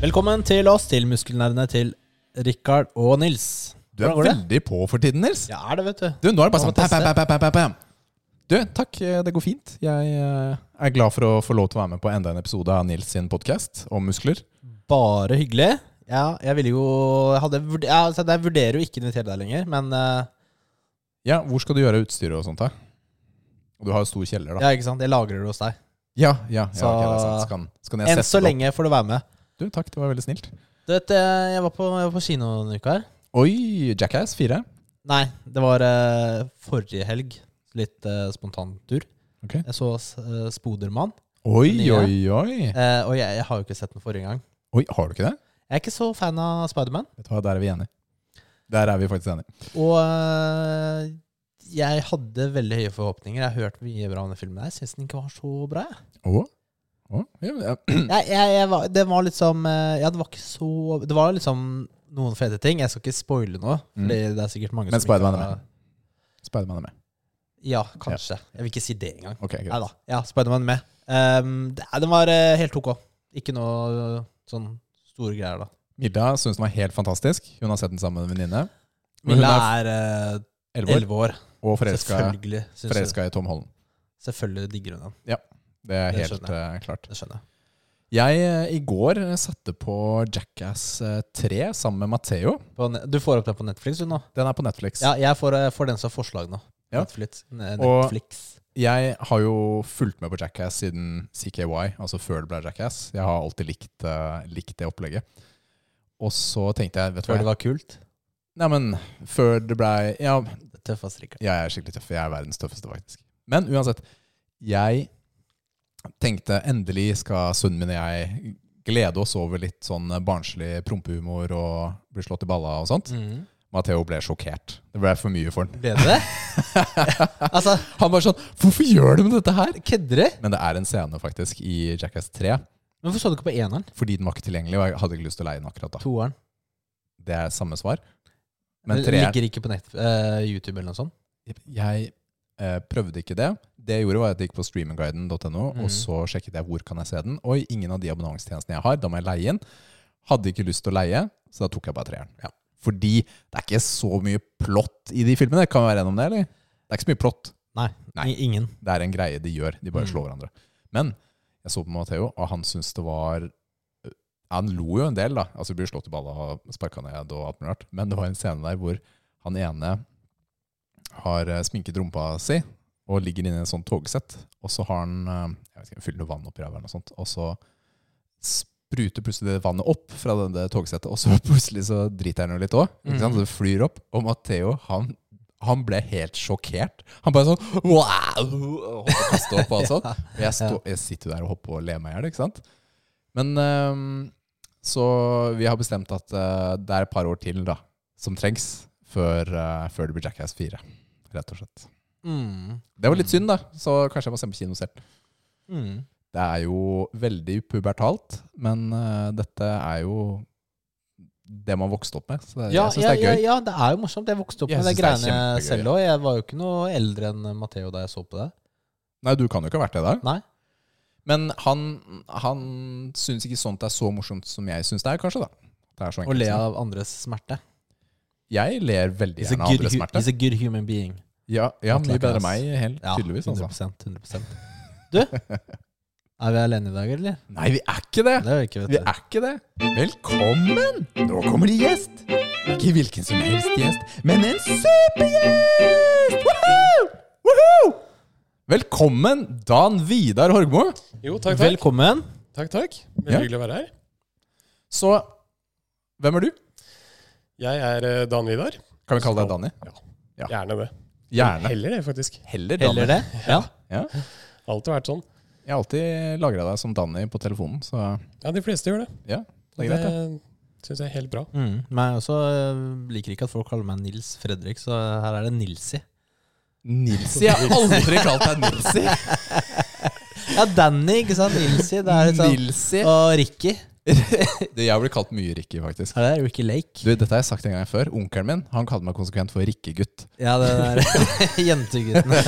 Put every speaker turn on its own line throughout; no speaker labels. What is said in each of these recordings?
Velkommen til oss, til muskelnerdene til Rikard og Nils.
Du er
Hvordan går det?
veldig på for tiden, Nils.
Ja, er det, vet du.
Du, nå er det bare sånn
Jeg må
pam,
teste.
pam, pam, pam, pam, pam. Du, takk. eh, Det går fint. Jeg eh, er glad for å få lov til å være med på enda en episode av Nils sin podkast om muskler.
Bare hyggelig. Ja, jeg ville jo jeg hadde, vurd- ja, altså, Jeg vurderer jo ikke å invitere deg lenger, men eh,
Ja, hvor skal du gjøre utstyret og sånt, da? Og du har jo stor kjeller, da.
ja, ikke sant? jeg lagrer det hos deg.
Ja, ja. ja,
Så-
ok, det er sant. Skal, skal jeg
Enn
sette
så
det opp?
lenge får du være med.
Du, takk. Det var veldig snilt.
Du vet, eh, Jeg var på, jeg var på kino denne uka her.
Oi, Jackass 4.
Nei, det var eh, forrige helg. Litt eh, spontantur.
Ok.
Jeg så eh, Spodermann,
Oi,
Nye.
oi, oi.
eh, og jeg, jeg har jo ikke sett den forrige gang.
Oi, Har du ikke det?
Jeg er ikke så fan av Spiderman.
Vet du hva, Der er vi enige. Der er vi faktisk enige.
Og øh, jeg hadde veldig høye forhåpninger. Jeg har hørt mye bra om den filmen. her. Jeg syns den ikke var så bra. jeg.
Å? Å? Ja, ja.
Jeg, jeg, jeg var, det var liksom øh, Ja, det var ikke så Det var liksom noen fete ting. Jeg skal ikke spoile noe,
Mm.
Fordi det er sikkert mange
Men
som ikke
Spiderman er
har-
med. Spiderman er med.
Ja, kanskje. Jeg vil ikke si det engang.
Ok, greit.
Nei da. Ja, Spiderman er med. Um, det, den var øh, helt ok. Ikke noe øh, sånn store greier, da.
Milla syns den var helt fantastisk. Hun har sett den sammen med en venninne. Men hun
Milla
er
er øh,
11 år
elleve år.
og forelska,
Selvfølgelig. synes hun-
forelska i Tom Holland.
Selvfølgelig digger hun den.
Det er
Det
helt
skjønner
eh, klart.
Det skjønner jeg.
Jeg eh, i går satte på Jackass eh, 3 sammen med Matheo.
På, ne- du får opp den på Netflix, du nå?
Den er på Netflix.
Ja, jeg får, jeg får den som forslag nå.
Ja.
Netflix. Ne-
Og-
Netflix.
Jeg har jo fulgt med på Jackass siden CKY, altså før det ble Jackass. Jeg har alltid likt, eh, likt det opplegget. Og så tenkte jeg vet du hva?
Før det var kult.
Nei, men før det blei Ja,
Det tøffeste Rikard.
Jeg er skikkelig tøff. Jeg er verdens tøffeste, faktisk. Men uansett, jeg tenkte endelig skal sønnen min og jeg glede oss over litt sånn barnslig prompehumor og bli slått i balla og sånt.
Mm.
Matheo ble sjokkert. Det ble for mye for han.
Ble det det? altså,
Han var sånn Hvorfor gjør du med dette her?
kødder du?
Men det er en scene faktisk i Jackass 3,
Men Hvorfor så du ikke på eneren?
fordi den var ikke tilgjengelig, og jeg hadde ikke lyst til å leie den akkurat da.
Toeren.
Det er samme svar. Men
Men
treeren
Ligger ikke på nett, eh, YouTube eller noe sånt?
Jeg eh, prøvde ikke det. Det jeg gjorde, var at jeg gikk på streamingguiden.no,
Mhm.
og så sjekket jeg hvor kan jeg se den. Oi, ingen av de abonnementstjenestene jeg har, da må jeg leie inn. Hadde ikke lyst til å leie, så da tok jeg bare treeren. Fordi det er ikke så mye plott i de filmene. Kan vi være enige om det, eller? Det er ikke så mye plott.
Nei.
Nei.
I- Ingen.
Det er en greie de gjør. De bare
Mm.
slår hverandre. Men jeg så på Matheo, og han syntes det var Han lo jo en del, da. Altså blir slått i balla og sparka ned og alt mulig rart. Men det var en scene der hvor han ene har eh, sminket rumpa si og ligger inne i en sånn togsett. Og så har han eh, jeg vet ikke, fyller noe vann oppi ræva eller noe sånt. Og så spruter plutselig det vannet opp fra det, det togsettet, og så plutselig så driter han jo litt òg.
Mm.
Så det flyr opp. Og Matheo, han han ble helt sjokkert. Han bare sånn wow! Og kastet opp og alt sånt. Og jeg, stå, jeg sitter jo der og hopper og ler meg i hjel, ikke sant? Men ehm, så vi har bestemt at eh, det er et par år til da, som trengs før, eh, før det blir Jackass 4, rett og slett.
Mm.
Det var litt synd, da, så kanskje jeg må se på kino selv.
Mm.
Det er jo veldig pubertalt, men eh, dette er jo det man vokste opp med, så det,
Ja,
jeg syns
ja,
det
ja,
er gøy.
ja, det er jo morsomt. Jeg vokste opp
Jeg
med de
synes det er
greiene
kjempegøy.
selv òg. Jeg var jo ikke noe eldre enn Matheo da jeg så på det.
Nei, du kan jo ikke ha vært det da.
Nei.
Men han, han syns ikke sånt er så morsomt som jeg syns det er, kanskje. da. Det er så
Å
enkelt
le
som det.
av andres smerte.
Jeg ler veldig
He's a
gjerne av
good,
andres
hu-
smerte.
he's a good human being.
Ja, ja
Not
mye
like
bedre
us.
enn meg, helt
Ja,
tydeligvis. Altså.
100 100 Du, er vi alene i dag, eller?
Nei, vi er ikke det!
Det er vi ikke, vet
Vi
du.
er ikke det. Velkommen! Nå kommer det gjest. Ikke hvilken som helst gjest, men en supergjest! Woohoo! Woohoo! Velkommen, Dan Vidar Horgmo.
Jo, takk, takk.
Velkommen.
takk, takk. Veldig
Ja.
hyggelig å være her.
Så hvem er du?
Jeg er eh, Dan Vidar.
Kan vi kalle deg Danny?
Gjerne det.
Gjerne.
Heller det, faktisk.
Heller Danny.
Heller det? Ja.
Ja.
Alltid vært sånn.
Jeg har alltid lagra deg som Danny på telefonen, så
Ja, de fleste gjør det.
ja. Det er greit,
Eh,
det.
syns jeg er helt bra.
Mm. Men jeg også øh, liker ikke at folk kaller meg Nils Fredrik, så her er det Nilsi.
Nilsi. Jeg har aldri kalt deg Nilsi.
Ja, Danny, ikke sant? Nilsi. Det er litt sånn.
Nilsi.
Og Ricky.
Det- Jeg blir kalt mye Ricky, faktisk.
Er det Ricky Lake?
Du, Dette har jeg sagt en gang før. Onkelen min han kalte meg konsekvent for Rikkegutt.
Ja, det der jenteguttene.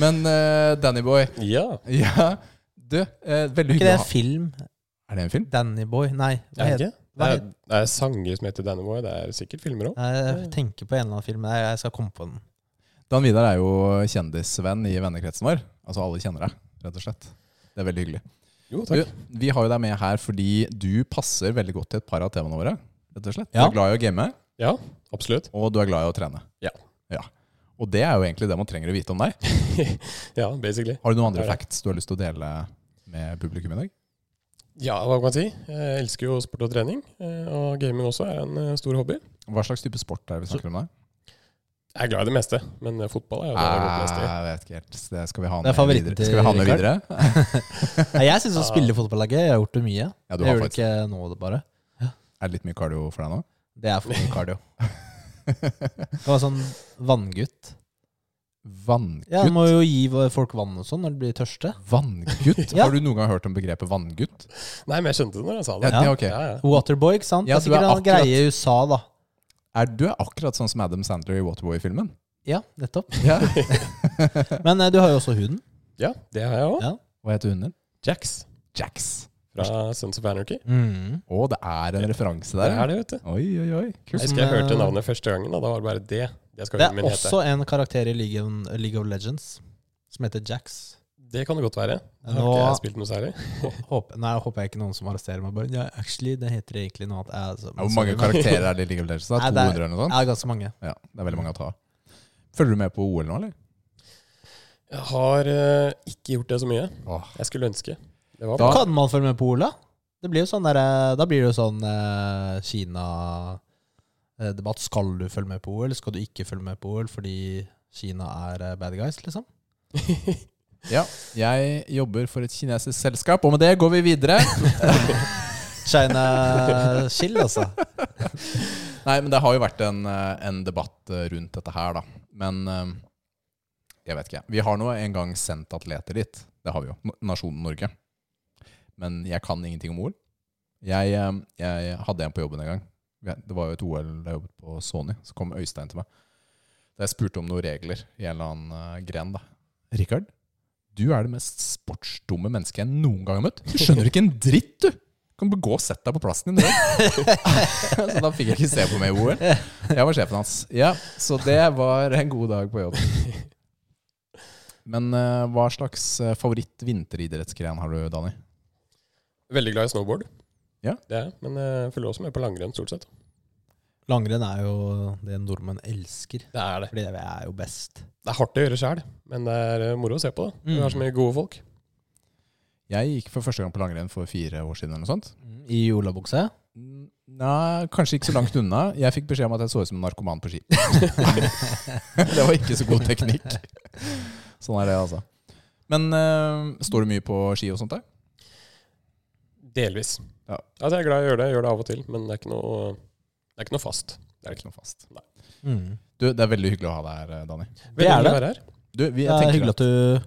Men eh, Danny Boy
Ja.
Ja, du. eh, veldig
Ikke det
hyggelig å
en
ha
film?
Er det en film?
Danny Boy? Nei. Hva
Er
heter
det, ikke?
hva
det, er, det er sanger som heter Danny Boy. Det er sikkert filmer òg.
Nei, Jeg tenker på en eller annen film. Nei, jeg skal komme på den.
Dan Vidar er jo kjendisvenn i vennekretsen vår. Altså alle kjenner deg, rett og slett. Det er veldig hyggelig.
Jo,
Du,
takk.
vi har jo deg med her fordi du passer veldig godt til et par av temaene våre. rett og slett. Du
Ja.
er glad i å game,
Ja, absolutt.
og du er glad i å trene.
Ja.
Og det er jo egentlig det man trenger å vite om deg.
Ja, basically.
Har du noen andre
Det er det.
facts du har lyst til å dele med publikum i dag?
Ja, hva kan man si? Jeg elsker jo sport og trening, eh, og gaming også er en eh, stor hobby.
Hva slags type sport er det vi snakker om der?
Jeg er glad i det meste, men eh, fotball er jo det jeg har gått mest i.
Ah, Jeg vet ikke helt. Det skal vi ha
Det er
med
favoritt,
videre. Skal vi ha med
Rikard.
videre?
Nei, jeg syns å spille fotball er gøy. Jeg har gjort det mye.
Ja, du
Jeg
har
gjør det
faktisk.
ikke nå, det bare.
Er det litt mye cardio for deg nå?
Det er for mye cardio. Jeg var sånn vanngutt. Ja, du
Vanngutt?
må jo gi folk vann og sånn når de blir tørste.
Vanngutt?
Ja.
Har du noen gang hørt om begrepet vanngutt?
Nei, men jeg skjønte det når jeg sa
Ja,
det.
det er ok.
Ja, ja.
Waterboy, ikke sant?
Ja,
det
du
er
er
sikkert en
akkurat-
greie i USA, da.
Er, du er akkurat sånn som Adam Sandler i Waterboy-filmen.
Ja, nettopp.
Ja.
Men eh, du har jo også huden.
ja, det har jeg òg.
Ja.
Hva heter hunden din?
Jax
Jax.
fra Sons of Anarchy.
Å, det er en referanse
Det
der. ja.
er det, vet du.
Oi, oi, oi.
Jeg
Kult.
Nei.
husker jeg hørte navnet første gangen, og da var det bare det. Det skal
eh, Det
hunden
er
min hete.
også en karakter i League of, League of Legends som heter Jax.
Det kan det godt være. Det har
Nå-
ikke jeg spilt noe særlig.
Håper, nei, jeg håper jeg ikke noen som arresterer meg. Bare, ja, actually, det heter egentlig noe annet. Jeg, altså,
Ja, Hvor mange karakterer er det i League of Legends? da?
Nei, det er-
200 eller noe sånt?
Ja, ganske mange.
Ja, det er veldig mange å ta av. Følger du med på OL nå, eller?
Jeg har eh, ikke gjort det så mye.
Åh.
Jeg skulle ønske. Det var
Da-
Kan man følge med på Ola? Det blir jo sånn der, eh, da blir det jo sånn eh, Kina-debatt. Skal du følge med på OL? Skal du ikke følge med på OL fordi Kina er eh, bad guys, liksom?
Ja, jeg jobber for et kinesisk selskap, og med det går vi videre.
China-chill, altså.
Nei, men det har jo vært en, eh, en debatt eh, rundt dette her, da. Men eh, jeg vet ikke. Vi har nå en gang sendt atleter dit. Det har vi jo. N- Nasjonen Norge. Men jeg kan ingenting om OL. Jeg, eh, jeg hadde en på jobben en gang. Vi- Det var jo et OL da jeg jobbet på Sony. Så kom Øystein til meg. Da jeg spurte om noen regler i en eller annen eh, gren, da. Rikard, du er det mest sportsdumme mennesket jeg noen gang har møtt. Du skjønner ikke en dritt, du! Du kan bare gå og sette deg på plassen din. du. Så da fikk jeg ikke se på meg i OL. Jeg var sjefen hans. Ja, Så det var en god dag på jobb. Men eh, hva slags eh, favoritt-vinteridrettsgren har du, Dani?
veldig glad i snowboard.
Ja.
Det er jeg. Men eh, jeg følger også med på langrenn, stort sett.
Langrenn er jo det nordmenn elsker.
Det er det.
Fordi det er jo best.
Det er hardt å gjøre sjæl, men det er eh, moro å se på. da. Vi
Mm.
har så mye gode folk.
Jeg gikk for første gang på langrenn for fire år siden. eller noe sånt.
I olabukse. Mm,
Nei, kanskje ikke så langt unna. Jeg fikk beskjed om at jeg så ut som en narkoman på ski. det var ikke så god teknikk. Sånn er det, altså. Men eh, står du mye på ski og sånt? da?
Delvis.
Ja.
Altså, jeg er glad i å gjøre det. Jeg gjør det av og til, men det er ikke noe, det er ikke noe fast.
Det er ikke noe fast.
Mm.
Du, Det er veldig hyggelig å ha deg her, eh, Dani.
Det
Veldig
er
hyggelig å
det.
være her.
Du, vi,
Det
jeg
er
tenker at-
hyggelig at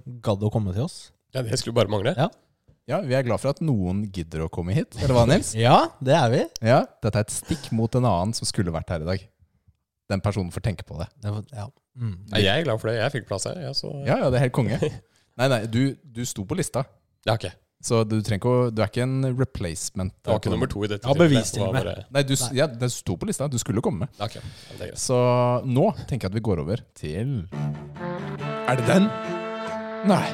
du gadd å komme til oss.
Ja, det skulle bare mangle.
Ja, vi er glad for at noen gidder å komme hit. Eller hva, Nils?
Ja, det er vi.
Ja, Dette er et stikk mot en annen som skulle vært her i dag. Den personen får tenke på det.
Det var- Ja. Mm.
Ja, jeg er glad for det. Jeg fikk plass her. Ja, så...
Ja, ja, det er helt konge. Nei, nei, du, du sto på lista.
Ja, ok.
Så du trenger ikke å Du er ikke en replacement.
Det var ikke nummer to i dette.
Ja,
tilfellet.
bevis til
Det var
meg.
bare-
Nei, du, s- Ja, den sto på lista. Du skulle komme.
Ok, ja, det er greit.
Så nå tenker jeg at vi går over til Er det den? Nei.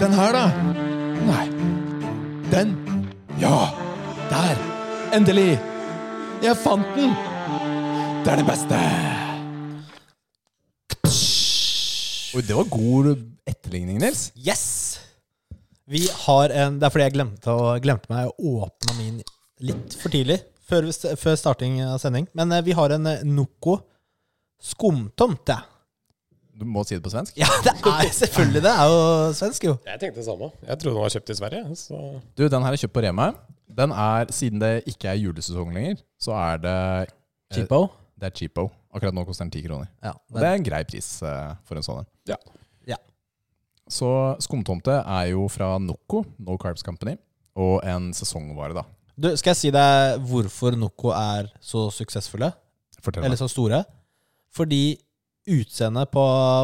Den her, da? Nei. Den? Ja! Der! Endelig! Jeg fant den! Det er det beste! Oi, det var god etterligning, Nils.
Yes! Vi har en Det er fordi jeg glemte, å, glemte meg å åpne min litt for tidlig. Før, vi st- før starting av sending. Men eh, vi har en eh, Noco skumtomte.
Du må si det på svensk.
Ja, det er selvfølgelig det. er jo svensk, jo.
Jeg tenkte det samme. Jeg trodde den var kjøpt i Sverige. Så
Du, Den her er kjøpt på Rema. Den er, siden det ikke er julesesong lenger, så er det, eh,
Cheapo.
det er cheapo. Akkurat nå koster den ti kroner.
Ja,
Og det er en grei pris eh, for en sånn en.
Ja.
Ja.
Så skumtomte er jo fra Noco, No Carbs Company, og en sesongvare, da.
Du, skal jeg si deg hvorfor Noco er så suksessfulle?
Fortell
Eller
meg.
så store? Fordi utseendet på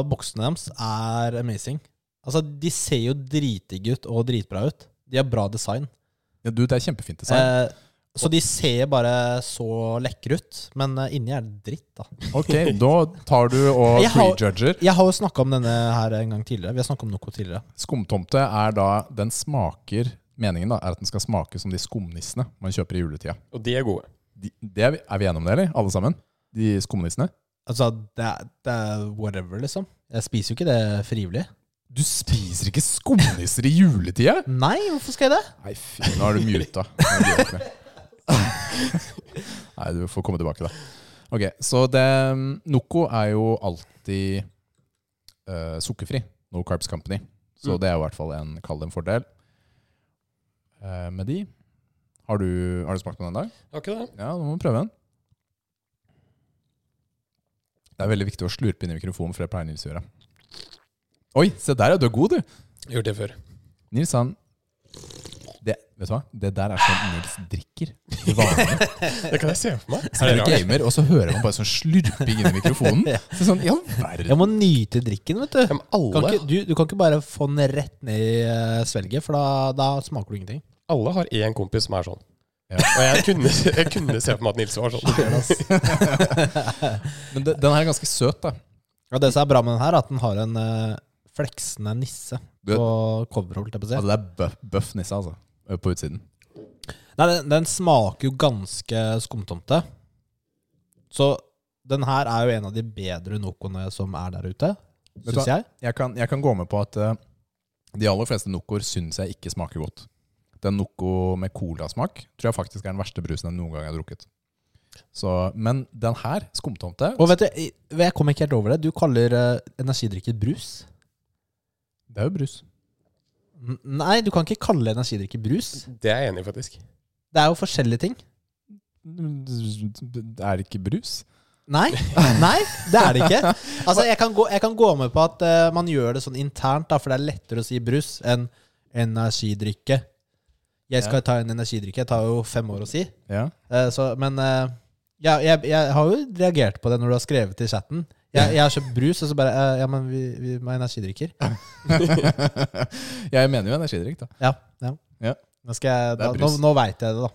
boksene deres er amazing. Altså, de ser jo dritdigge ut og dritbra ut. De har bra design.
Ja, du, det er kjempefint design.
Eh, så de ser bare så lekre ut, men eh, inni er det dritt, da.
Ok, da tar du og
Jeg har-
prejudger.
Jeg har jo snakka om denne her en gang tidligere. Vi har snakket om Noco tidligere.
Skumtomte er da Den smaker Meningen da, er at den skal smake som de skumnissene man kjøper i juletida.
Og de er gode.
De, det er, vi, er vi enige om det, eller? Alle sammen? De skumnissene?
Altså, det er, det er whatever, liksom. Jeg spiser jo ikke det frivillig.
Du spiser ikke skumnisser i juletida?
Nei, hvorfor skal jeg det?
Nei, fy, nå er du muta. Nå gjør jeg ikke det. Nei, du får komme tilbake, da. Ok, Så det Noco er jo alltid eh, sukkerfri. No Carbs Company. Så
Mm.
det er i hvert fall en, kall det en fordel Eh, med de. Har du, har du smakt på den i dag?
Har ikke det?
Ja, nå må vi prøve den. Det er veldig viktig å slurpe inn i mikrofonen, for det pleier Nils å gjøre. Oi, se der, ja. Du er god, du.
Gjort det før.
Nils, han det, Vet du hva? Det der er sånn Nils drikker. til Vanlig.
Det kan jeg se for meg.
Han er gamer, og så hører man bare sånn slurping inn i mikrofonen. Så sånn, i all verden.
Jeg må nyte drikken, vet du.
Ja, men alle,
Kan ikke, du, du kan ikke bare få den rett ned i eh, svelget, for da, da smaker du ingenting.
alle har én kompis som er sånn.
Ja.
Og jeg kunne, jeg kunne se for meg at Nils var sånn.
Men det, den her er ganske søt, da.
Og det som er bra med den her, er at den har en eh, fleksende nisse
Du-
på coveret. holdt jeg på å si.
Altså, det er bøff, bøff nisse, altså. ø, På utsiden. Altså-
Nei, den, den smaker jo ganske skumtomte. Så den her er jo en av de bedre Nocoene som er der ute,
du hva?
syns jeg.
Jeg kan, jeg kan gå med på at eh, de aller fleste Nocoer syns jeg ikke smaker godt. Den Noco med colasmak tror jeg faktisk er den verste brusen jeg noen gang har drukket. Så, men den her, skumtomte
Og vet du, jeg, jeg kommer ikke helt over det. Du kaller eh, energidrikker brus.
Det er jo brus.
N- Nei, du kan ikke kalle energidrikker brus.
Det er jeg enig i, faktisk.
Det er jo forskjellige ting.
Mm, Det er ikke brus.
Nei, nei, det er det ikke. Altså, jeg kan gå, jeg kan gå med på at eh, man gjør det sånn internt, da, for det er lettere å si brus enn energidrikke. Jeg skal ta en energidrikke. Jeg tar jo fem år å si.
Ja.
Eh, så, men eh, ja, jeg, jeg har jo reagert på det når du har skrevet i chatten. Jeg, jeg har kjøpt brus, og så bare eh, Ja, men vi, vi må ha energidrikker.
jeg mener jo energidrikk, da.
Ja, ja.
Ja.
Nå, skal jeg,
Det
da,
er
nå,
brus.
nå veit jeg det, da.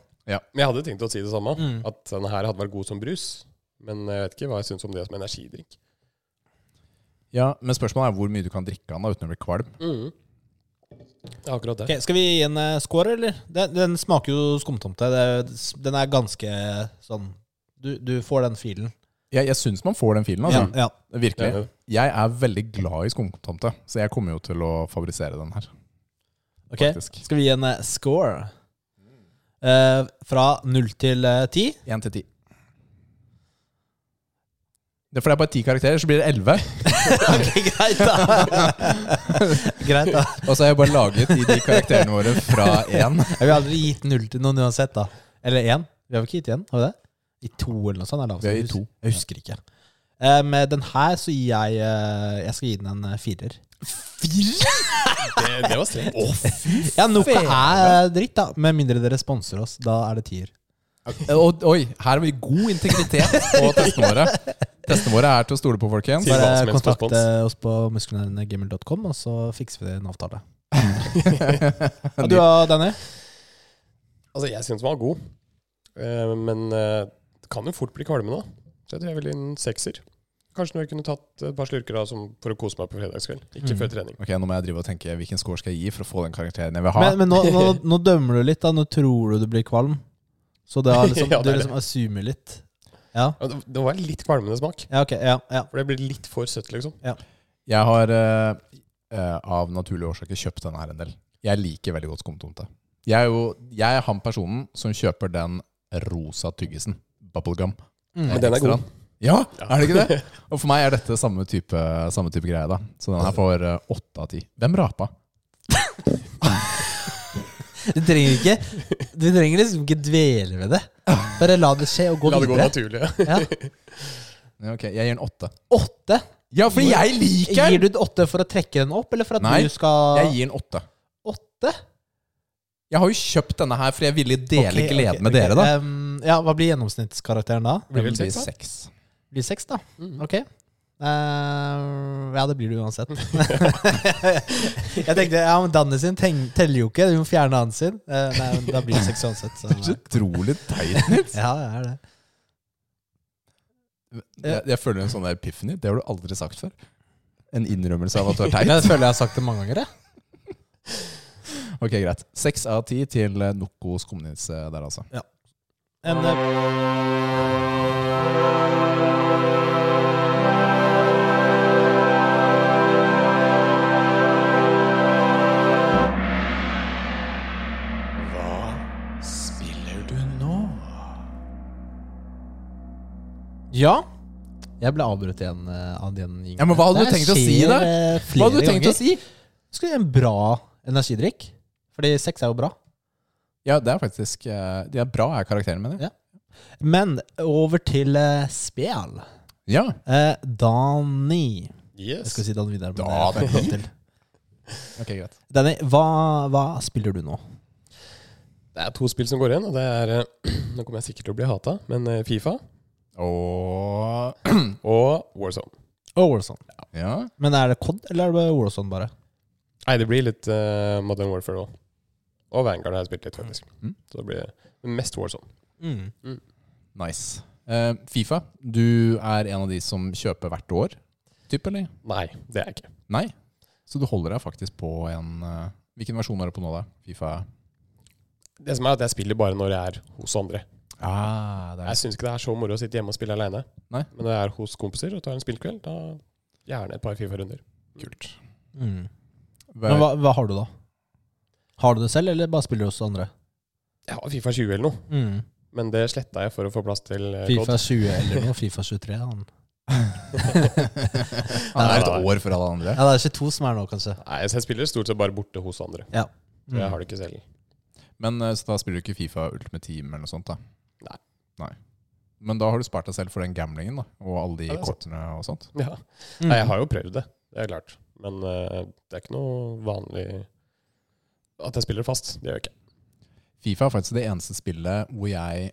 Men jeg hadde tenkt å si det samme.
Mm.
At den her hadde vært god som brus. Men jeg vet ikke hva jeg syns om det som energidrikk.
Ja, Men spørsmålet er hvor mye du kan drikke av den da, uten å bli kvalm.
Mm. Ja, akkurat det.
Ok, skal vi gi en eh, score, eller? Den, den smaker jo skumtomte. Det, den er ganske sånn Du, du får den filen.
Jeg, jeg syns man får den filen.
Ja,
Altså.
ja.
Virkelig.
Ja, ja.
Jeg er veldig glad i skumtomte, så jeg kommer jo til å favorisere den her.
Ok,
Faktisk.
Skal vi gi en eh, score? Eh, fra null til eh, ti?
Én til ti. Det er fordi det er bare ti karakterer, så blir det elleve.
ok, greit, da. greit, da.
Og så har jeg bare laget i de karakterene våre fra én.
Jeg vil aldri gitt null til noen uansett, da. Eller én. Vi har vel ikke gitt én? Har vi det? I to eller noe sånt? Er det
Vi har
lavest.
gitt to.
Jeg husker ikke. Eh, Med den her så gir jeg eh, Jeg skal gi den en eh, firer.
Fire?!
Det, det var strengt.
Ja, Noka er eh, dritt, da. Med mindre dere sponser oss. Da er det tier.
Oi, her har vi god integritet på testene våre. Testene våre er til å stole på, folkens.
Sier hva som
Bare
helst på
kontakte oss på muskelnærende.gmil.com, og så fikser vi en avtale. Og du
Du
da, Danny?
Altså, jeg syns den var god. Eh, men eh, det kan jo fort bli kvalme nå. Så jeg tror jeg ville gi en sekser. Kanskje når jeg kunne tatt et par slurker da, som, for å kose meg på fredagskveld. Ikke
Mm.
før trening.
Ok, Nå må jeg drive og tenke hvilken score skal jeg gi for å få den karakteren jeg vil ha.
Men, men nå, nå, nå dømmer du litt, da. Nå tror du du blir kvalm. Så det har liksom,
Ja, det
du
er det.
liksom assumer litt. Ja,
Ja, Det, det var litt kvalmende smak.
ja ok. Ja, ja.
For det blir litt for søtt, liksom.
Jeg har eh, eh, av naturlige årsaker kjøpt denne her en del. Jeg liker veldig godt skumtomte. Jeg er jo jeg er han personen som kjøper den rosa tyggisen. Bubblegum.
Mm.
Men den er god.
Ekstraen. Ja, er det ikke det? Og for meg er dette samme type, samme type greie, da. Så den her får eh, åtte av ti. Hvem rapa?
Du trenger ikke Du trenger liksom ikke dvele ved det. Bare la det skje, og gå
La det gå
videre.
naturlig.
Ja.
Ja, ok, jeg gir den åtte.
Åtte?
Ja, for jeg liker
Gir du
den!
det åtte for å trekke den opp, eller for at
Nei,
du skal
Jeg gir den åtte.
Åtte?
Jeg har jo kjøpt denne her, for jeg ville dele
Ok,
gleden
ok,
med
ok.
dere, da.
Ehm, ja, hva blir gjennomsnittskarakteren da?
Blir vel
Den blir
seks, da?
seks.
Blir seks, da?
Mm.
Ok. Ehm, ja, det blir det uansett. jeg tenkte ja, men Danny sin tenk, teller jo ikke, du må fjerne han sin. Eh, nei, men da blir det seks uansett. Så,
Så utrolig teit, Nils.
ja, det er det.
Jeg, jeg føler en sånn der epiphany. Det har du aldri sagt før. En innrømmelse av at du er
Jeg
teit.
føler jeg har sagt det mange ganger. Jeg.
Ok, greit. Seks av ti til eh, Noko Skumnitz eh, der, altså.
En, eh,
Hva spiller du nå?
ja. Jeg ble avbrutt igjen eh, av den gjengen.
Ja, men hva hadde du tenkt å si da? Hva hadde du tenkt å si?
eh, Skulle en bra energidrikk. Fordi seks er jo bra.
Ja, det er faktisk eh, De er bra, er karakteren min.
Men over til eh, spel.
Ja.
Eh, Dani. Jeg
Yes.
skal si Dan Vidar. men det
Dani.
får jeg ikke lov til.
Ok, greit.
Danny, hva, hva spiller du nå?
Det er to spill som går igjen, og det er eh, Nå kommer jeg sikkert til å bli hata, men eh, Fifa
Og
Mm.
og Warzone.
Og Warzone.
Ja.
Men er det COD, eller er det Warzone bare?
Nei, det blir litt eh, Modern Warfare òg. Og Vanguard har jeg spilt litt, faktisk.
Mm.
Så det blir mest Warzone.
Nice. Eh, Fifa, du er en av de som kjøper hvert år, typ, eller?
Nei, det er jeg ikke.
Nei. Så du holder deg faktisk på en eh, Hvilken versjon er du på nå, da? Fifa?
Det som er at jeg spiller bare når jeg er hos andre.
Ah, det
Jeg syns ikke det er så moro å sitte hjemme og spille aleine.
Nei.
Men når jeg er hos kompiser og tar en spillkveld, da gjerne et par Fifa-runder.
kult.
Mm.
Hva,
Men hva, hva har du, da? Har du det selv, eller bare spiller du hos andre?
Jeg har Fifa 20 eller noe, men det sletta jeg for å få plass til eh,
Fifa
COD.
20 eller noe? Fifa 23? Han.
Han er et år før alle andre.
Ja, det er 22 som er nå, kanskje.
Nei, så jeg spiller stort sett bare borte hos andre. Så
Mm.
jeg har det ikke selv.
Men eh, så da spiller du ikke Fifa Ultimate Team eller noe sånt, da?
Nei.
Nei. Men da har du spart deg selv for den gamblingen, da? Og alle de
Ja, det er sant.
kortene og sånt?
Ja.
Mm.
Nei, jeg har jo prøvd det, det er klart. Men eh, det er ikke noe vanlig at jeg spiller fast. Det gjør jeg ikke.
Fifa er faktisk det eneste spillet hvor jeg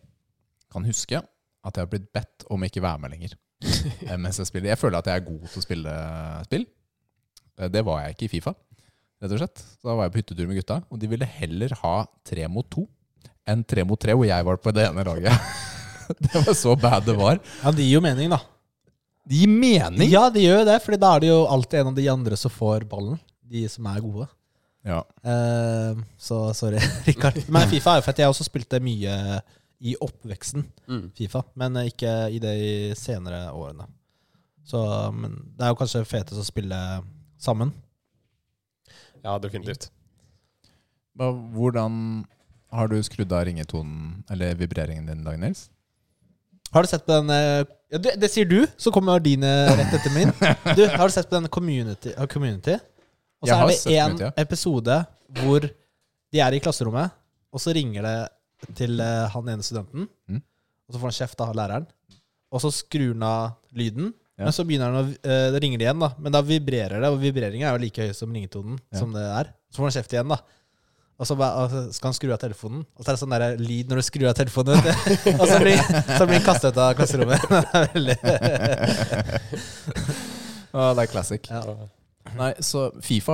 kan huske at jeg har blitt bedt om ikke være med lenger. eh, mens jeg spiller. Jeg føler at jeg er god til å spille spill. Eh, Det var jeg ikke i Fifa, rett og slett. Så da var jeg på hyttetur med gutta, og de ville heller ha tre mot to enn tre mot tre, hvor jeg var på det ene laget. det var så bad det var.
Ja, det gir jo mening, da.
Det gir mening!
Ja, det gjør jo det, Fordi da er det jo alltid en av de andre som får ballen. De som er gode.
Ja.
Eh, så sorry, Rikard. Men Fifa er jo fett. Jeg har også spilt det mye i oppveksten, Fifa. Men ikke i de senere årene. Så men det er jo kanskje fetest å spille sammen.
Ja, definitivt.
Hva- Hvordan har du skrudd av ringetonen, eller vibreringen din, Dag Nils?
Har du sett på den eh, ja, det, det sier du, så kommer din eh, rett etter min. Du, Har du sett på den Community? eh, community? Og
Jeg
så
har
er
sett
det én
Community, ja.
episode hvor de er i klasserommet, og så ringer det til eh, han ene studenten.
Mm.
Og så får han kjeft av læreren. Og så skrur han av lyden.
Ja.
Men så begynner han å, eh, det ringer det igjen, da. Men da vibrerer det, og vibreringen er jo like høy som ringetonen.
Ja.
som det er. Så får han kjeft igjen, da. Og så ba- og så skal han skru av telefonen. Og så er det sånn der lyd når du skrur av telefonen. Vet du. Og så blir, så blir han kastet ut av klasserommet. Det er veldig-
Ah, det er classic.
Ja.
Så-
Nei, så Fifa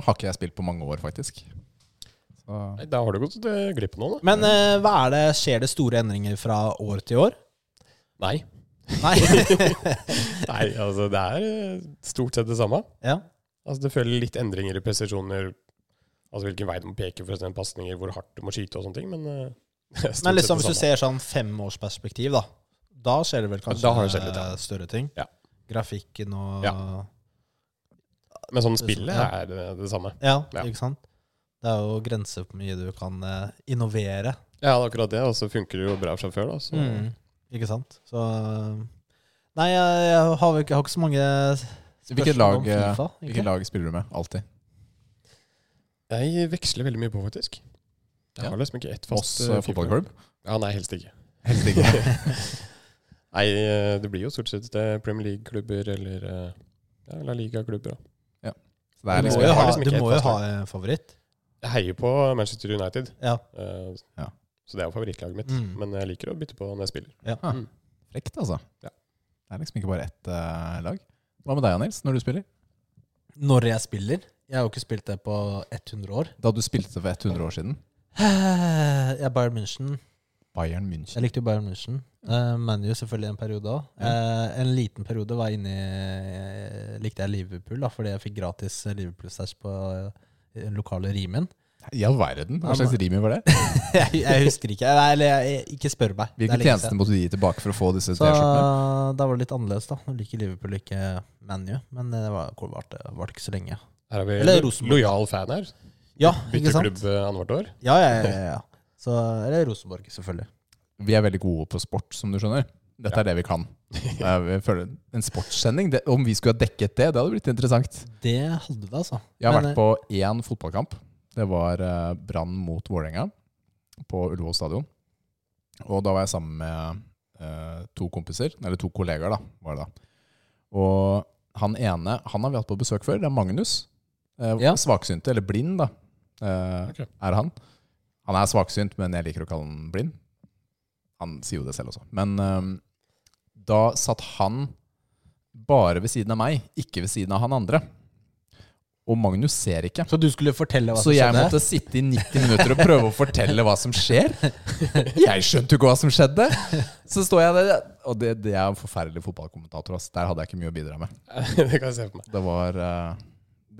har ikke jeg spilt på mange år, faktisk. Så,
Nei, da har du gått eh, glipp av noe, da.
Men eh, hva er det, skjer det store endringer fra år til år?
Nei.
Nei.
Nei, altså det er eh, stort sett det samme.
ja.
Altså Det følger litt endringer i presisjoner, altså hvilken vei du må peke for å sende pasninger, hvor hardt du må skyte og sånne ting, men eh, det er stort
Men
sett
liksom,
det
hvis du
samme.
ser sånn femårsperspektiv, da Da skjer det vel kanskje
Da har det skjedd litt, ja.
eh, større ting?
Ja.
Grafikken og ja.
Ja. Men sånn spillet
Ja.
er eh, det samme. Ja.
ikke sant? Det er jo grenser på hvor mye du kan eh, innovere.
Ja, det er akkurat det, og så funker det jo bra fra før, da. Så.
Mm. Ikke sant? Så eh, Nei, jeg, jeg, har, vel ikke, jeg har ikke så mange
hvilket,
spørsmål
lag, eh,
om FIFA.
hvilket
egentlig.
lag spiller du med? Alltid.
Jeg veksler veldig mye på, faktisk. Jeg har liksom ikke ett
Moss
fast
eh,
eh, fiber.
fotballklubb?
Ja, nei, helst ikke.
Helst ikke.
Nei, eh, det blir jo stort sett eh, Premier League-klubber eller eh, ja, La Liga-klubber. da.
Så det
Du
er
Du
må
liksom
jo ha,
jeg har liksom
du
ikke
må
et
jo ha en favoritt.
Jeg heier på Manchester United,
Ja.
eh,
Ja.
så det er jo favorittlaget mitt.
Mm.
Men jeg liker å bytte på når jeg spiller.
Ah,
Mm.
frekt, altså.
Ja.
Det er liksom ikke bare ett eh, lag. Hva med deg, Nils, når du spiller?
Når jeg spiller Jeg har jo ikke spilt det på 100 år.
Da du spilte for 100 år siden?
Jeg er Bayern München.
Bayern München.
Jeg likte jo Bayern München. Uh, ManU selvfølgelig en periode òg. en liten periode var jeg inne i eh, likte jeg Liverpool, da, fordi jeg fikk gratis Liverpool-stæsj på eh, den lokale rimen.
I all verden. Hva
Ja,
slags rim var det?
jeg, jeg husker ikke. Nei, Eller jeg, jeg, ikke spør meg. Det er
Hvilke
lenge siden.
tjenester måtte du gi tilbake for å få disse
Så
T-skjortene?
da var det litt annerledes, da. Nå liker Liverpool ikke ManU, men eh, det var- hvor varte var det ikke så lenge.
Her er vi
Eller
lo
Rosenborg.
lojal fan her.
Ja, ikke
Bytter
sant?
klubb eh, annethvert år.
Ja, ja, ja, ja, ja. Så, eller Rosenborg, selvfølgelig.
Vi er veldig gode på sport, som du skjønner. Dette
Ja.
er det vi kan. Eh, vi føler en sportssending, det, om vi skulle ha dekket det, det hadde blitt interessant.
Det hadde det, altså.
Jeg har
Men,
vært på én fotballkamp. Det var eh, Brann mot Vålerenga på Ullevål stadion. Og da var jeg sammen med eh, to kompiser, eller to kollegaer, da, var det da. Og han ene han har vi hatt på besøk før. Det er Magnus. Eh,
Ja.
Svaksynte, eller blind, da, eh,
Ok.
er han. Han er svaksynt, men jeg liker å kalle han blind. Han sier jo det selv også. Men eh, da satt han bare ved siden av meg, ikke ved siden av han andre. Og Magnus ser ikke.
Så du skulle fortelle hva
Så
som
jeg
skjedde?
måtte sitte i 90 minutter og prøve å fortelle hva som skjer. Jeg skjønte jo ikke hva som skjedde. Så står jeg der, og det, det er en forferdelig fotballkommentator. Ass. Der hadde jeg ikke mye å bidra med.
det kan jeg se for meg.
Det var, eh,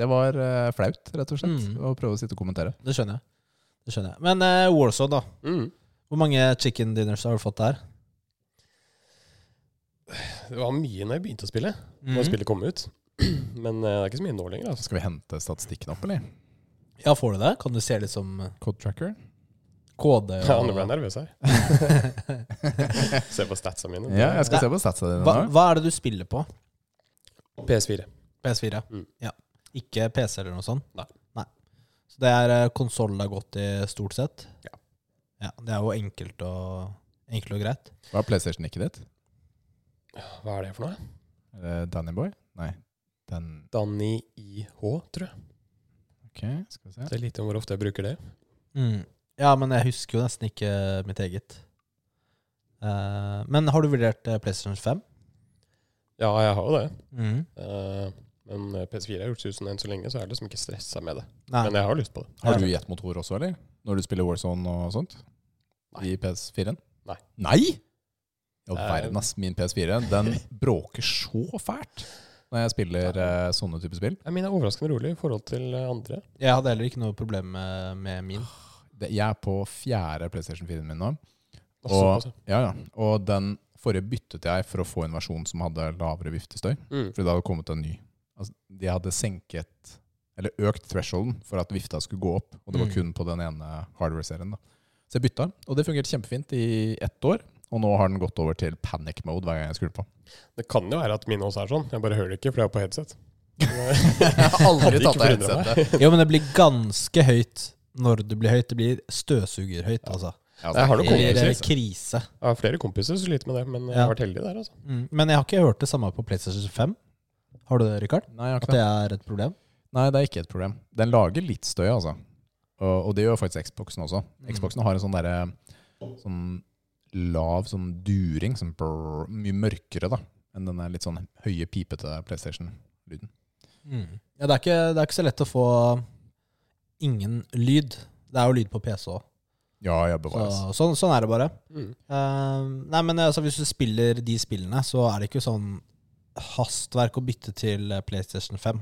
det var eh, flaut, rett og slett,
Mm.
å prøve å sitte og kommentere.
Det skjønner jeg. Det skjønner jeg. Men eh, Warsaw, da.
Mm.
Hvor mange chicken dinners har du fått der?
Det var mye når jeg begynte å spille, når spillet kom ut. Men eh, det er ikke så mye nå lenger. Altså.
Skal vi hente statistikken opp, eller?
Ja, får du det? Kan du se litt som eh,
Code tracker?
kode?
Ja, nå ble jeg nervøs her. Se på statsa mine.
Ja, jeg skal se på statsa dine
hva,
nå.
hva er det du spiller på?
PS4.
PS4?
Mm.
Ja. Ikke PC eller noe sånt?
Nei.
Så det er konsollen det har gått i, stort sett?
Ja.
ja. Det er jo enkelt og, enkelt og greit.
Hva er PlayStation-nikket ditt?
Hva er det for noe?
Er det Danny Boy? Nei. Den
Danny IH, tror jeg.
Ok, skal vi se.
Det er lite om hvor ofte jeg bruker det.
Mm. Ja, men jeg husker jo nesten ikke mitt eget. Eh, men har du vurdert eh, PlayStation 5?
Ja, jeg har jo det.
Mm.
Eh, men eh, PS4 har gjort susen enn så lenge, så jeg er liksom ikke stressa med det.
Nei.
Men jeg har lyst på det.
Har du jetmotor også, eller? Når du spiller Warzone og sånt?
Nei.
I PS4-en?
Nei.
Nei?! Ja,
Eh.
verden, ass. Min PS4 den bråker så fælt når jeg spiller eh, sånne type spill.
Jeg mener, jeg er overraskende rolig i forhold til eh, andre.
Jeg hadde heller ikke noe problem med, med min.
Det, jeg er på fjerde PlayStation 4-en min nå.
Og
Og,
såpass,
ja, ja. og den forrige byttet jeg for å få en versjon som hadde lavere viftestøy.
ja. mm.
For det hadde kommet en ny. Altså, de hadde senket, eller økt thresholden for at vifta skulle gå opp. Og det var
Mm.
kun på den ene hardware-serien. da. Så jeg bytta, og det fungerte kjempefint i ett år. Og nå har den gått over til panic mode hver gang jeg skrur på.
Det kan jo være at mine også er sånn. Jeg bare hører det ikke, for jeg er på headset.
Jeg har aldri
Hadde
tatt av
ikke forundret
headsetet.
Jo, men det blir ganske høyt når det blir høyt. Det blir støvsugerhøyt, altså.
Ja,
Jeg har
det
nok
er helt
Det
kommet
blir
til
krise.
krise.
Jeg har flere kompiser som sliter med det, men jeg
Ja.
har vært heldig der, altså.
Mm. Men jeg har ikke hørt det samme på PlayStation 5. Har du det, Rikard?
Nei, jeg har
At
ikke det.
det er et problem?
Nei, det er ikke et problem. Den lager litt støy, altså. Og, og det gjør faktisk Xboxen også.
Mm.
Xboxen har en sånn derre sånn lav sånn during, sånn brrr, mye mørkere da, enn den der litt sånn høye, pipete PlayStation-lyden.
Ja, det er, ikke, det er ikke så lett å få ingen lyd. Det er jo lyd på PC òg.
Ja, ja, bevares.
Så, sånn, sånn er det bare.
Mm.
Eh, nei, men altså, hvis du spiller de spillene, så er det ikke sånn hastverk å bytte til eh, PlayStation 5.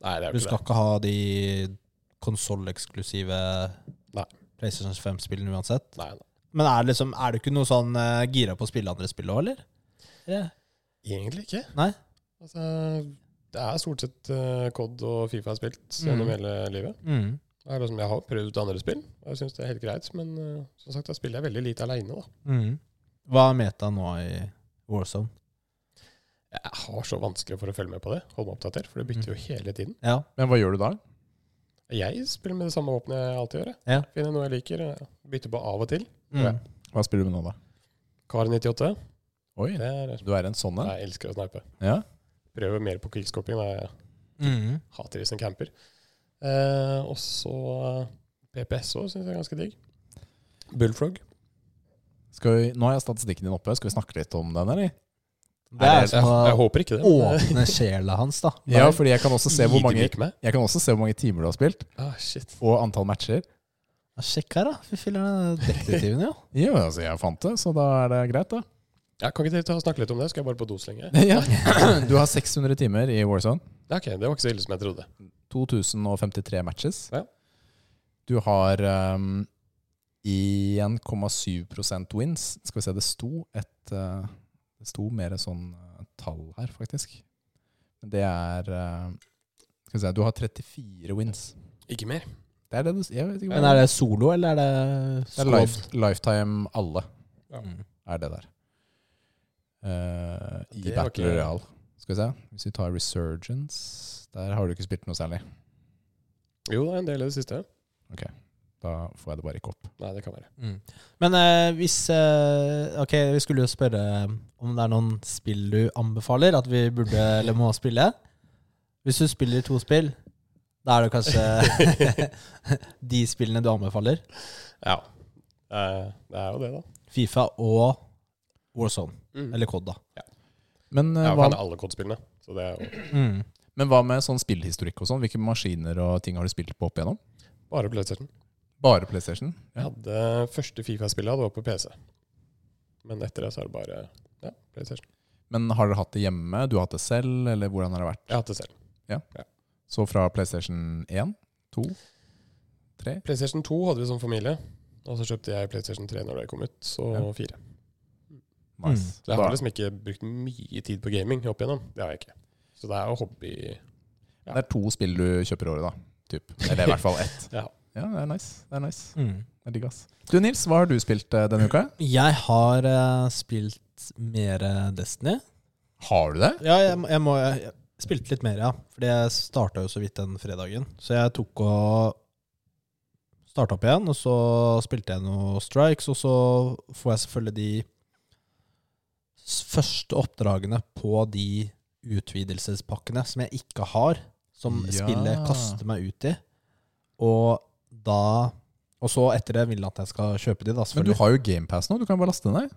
Nei, det er
Du
jo
skal
ikke det.
ikke ha de konsolleksklusive
Nei.
PlayStation 5-spillene uansett.
Nei, nei.
Men er det, liksom, er det ikke noe sånn eh, gira på å spille andre spill òg, eller?
Egentlig ikke.
Nei.
Altså, det er stort sett eh, COD og Fifa jeg har spilt
Mm.
gjennom hele livet.
Mm.
Det er liksom, jeg har prøvd andre spill, og jeg syns det er helt greit. Men eh, som sagt, da spiller jeg veldig lite aleine, da.
Mm. Hva er meta nå i Warzone?
Jeg
Mm.
har så vanskelig for å følge med på det, holde meg oppdatert, for det bytter jo hele tiden.
Ja.
Men hva gjør du da?
Jeg spiller med det samme våpenet jeg alltid gjør. jeg.
Ja.
Finner noe jeg liker, eh, bytter på av og til.
Mm.
Hva spiller du med nå, da?
Kar 98,
Oi,
det er
du er en sånn en?
Jeg elsker å snipe.
Ja.
Prøver mer på quickscoping. da. Jeg
Mm.
hater det som camper. Eh, og så eh, PPS òg syns jeg er ganske digg. Bullfrog.
Skal vi, nå har jeg statistikken din oppe. Skal vi snakke litt om den, eller?
Det er
jeg, jeg,
som å
jeg håper ikke det. men, eh,
åpne sjela hans, da.
Ja, fordi jeg kan også se hvor
gir
mange,
de ikke meg?
jeg kan også se hvor mange timer du har spilt,
Ah, shit.
og antall matcher.
Ja, Sjekk her, da. Fy filler'n, detektiven, jo.
Ja, altså, jeg fant det, så da er det greit, da.
Ja, kan ikke dere ta og snakke litt om det? Skal jeg bare på dos lenge?
Ja. Du har 600 timer i Warzone.
Ja, Ok, Det var ikke så ille som jeg trodde.
2053 matches.
Ja.
Du har um, 1,7 wins. Skal vi se, det sto et eh, Det sto mer sånn eh, tall her, faktisk. Men Det er eh, Skal vi se, du har 34 wins.
Ikke mer.
Det er det du Jeg vet ikke
Men
hva
er det solo, eller er det
Det er life, lifetime alle,
Ja.
Mm.
er det der. Eh, I
Det var
Battle
ikke-
Royale. Skal vi se. Hvis vi tar Resurgence Der har du ikke spilt noe særlig.
Jo, det er en del i det siste.
Da får jeg det bare ikke opp.
Nei, det kan være.
Mm. Men eh, hvis eh, Ok, vi skulle jo spørre eh, om det er noen spill du anbefaler at vi burde eller må spille. Hvis du spiller to spill, da er det kanskje de spillene du anbefaler.
Ja. Eh, det er jo det, da.
Fifa og Warzone.
Mm.
Eller COD, da.
Men, eh,
Jeg er jo
hva,
fan av alle kodespillene. Så det er jo
Mm.
men hva med sånn spillhistorikk og sånn? Hvilke maskiner og ting har du spilt på opp igjennom?
bare PlayStation.
Bare PlayStation?
Jeg
Ja.
hadde første Fifa-spillet det var på PC. Men etter det så er det bare ja, PlayStation.
Men har dere hatt det hjemme? Du har hatt det selv, eller hvordan har det vært?
Jeg har hatt det selv.
Så fra PlayStation 1, 2, 3
PlayStation 2 hadde vi som familie. Og så kjøpte jeg PlayStation 3 når det kom ut, så
Ja.
4.
Nice.
Så jeg har
Da-
liksom ikke brukt mye tid på gaming opp igjennom. Det har jeg ikke. Så det er jo hobby ja.
Det er to spill du kjøper i året, da. Typ. Eller i hvert fall ett.
Ja.
ja, det er nice. Det er nice.
Mm.
Det er digg, ass. Du Nils, hva har du spilt eh, denne uka?
Jeg har eh, spilt mer eh, Destiny.
Har du det?
Ja, jeg, jeg må jeg, jeg spilte litt mer, ja. Fordi jeg starta jo så vidt den fredagen. Så jeg tok og starta opp igjen, og så spilte jeg noen strikes, og så får jeg selvfølgelig de s- første oppdragene på de utvidelsespakkene som jeg ikke har, som
Ja.
spillet kaster meg ut i. Og da Og så etter det vil han at jeg skal kjøpe de, da,
Men du
selvfølgelig.
har jo GamePass nå, du kan bare laste den ned.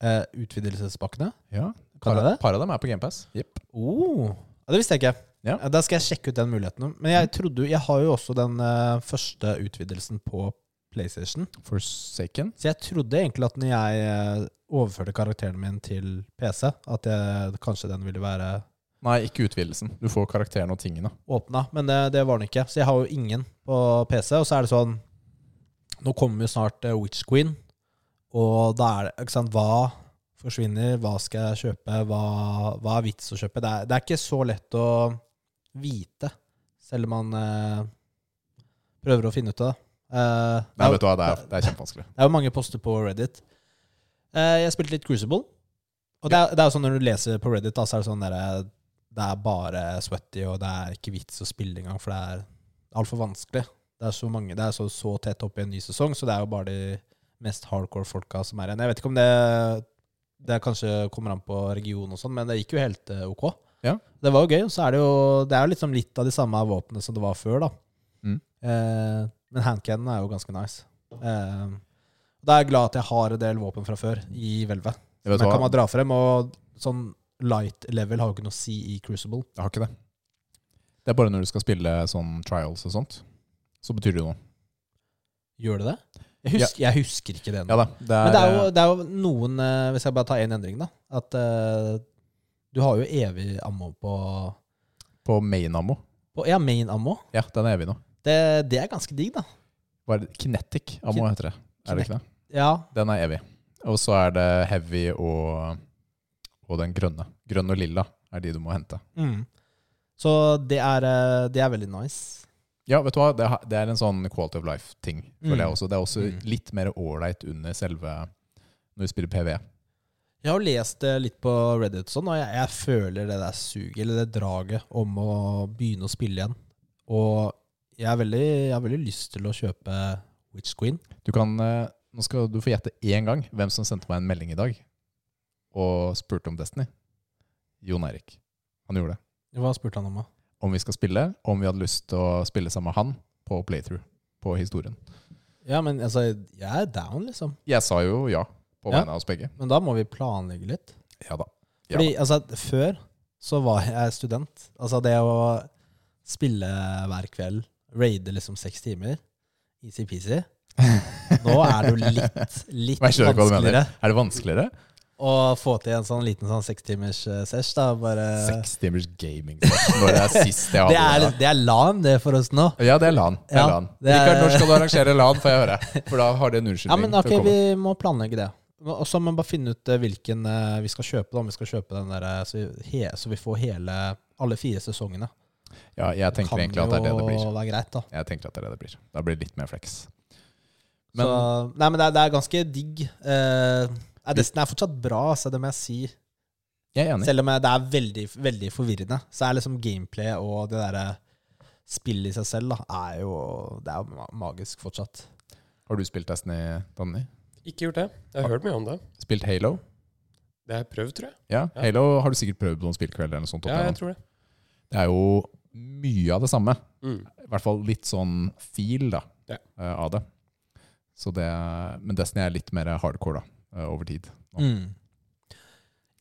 Eh, utvidelsespakkene.
Ja.
Kan jeg
Par,
det?
par av dem er på GamePass. Yep.
Oh, ja, det visste jeg ikke.
Ja.
Da skal jeg sjekke ut den muligheten. Men jeg, trodde, jo- jeg har jo også den eh, første utvidelsen på PlayStation.
Forsaken.
Så jeg trodde egentlig at når jeg eh, overførte karakteren min til PC, at jeg, kanskje den ville være
Nei, ikke utvidelsen. Du får karakterene og tingene.
åpna, men det, det var den ikke. Så jeg har jo ingen på PC. Og så er det sånn Nå kommer jo snart eh, Witch Queen, og da er det ikke sant, Hva forsvinner? Hva skal jeg kjøpe? Hva, hva er vits å kjøpe? Det er, det er ikke så lett å vite, selv om man eh, prøver å finne ut av det. Eh, det
Nei,
er jo-
vet du hva, det er, det er kjempevanskelig.
det er jo mange poster på Reddit. Eh, jeg spilte litt Crucible. Og det, er, det er jo sånn når du leser på Reddit, da, så er det sånn derre Det er bare sweaty, og det er ikke vits å spille engang, for det er altfor vanskelig. Det er så mange Det er så, så tett opp i en ny sesong, så det er jo bare de mest hardcore folka som er igjen. Jeg vet ikke om det Det kanskje kommer an på region og sånn, men det gikk jo helt eh, ok.
Ja.
Det var jo gøy. og Så er det jo Det er jo liksom litt av de samme våpnene som det var før, da.
Mm.
Eh, men handcannon er jo ganske nice. Eh, da er jeg glad at jeg har en del våpen fra før i hvelvet.
Jeg,
Som
vet
jeg kan
hva,
bare dra frem, og sånn light level har jo ikke noe å si i Crucible.
jeg har ikke det. Det er bare når du skal spille sånn trials og sånt, så betyr det jo noe.
Gjør det det? Jeg husker, jeg husker ikke det ennå.
Ja da. Det er,
Men det er, jo, det er jo noen eh, Hvis jeg bare tar én endring, da. At eh, du har jo evig ammo på,
eh, på main ammo.
på Ja, main ammo.
Ja, den er evig nå.
Det, det er ganske digg, da.
Hva er det? Kinetic ammo heter det. Er det ikke det?
Ja.
Den er evig. Og så er det heavy og, og den grønne. Grønn og lilla er de du må hente.
Mm. Så det er, eh, det er veldig nice.
Ja, vet du hva? Det, ha- det er en sånn quality of life-ting, føler
Mm.
jeg også. Det er også
Mm.
litt mer ålreit under selve når vi spiller E. PV.
Jeg har lest eh, litt på Reddit, og sånn, og jeg, jeg føler det der suget, eller det draget, om å begynne å spille igjen. Og jeg har veldig, jeg har veldig lyst til å kjøpe Witch Queen.
Du kan, eh, nå skal du få gjette én gang hvem som sendte meg en melding i dag og spurte om Destiny. Jon Erik. Han gjorde det.
Hva spurte han om? da?
Om vi skal spille, om vi hadde lyst til å spille sammen med han på playthrough på historien.
Ja, men altså, jeg er down, liksom.
Jeg sa jo ja på
Ja.
vegne av oss begge.
Men da må vi planlegge litt.
Ja da. Ja.
Fordi altså, før så var jeg student. Altså det å spille hver kveld, raide liksom seks timer, easy-peasy Nå er det jo litt, litt
Jeg skjønner ikke hva du
vanskeligere
mener. Er det vanskeligere?
å få til en sånn liten sånn sekstimers eh, sesh. da. Bare,
Seks timers gaming. Når det er sist jeg
det, er,
hadde
det er LAN, det, for oss nå.
Ja, det er LAN. Det er
Ja,
LAN.
det er-
Rikard, når skal du arrangere LAN, får jeg høre. For da har de en unnskyldning.
Ja, men
til å
ok,
komme.
vi må planlegge det. Og så må vi bare finne ut eh, hvilken eh, vi skal kjøpe, da, om vi skal kjøpe den der, eh, så, vi, he, så vi får hele, alle fire sesongene.
Ja, jeg tenker
kan
egentlig at det er det det blir.
jo være greit, da.
Jeg tenker at det er det det blir. Da blir det litt mer flex. Men
så, nei, men det er, det er ganske digg. Eh, nei, Destiny er fortsatt bra, altså, det må jeg si.
jeg er enig.
Selv om jeg- det er veldig, veldig forvirrende, så er liksom gameplay og det derre spillet i seg selv da, er jo, det er jo ma- magisk fortsatt.
Har du spilt Destiny, Danny?
Ikke gjort det. Jeg har hørt mye om det.
Spilt Halo?
Det har jeg prøvd, tror jeg.
Ja,
Ja.
Halo har du sikkert prøvd på noen spillkvelder eller noe sånt. opp
Ja, jeg
igjennom.
tror det.
Det er jo mye av det samme.
Mm.
I hvert fall litt sånn feel da,
Ja.
eh, av det. Så det. Men Destiny er litt mer hardcore da, eh, over tid.
Mm.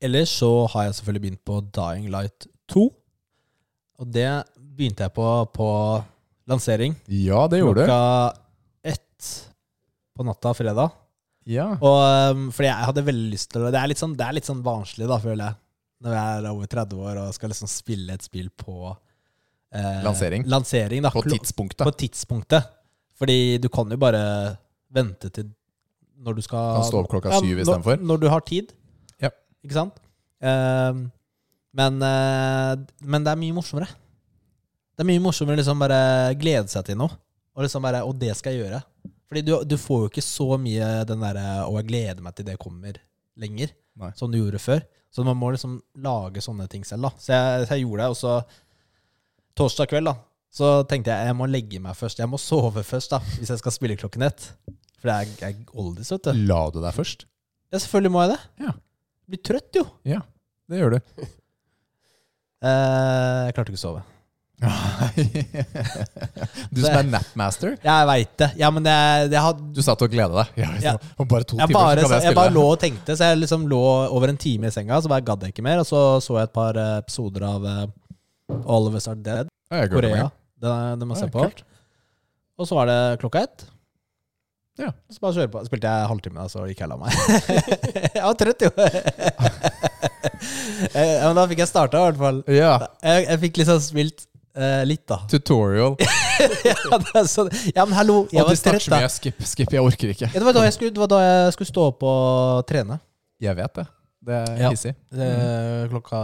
Ellers så har jeg selvfølgelig begynt på Dying Light 2. Og det begynte jeg på på lansering.
Ja, det gjorde du.
Klokka ett på natta fredag.
Ja.
Og, um, fordi jeg hadde veldig lyst til det. Det er litt sånn, det er litt sånn barnslig, da, føler jeg. Når jeg er over 30 år og skal liksom spille et spill på eh,
Lansering.
lansering da,
På
klo-
tidspunktet.
på tidspunktet. Fordi du kan jo bare vente til når du skal
Kan stå opp klokka syv
når-
istedenfor.
Når du har tid.
Ja.
Ikke sant? Ehm, men, eh, men det er mye morsommere. Det er mye morsommere liksom bare glede seg til noe. Og liksom bare Og det skal jeg gjøre. Fordi du, du får jo ikke så mye den derre 'Å, jeg gleder meg til det kommer' lenger.
Nei.
Som du gjorde før. Så man må liksom lage sånne ting selv, da. Så jeg, så jeg gjorde det, og så torsdag kveld, da. Så tenkte jeg jeg må legge meg først. Jeg må sove først, da, hvis jeg skal spille klokken ett. For jeg er- jeg er oldis, vet du.
La du deg først?
Ja, selvfølgelig må jeg det.
Ja.
Blir trøtt, jo.
Ja, det gjør du.
Eh, jeg klarte ikke å sove.
du som er napmaster.
Jeg veit det. Ja, men jeg, jeg, had,
Du satt og gleda deg. Ja, hvis
Ja.
det- Om bare to
jeg,
timer
bare,
så kan
jeg,
jeg spille.
bare lå og tenkte, så jeg liksom lå over en time i senga, så bare gadd jeg ikke mer. Og så så jeg et par eh, episoder av eh, All of Us Are Dead,
Ja, jeg gleder meg.
Korea. Den, den må jeg
Ja,
se på.
kult.
Og så var det klokka ett.
Ja.
Så bare kjøre på. Spilte jeg halvtime, da, så gikk jeg og la meg. jeg var trøtt, jo. Eh, men da fikk jeg starta, i hvert fall.
Ja,
Jeg, jeg fikk liksom spilt eh, litt, da.
tutorial.
ja, det er sånn. ja, men hallo, jeg
Og du
var
snakker
trøtt
så
da.
mye. Skip, skip, jeg orker ikke.
Ja, det, var da jeg skulle, det var da jeg skulle stå opp og trene.
Jeg vet det. Det er
Ja.
hissig.
Eh,
Mm.
Klokka,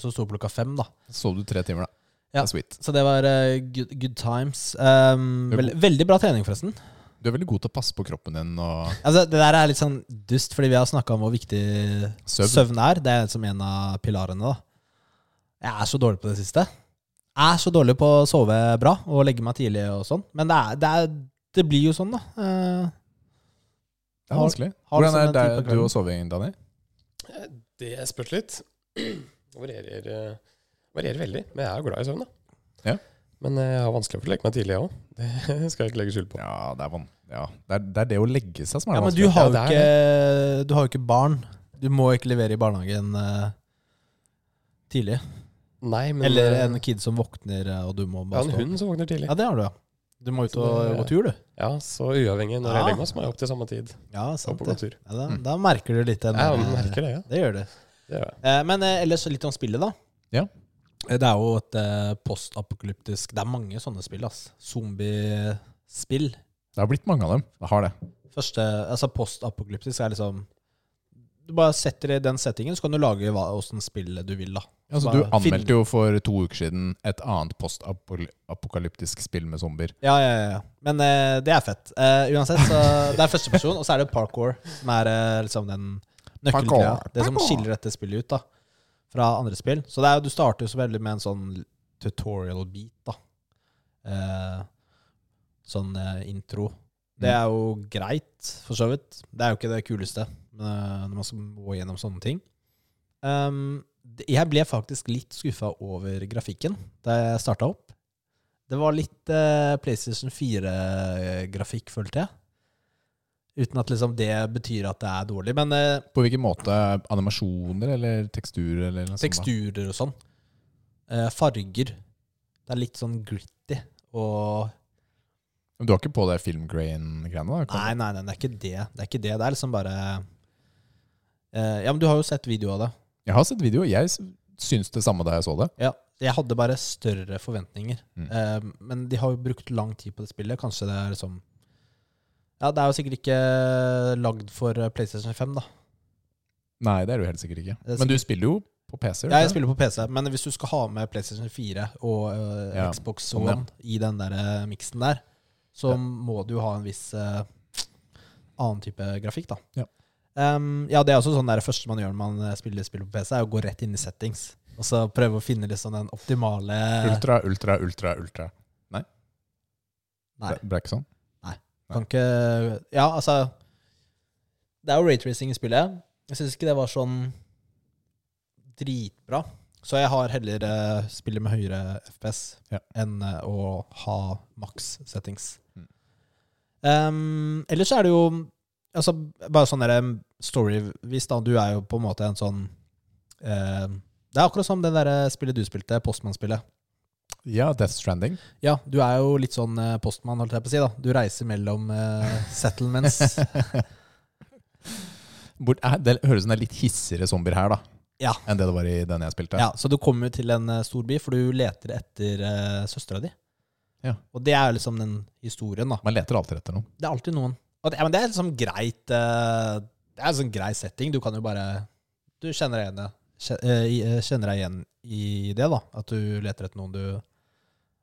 så sto jeg opp klokka fem, da.
Sov du tre timer, da.
Ja.
Det er sweet.
Så det var eh, good, good times. Um,
Det er
vel- veldig bra trening, forresten.
Du er veldig god til å passe på kroppen din og
Altså, det der er litt sånn dust, fordi vi har snakka om hvor viktig søvn.
søvn.
er. Det er som en av pilarene, da. Jeg er så dårlig på det siste. Jeg er så dårlig på å sove bra og legge meg tidlig og sånn. Men det, er, det, er, det blir jo sånn, da. Eh,
Det er
Har-
vanskelig.
har du
Hvordan
sånn
er
en
det,
tid på
du
kvelden?
og soving, Danny?
Det spørs litt. Varierer, eh, varierer veldig. Men jeg er jo glad i søvn, da.
Ja.
Men eh, jeg har vanskelig for å legge meg tidlig, jeg òg. Det skal jeg ikke legge skjul på.
Ja, det er vann. Ja. Det, er, det er det å legge seg som er
Ja, men du
vanskelig.
har jo
Ja, det er det.
ikke, du har jo ikke barn. Du må ikke levere i barnehagen eh, tidlig.
Nei, men
Eller
eh,
en kid som våkner, eh, og du må
Jeg
bare
har en
stå.
hund som våkner tidlig.
Ja, det har du, ja. Du må ut
Så
og
det-
gå tur, du.
Ja, så uavhengig når
Ja.
jeg legger meg, så må jeg opp til samme tid.
Ja,
Så
sant
på
det.
god tur.
Ja, da, da merker du litt den
Jeg
der-
merker det, ja.
Det gjør du.
Det gjør jeg.
Eh, men eh, ellers litt om spillet, da.
Ja.
Eh, Det er jo et eh, postapokalyptisk Det er mange sånne spill, ass. Zombiespill.
Det har blitt mange av dem. Det har det.
Første, altså Postapokalyptisk er liksom Du bare setter i den settingen, så kan du lage hva- åssen spill du vil, da.
Altså,
Bare
du
film-
anmeldte jo for to uker siden et annet postapokalyptisk spill med zombier.
Ja, ja, ja. Men eh, det er fett. Eh, uansett, så det er førsteperson, og så er det parkour, som er eh, liksom den nøkkelgreia.
Parkour,
Det som
parkour.
skiller dette spillet ut da, fra andre spill. Så det er, jo- du starter jo så veldig med en sånn tutorial-beat, da. eh, sånn eh, intro. Det
Mm.
er jo greit, for så vidt. Det er jo ikke det kuleste men, eh, når man skal gå gjennom sånne ting. Ehm, det- jeg ble faktisk litt skuffa over grafikken da jeg starta opp. Det var litt eh, PlayStation 4-grafikk, følte jeg. Uten at liksom det betyr at det er dårlig. Men eh,
På hvilken måte? Animasjoner eller teksturer? Eller noe sånt da?
teksturer og sånn. Eh, farger. Det er litt sånn gritty. Og
Men Du har ikke på deg filmgrain-greiene? da? Kan-
Nei, nei, nei, det er ikke det. Det er ikke det. Det er liksom bare eh, Ja, men du har jo sett video av det.
Jeg har sett video. Jeg s- syns det samme da jeg så det.
Ja. Jeg hadde bare større forventninger.
Mm.
Eh, men de har jo brukt lang tid på det spillet. Kanskje det er liksom Ja, det er jo sikkert ikke lagd for eh, PlayStation 5, da.
Nei, det er du helt sikkert ikke.
Det er
Men du spiller jo på PC?
Ja, jeg spiller på PC, men hvis du skal ha med PlayStation 4 og eh,
Ja,
Xbox
sånn, ja.
One i den der eh, miksen der, så
Ja.
må du jo ha en viss eh, annen type grafikk, da.
Ja.
Em, ja, det er også sånn der, det første man gjør når man eh, spiller spill på PC, er å gå rett inn i settings. Og så prøve å finne liksom den optimale
Ultra, ultra, ultra, ultra. Nei.
Nei.
Det ble ikke sånn?
Kan ikke Ja, altså Det er jo raytracing i spillet. Jeg syns ikke det var sånn dritbra. Så jeg har heller eh, spillet med høyere FPS
Ja.
enn eh, å ha maks settings.
Mm.
Um, ellers så er det jo altså, bare sånn derre storyvis, da. Du er jo på en måte en sånn eh, Det er akkurat som det derre spillet du spilte, Postmann-spillet.
Ja, Death Stranding.
Ja, du er jo litt sånn eh, postmann, holdt jeg på å si. da. Du reiser mellom eh, settlements.
Hvor- eh, det høres ut som det er litt hissigere zombier her da
Ja.
enn det det var i den jeg spilte.
ja, Så du kommer jo til en eh, stor by, for du leter etter uh, søstera di.
Ja.
Og det er jo liksom den historien, da.
Man leter alltid etter noen.
Det er alltid noen. Og det, ja, men det er liksom greit eh, Det er en sånn grei setting. Du kan jo bare Du kjenner deg igjen, det. Kje- eh, i- eh, kjenner deg igjen i det, da. At du leter etter noen du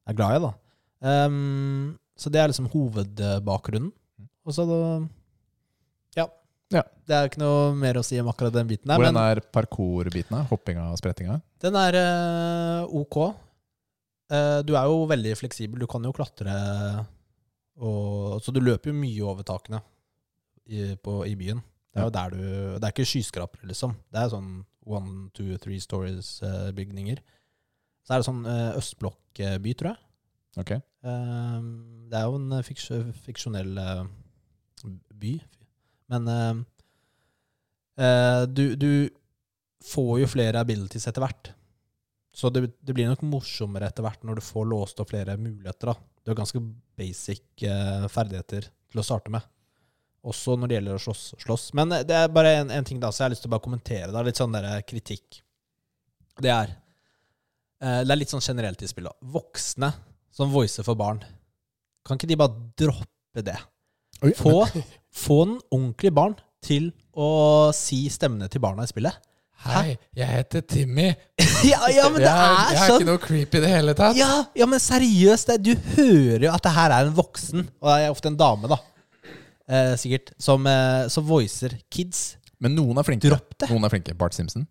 er glad i, da. Ehm, så det er liksom hovedbakgrunnen. Og så da ja.
Ja.
Det er jo ikke noe mer å si om akkurat den biten her.
Hvordan
men
er parkour-bitene? Hoppinga og sprettinga?
den er eh, ok. Eh, du er jo veldig fleksibel. Du kan jo klatre og Så du løper jo mye over takene i, på, i byen. Det er jo der du Det er ikke skyskrapere, liksom. Det er sånn one, two, three stories-bygninger. så er det sånn eh, østblokkby, tror jeg.
Ok.
Eh, det er jo en eh, fiks fiksjonell eh, by. Men eh, eh, du, du får jo flere abilities etter hvert. Så det, det blir nok morsommere etter hvert når du får låst opp flere muligheter. Da. Du har ganske basic eh, ferdigheter til å starte med. Også når det gjelder å slåss. slåss. Men eh, det er bare en, en ting da, så jeg har lyst til å bare kommentere. Da. Litt sånn der eh, kritikk. Det er eh, Det er litt sånn generelt i spillet. da. Voksne som voicer for barn. Kan ikke de bare droppe det?
Oi,
Få, få den ordentlige barn til å si stemmene til barna i spillet.
Hei, jeg heter Timmy.
Ja, ja men det
jeg,
er
jeg er
sånn.
ikke noe creepy i det hele tatt.
Ja, ja, men seriøst, det, du hører jo at det her er en voksen, og det er ofte en dame, da, eh, sikkert, som, eh, som voicer kids.
Men noen er flinke.
Dropp det.
Noen er flinke. Bart Simpson.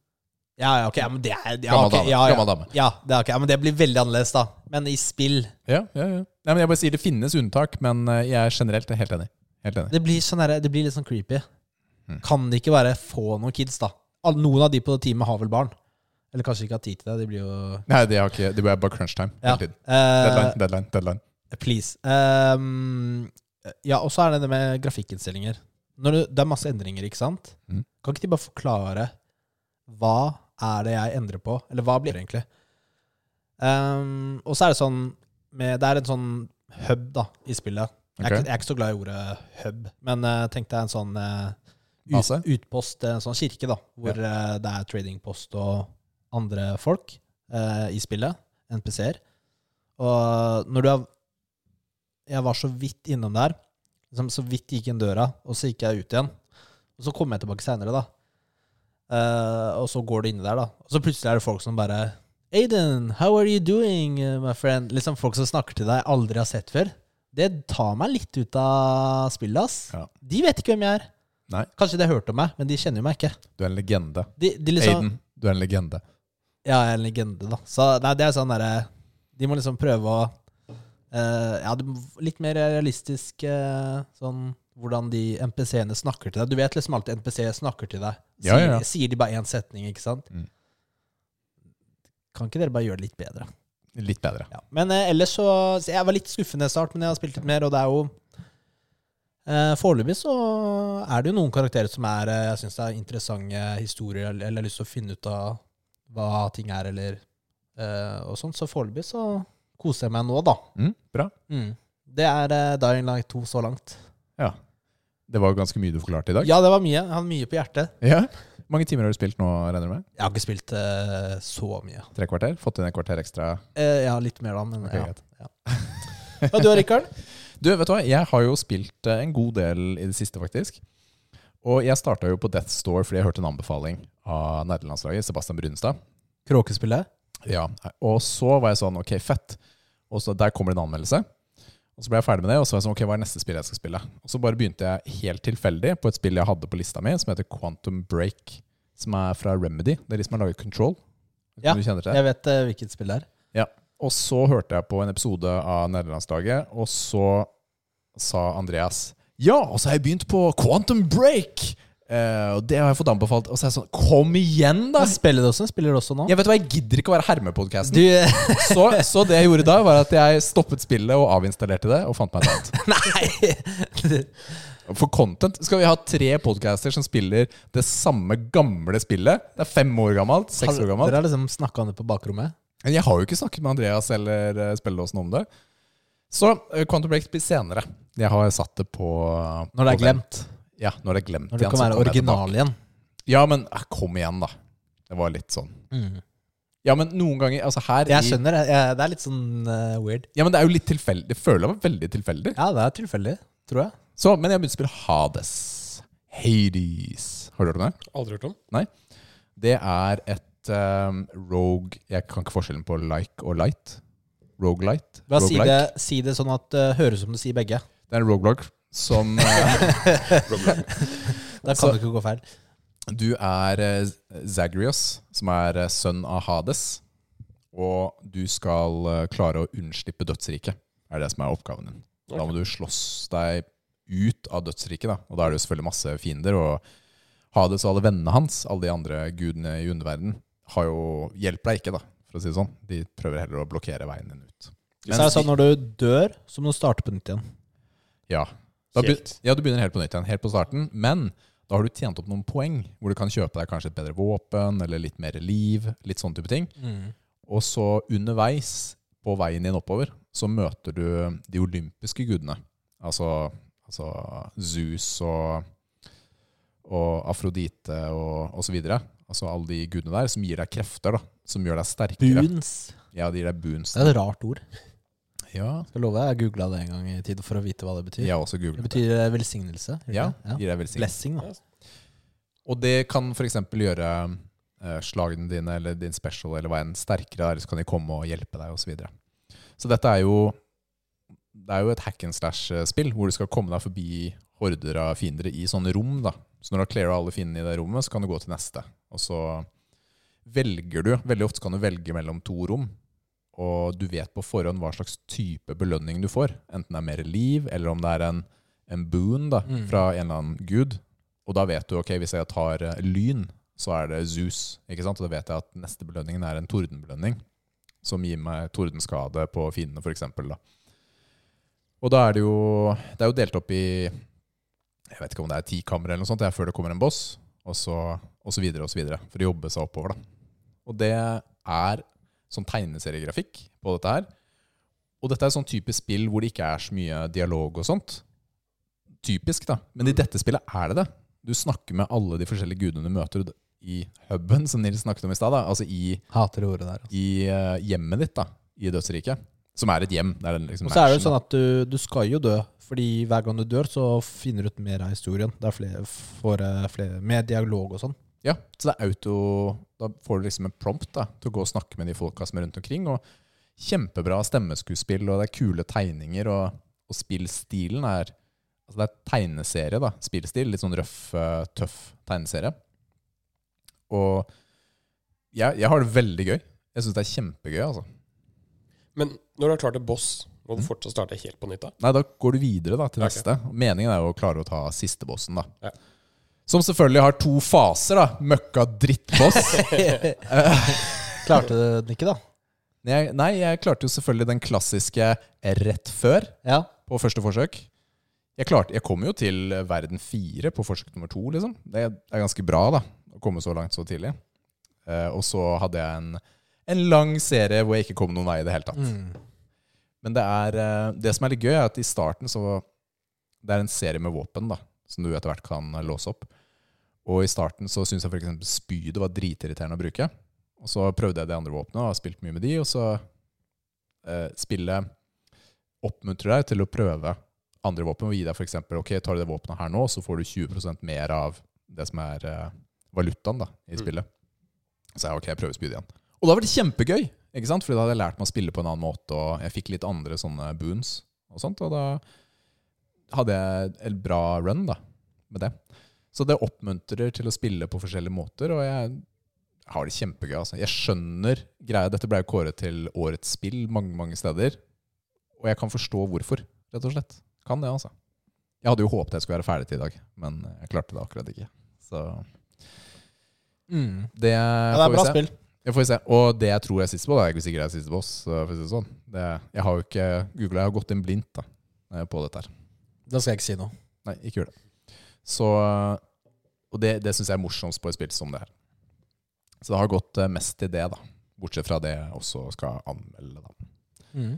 Ja, ja, ok, ja, men det er ja,
Gammel
ok,
dame,
Ja, ja,
gammel dame.
Ja, det er ok, ja, men det blir veldig annerledes, da. Men i spill
Ja, ja, ja. Nei, men jeg bare sier det finnes unntak, men eh, jeg er generelt helt enig. Helt enig.
Det blir, sånn der, det blir litt sånn creepy.
Mm.
Kan det ikke bare få noen kids, da? Al- Noen av de på teamet har vel barn? Eller kanskje ikke har tid til det. De blir jo
Nei, det er, ikke, det er bare crunch time.
ja.
Hele tiden.
eh,
Deadline, deadline, deadline.
Please. Ehm, ja, og så er det det med grafikkinnstillinger. Når du, det er masse endringer, ikke sant?
Mhm.
Kan ikke de bare forklare hva er det jeg endrer på? Eller hva blir det egentlig? Ehm, og så er det sånn med, Det er en sånn hub da, i spillet. Jeg, er
Ok.
ikke, jeg er ikke så glad i ordet hub, men eh, tenk deg en sånn eh, ut,
Base?
utpost, en sånn kirke, da, hvor eh, det er tradingpost og andre folk eh, i spillet. NPC-er. Og når du er Jeg var så vidt innom der. Liksom så vidt gikk inn døra, og så gikk jeg ut igjen. Og så kom jeg tilbake seinere, da. Eh, og så går du inni der, da. Og så plutselig er det folk som bare Aiden, how are you doing, eh, my friend? Liksom folk som snakker til deg jeg aldri har sett før. Det tar meg litt ut av spillet, ass.
Ja.
De vet ikke hvem jeg er.
Nei.
Kanskje de har hørt om meg, men de kjenner jo meg ikke.
Du er en legende.
De, de liksom,
Aiden, du er en legende.
eh, ja, jeg er en legende, da. Så nei, det er sånn derre De må liksom prøve å eh, ja, det må- litt mer realistisk eh, sånn hvordan de NPC-ene snakker til deg. Du vet liksom alltid NPC snakker til deg. Sier,
Ja, ja, ja.
sier de bare én setning, ikke sant?
Mm.
Kan ikke dere bare gjøre det litt bedre?
Litt bedre.
Ja. Men eh, ellers så, så Jeg var litt skuffende i start, men jeg har spilt litt mer, og det er jo eh, Foreløpig så er det jo noen karakterer som er eh, jeg syns er interessante historier, eller, eller har lyst til å finne ut av hva ting er, eller eh, og sånt. Så foreløpig så koser jeg meg nå, da.
Mm, bra.
Mm. Det er eh, Dying Light 2 så langt.
Ja. Det var ganske mye du forklarte i dag.
Ja, det var mye. Jeg hadde mye på hjertet.
Ja. Mange timer har du spilt nå, regner du med?
Jeg har ikke spilt eh, så mye.
Tre kvarter? Fått inn et kvarter ekstra?
Eh, ja, litt mer da, men
Ok, greit.
ja. ja. Og du, Rikard?
Du, vet du hva? Jeg har jo spilt eh, en god del i det siste, faktisk. Og jeg starta jo på Death Store fordi jeg hørte en anbefaling av nederlandslaget, Sebastian Brunstad.
Kråkespillet?
Ja. Og så var jeg sånn, ok, fett. Og så der kommer det en anmeldelse. Og så ble jeg ferdig med det, og så var jeg sånn, ok, hva er neste spill jeg skal spille? Og så bare begynte jeg helt tilfeldig på et spill jeg hadde på lista mi, som heter Quantum Break, som er fra Remedy. Det er de som har laget Control.
Ja,
du kjenner til det?
Jeg vet eh, hvilket spill det er.
Og så hørte jeg på en episode av Nederlandslaget, og så sa Andreas Ja, og så har jeg begynt på Quantum Break! Eh, og det har jeg fått anbefalt. Og så er jeg sånn Kom igjen, da!
Da spiller du også, spiller du også nå?
Jeg vet hva, jeg gidder ikke å være hermepodkasten.
Du,
Så, så det jeg gjorde da, var at jeg stoppet spillet og avinstallerte det, og fant meg et annet.
nei!
For content skal vi ha tre podcaster som spiller det samme gamle spillet. Det er fem år gammelt, seks år gammelt.
Dere har liksom snakka om det på bakrommet?
Men jeg har jo ikke snakket med Andreas eller eh, Spelleåsen om det. Så eh, Quantum Break blir senere. Jeg har satt det på eh,
Når det
på
er glemt?
vent. Ja, når det er glemt
Når du
igjen,
kan
så
være
kommer jeg
original igjen?
tilbake. Ja, men eh, kom igjen, da. Det var litt sånn.
Mm.
Ja, men noen ganger Altså her
Jeg
i-
skjønner det. Jeg, det er litt sånn eh, weird.
Ja, men det er jo litt tilfeldig. Det føler jeg var veldig tilfeldig.
Ja, det er tilfeldig, tror jeg.
Så, men jeg begynte å spille Hades. Hades. Har du hørt om det?
Aldri hørt om.
Det er et um, rogue Jeg kan ikke forskjellen på like og light. Roguelite.
Bare si
Roguelike.
det, si det sånn at det høres ut som du sier begge.
Det er en roguelike som eh,
Da kan
Så-
det ikke gå feil.
Du er eh, Zagreus, som er eh, sønn av Hades. Og du skal eh, klare å unnslippe dødsriket, er det som er oppgaven din. Da må du slåss deg ut av dødsriket, da. og da er det jo selvfølgelig masse fiender. Og Hades og alle vennene hans, alle de andre gudene i underverdenen, har jo, hjelper deg ikke, da, for å si det sånn. De prøver heller å blokkere veien din ut.
Så er det sånn når du dør, så må du starte på nytt igjen.
Ja. Da be-
Helt.
ja, du begynner helt på nytt igjen, helt på starten. Men da har du tjent opp noen poeng, hvor du kan kjøpe deg kanskje et bedre våpen, eller litt mer liv, litt sånne type ting.
Mm.
Og så underveis, på veien din oppover, så møter du de olympiske gudene. Altså, altså Zeus og, og Afrodite og, og så videre. Altså alle de gudene der som gir deg krefter, da. Som gjør deg sterkere.
Boons.
Ja, de gir deg boons.
Det er et rart ord.
Ja,
Skal love deg, Jeg googla det en gang i tiden for å vite hva det betyr.
jeg har også
Det
googlet det.
betyr eh, velsignelse. gjør det
Ja,
ikke?
gir deg velsignelse.
Blessing, da.
Og det kan f.eks. gjøre eh, slagene dine eller din special eller hva enn sterkere, eller så kan de komme og hjelpe deg osv. Så, videre. så dette er jo Det er jo et hack and slash-spill hvor du skal komme deg forbi horder av fiender i sånne rom. da. Så når du har cleara alle fiendene i det rommet, så kan du gå til neste. Og så velger du Veldig ofte kan du velge mellom to rom. Og du vet på forhånd hva slags type belønning du får. Enten det er mer liv, eller om det er en, en boon da,
Mm.
fra en eller annen gud. Og da vet du ok, hvis jeg tar eh, lyn, så er det Zeus. ikke sant? Og da vet jeg at neste belønningen er en tordenbelønning, som gir meg tordenskade på fiendene, f.eks. Og da er det jo Det er jo delt opp i Jeg vet ikke om det er ti kamre eller noe sånt, det er før det kommer en boss, og så, og så videre og så videre. For å jobbe seg oppover, da. Og det er sånn tegneseriegrafikk på dette her. Og dette er sånn type spill hvor det ikke er så mye dialog og sånt. Typisk, da. Men i
Mm.
dette spillet er det det. Du snakker med alle de forskjellige gudene du møter i huben, som Nils snakket om i stad. da. Altså i,
Hater det ordet der. altså.
i eh, hjemmet ditt, da. I dødsriket. Som er et hjem. Det er en liksom
Og så er det jo sånn
mansion, da.
at du, du skal jo dø, fordi hver gang du dør, så finner du ut mer av historien. Det er flere, får, eh, flere Mer dialog og sånn.
Ja, så det er auto Da får du liksom en prompt da, til å gå og snakke med de folka som er rundt omkring. Og kjempebra stemmeskuespill, og det er kule tegninger, og, og spillstilen er Altså det er tegneserie, da. Spillstil. Litt sånn røff, eh, tøff tegneserie. Og jeg, jeg har det veldig gøy. Jeg syns det er kjempegøy, altså.
Men når du har klart et boss, Må
Mm.
du fortsatt starte helt på nytt da?
Nei, da går du videre da, til
Ok.
neste. Meningen er jo å klare å ta siste bossen, da.
Ja.
Som selvfølgelig har to faser, da. Møkka drittboss.
Klarte du den ikke, da?
jeg, nei, jeg klarte jo selvfølgelig den klassiske rett før
Ja.
på første forsøk. Jeg, klarte, jeg kom jo til verden fire på forsøk nummer to, liksom. Det er ganske bra, da. Å komme så langt så tidlig. Eh, og så hadde jeg en, en lang serie hvor jeg ikke kom noen vei i det hele tatt.
Mm.
Men det, er, eh, det som er litt gøy, er at i starten så Det er en serie med våpen da som du etter hvert kan eh, låse opp. Og i starten så syntes jeg f.eks. spydet var dritirriterende å bruke. Og så prøvde jeg de andre våpnene og har spilt mye med de. Og så eh, spillet oppmuntrer deg til å prøve andre våpen og gi deg f.eks. Ok, tar du det våpenet her nå, så får du 20 mer av det som er eh, valutaen da i
Mm.
spillet. Så jeg ok, jeg prøver spydet igjen. Og da var det kjempegøy! Ikke sant? Fordi da hadde jeg lært meg å spille på en annen måte, og jeg fikk litt andre sånne boons. Og sånt, og da hadde jeg et bra run da, med det. Så det oppmuntrer til å spille på forskjellige måter, og jeg har det kjempegøy. Altså. Jeg skjønner greia. Dette ble jo kåret til årets spill mange, mange steder. Og jeg kan forstå hvorfor, rett og slett. Kan det, altså. Jeg hadde jo håpet jeg skulle være ferdig til i dag, men jeg klarte det akkurat ikke. Så
Mm.
det,
ja. Det
får
er
vi
bra
se.
spill.
Jeg får vi se. Og det jeg tror er siste boss, er jeg ikke sikkert er siste boss. så For å si det sånn. det, jeg har jo ikke googla, jeg har gått inn blindt da, eh, på dette her.
Da skal jeg ikke si noe.
Nei, ikke gjør det. Så, og det, det syns jeg er morsomst på et spill som det her. Så det har gått eh, mest til det, da. Bortsett fra det jeg også skal anmelde, da.
Mm.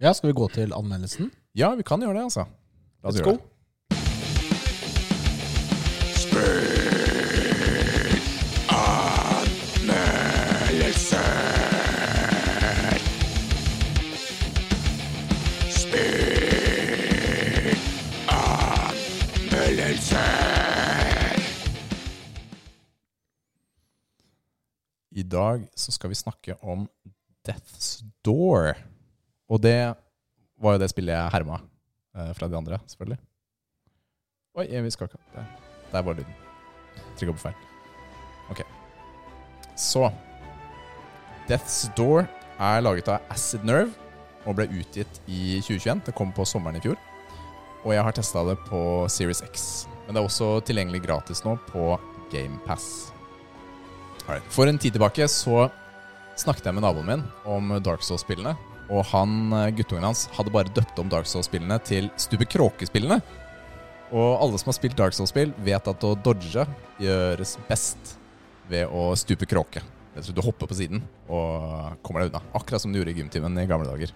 Ja, skal vi gå til anmeldelsen?
Ja, vi kan gjøre det, altså. La
Let's
oss gjøre
go.
det. I dag så skal vi snakke om Death's Door. Og det var jo det spillet jeg herma eh, fra de andre, selvfølgelig. Oi, vi skal ikke Der, der var lyden. Trykka på feil. Ok. Så Death's Door er laget av Acid Nerve og ble utgitt i 2021. Det kom på sommeren i fjor. Og jeg har testa det på Series X. Men det er også tilgjengelig gratis nå på GamePass. Alright. For en tid tilbake så snakket jeg med naboen min om Dark Souls-spillene. Og han, eh, guttungen hans hadde bare døpt om Dark Souls-spillene til Stubbe Kråke-spillene. Og alle som har spilt Dark Souls-spill, vet at å dodge gjøres best ved å stupe kråke. Det vil si, Du hopper på siden og kommer deg unna. Akkurat som du gjorde i gymtimen i gamle dager.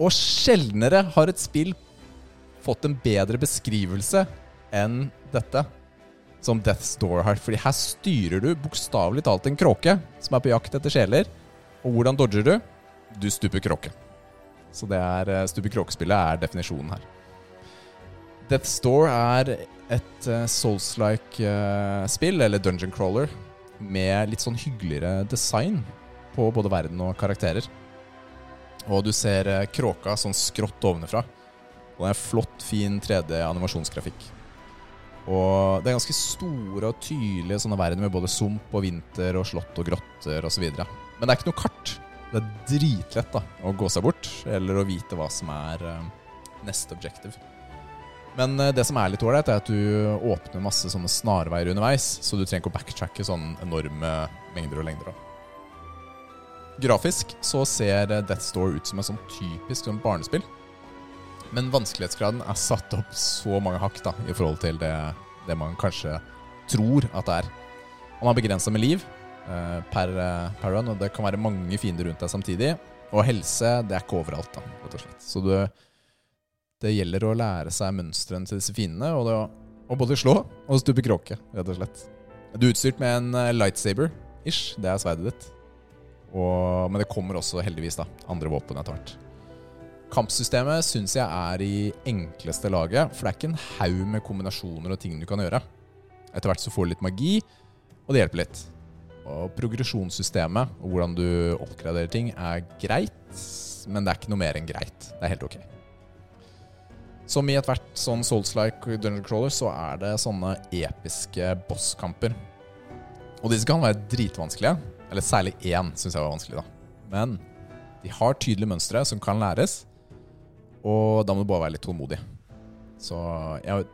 Og sjeldnere har et spill fått en bedre beskrivelse enn dette som Death's Door her. Fordi her styrer du bokstavelig talt en kråke som er på jakt etter sjeler. Og hvordan dodger du? Du stuper kråke. Så det er eh, stupe kråkespillet er definisjonen her. Death's Door er et eh, Souls-like eh, spill, eller Dungeon Crawler, med litt sånn hyggeligere design på både verden og karakterer. Og du ser eh, kråka sånn skrått ovenfra. Og det er flott, fin 3D-animasjonsgrafikk. Og det er ganske store og tydelige sånne verden med både sump og vinter og slott og grotter osv. Men det er ikke noe kart. Det er dritlett da, å gå seg bort, eller å vite hva som er eh, neste objective. Men eh, det som er litt ålreit, er at du åpner masse sånne snarveier underveis, så du trenger ikke å backtracke sånne enorme mengder og lengder. Da. Grafisk så ser eh, Death Store ut som et sånn typisk sånn barnespill. Men vanskelighetsgraden er satt opp så mange hakk da, i forhold til det, det man kanskje tror at det er. Man har begrensa med liv eh, per, eh, per run, og det kan være mange fiender rundt deg samtidig. Og helse, det er ikke overalt, da, rett og slett. Så det, det gjelder å lære seg mønstrene til disse fiendene, og, det, og både slå og stupe kråke, rett og slett. Du er utstyrt med en eh, lightsaber-ish, det er sverdet ditt. Og, men det kommer også heldigvis da, andre våpen etter hvert. Kampsystemet syns jeg er i enkleste laget, for det er ikke en haug med kombinasjoner og ting du kan gjøre. Etter hvert så får du litt magi, og det hjelper litt. Og progresjonssystemet og hvordan du oppgraderer ting, er greit, men det er ikke noe mer enn greit. Det er helt ok. Som i ethvert sånn Souls-like Dungeon Crawler, så er det sånne episke bosskamper. Og disse kan være dritvanskelige. Eller særlig én syns jeg var vanskelig, da. Men de har tydelige mønstre som kan læres, Og da må du bare være litt tålmodig. Så jeg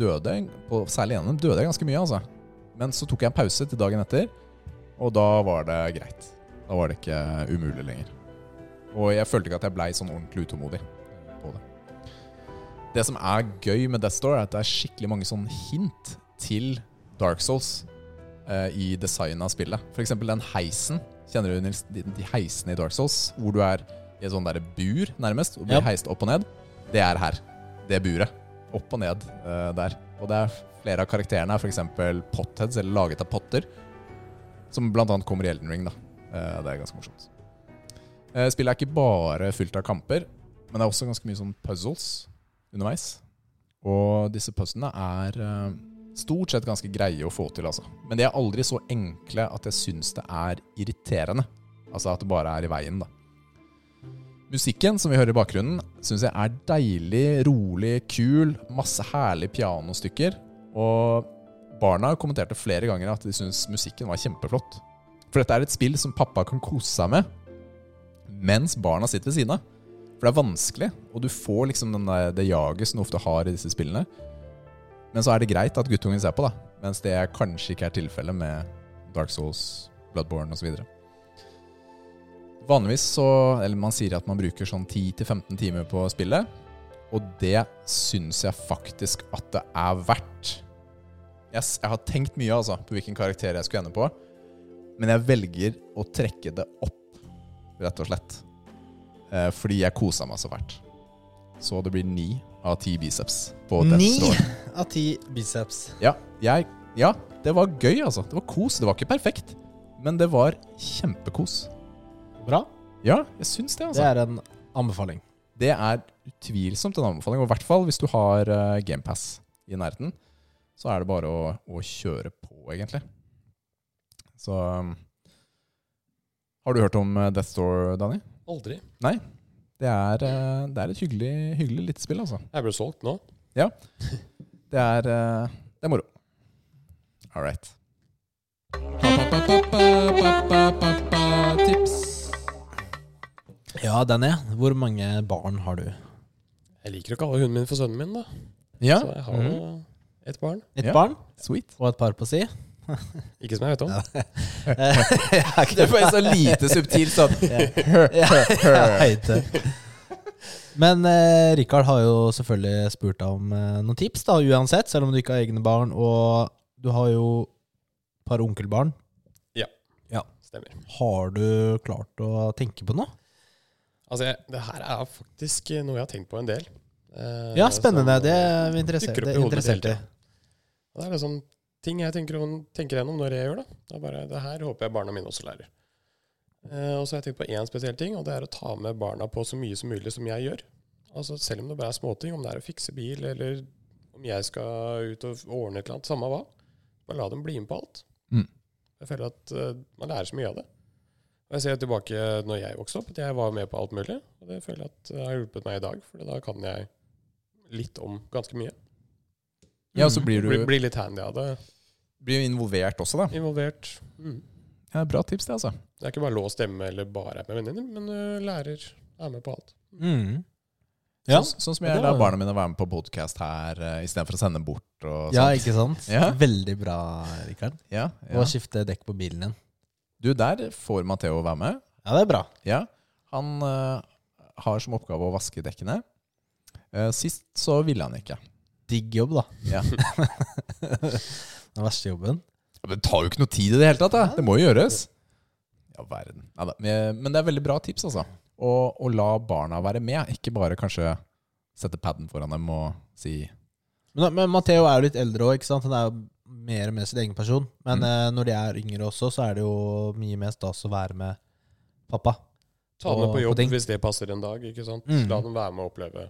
døde, på, særlig gjennom, døde jeg ganske mye, altså. Men så tok jeg en pause til dagen etter, og da var det greit. Da var det ikke umulig lenger. Og jeg følte ikke at jeg blei sånn ordentlig utålmodig på det. Det som er gøy med Death Store, er at det er skikkelig mange sånn hint til Dark Souls eh, i designet av spillet. F.eks. den heisen. Kjenner du Nils, de, de heisene i Dark Souls hvor du er i et sånn der bur, nærmest, og blir
Ja.
heist opp og ned? Det er her. Det buret. Opp og ned eh, der. Og det er flere av karakterene er f.eks. potheads, eller laget av potter, som bl.a. kommer i Elden Ring. da. Eh, det er ganske morsomt. Eh, spillet er ikke bare fylt av kamper, men det er også ganske mye sånn puzzles underveis. Og disse puzzlene er eh, stort sett ganske greie å få til, altså. Men de er aldri så enkle at jeg syns det er irriterende. Altså at det bare er i veien, da. Musikken som vi hører i bakgrunnen, syns jeg er deilig, rolig, kul. Masse herlige pianostykker. Og barna kommenterte flere ganger at de syntes musikken var kjempeflott. For dette er et spill som pappa kan kose seg med mens barna sitter ved siden av. For det er vanskelig, og du får liksom den der, det jaget som du ofte har i disse spillene. Men så er det greit at guttungen ser på, da. Mens det kanskje ikke er tilfellet med Dark Souls, Bloodborne osv. Vanligvis så Eller man sier at man bruker sånn 10-15 timer på spillet. Og det syns jeg faktisk at det er verdt. Jeg, s- jeg har tenkt mye altså, på hvilken karakter jeg skulle ende på, men jeg velger å trekke det opp, rett og slett. Eh, fordi jeg kosa meg så fælt. Så det blir ni av ti biceps. På Death
Ni
Store.
av ti biceps.
Ja, jeg, ja, det var gøy, altså. Det var kos. Det var ikke perfekt, men det var kjempekos.
Bra.
Ja, jeg syns det,
Det
altså.
er en anbefaling.
Det er utvilsomt en anbefaling, og i hvert fall hvis du har eh, GamePass i nærheten, så er det bare å, å kjøre på, egentlig. Så um, Har du hørt om eh, Death Store, Danny?
Aldri.
Det er, eh, det er et hyggelig, hyggelig lite spill, altså.
Jeg ble solgt nå.
Det er, eh, det er moro. All right.
Tips.
Ja, Danny, hvor mange barn har du?
Jeg liker å kalle hunden min for sønnen min, da.
Ja,
Så jeg har jo
Mm.
et barn.
Ett
Ja.
barn
sweet.
og et par på si.
Ikke som jeg vet om.
Jeg er ikke
Det var så lite subtilt sånn.
Jeg vet det. Men eh, Rikard har jo selvfølgelig spurt deg om eh, noen tips, da, uansett, selv om du ikke har egne barn. Og du har jo et par onkelbarn.
Stemmer.
Har du klart å tenke på noe?
Altså, jeg, det her er faktisk noe jeg har tenkt på en del. Eh,
Ja, spennende.
som-
Det er vi interessert,
Dukker opp
det
i
er
hodet
interessert i.
hele tiden. Det er liksom ting jeg tenker, om, tenker gjennom når jeg gjør det. Det, er bare, det her håper jeg barna mine også lærer. Eh, og så har jeg tenkt på én spesiell ting, og det er å ta med barna på så mye som mulig som jeg gjør. Altså Selv om det bare er småting, om det er å fikse bil, eller om jeg skal ut og ordne et eller annet, samme hva. Bare la dem bli med på alt.
Mm.
Jeg føler at eh, man lærer så mye av det. Og Jeg ser tilbake når jeg vokste opp, at jeg var med på alt mulig. Og det føler jeg at eh, har hjulpet meg i dag, for da kan jeg litt om ganske mye.
Ja, og så blir
Blir,
du
blir litt handy av det.
blir jo involvert også, da.
Involvert. Mm.
Ja, bra tips, det, altså.
Det er ikke bare låst hjemme eller bare er med venninner, men ø, lærer er med på alt.
Mm. Ja.
Sånn, sånn som
Ja,
jeg
det
lar
var-
barna mine være med på podkast her eh, istedenfor å sende den bort og
ja,
sånt.
ikke sant?
Ja.
Veldig bra, Rikard.
Ja,
Og
ja.
skifte dekk på bilen din.
Du, der får Matheo være med.
Ja, det er bra.
Ja. Han eh, har som oppgave å vaske dekkene. Eh, sist så ville han ikke.
Digg jobb, da.
Ja.
Den verste jobben.
Men det tar jo ikke noe tid i det hele tatt. Da. Det må jo gjøres. Ja, verden. Neida, men- Men det er veldig bra tips, altså. Og, og la barna være med, ikke bare kanskje sette paden foran dem og si
Men, men Matheo er jo litt eldre òg, ikke sant? Han er jo mer og mer sin egen person. Men
Mm.
eh, når de er yngre også, så er det jo mye mer stas å være med pappa.
Ta dem med
Og-
på
på
jobb
ting.
hvis det passer en dag. ikke sant?
Mm.
La dem være med og oppleve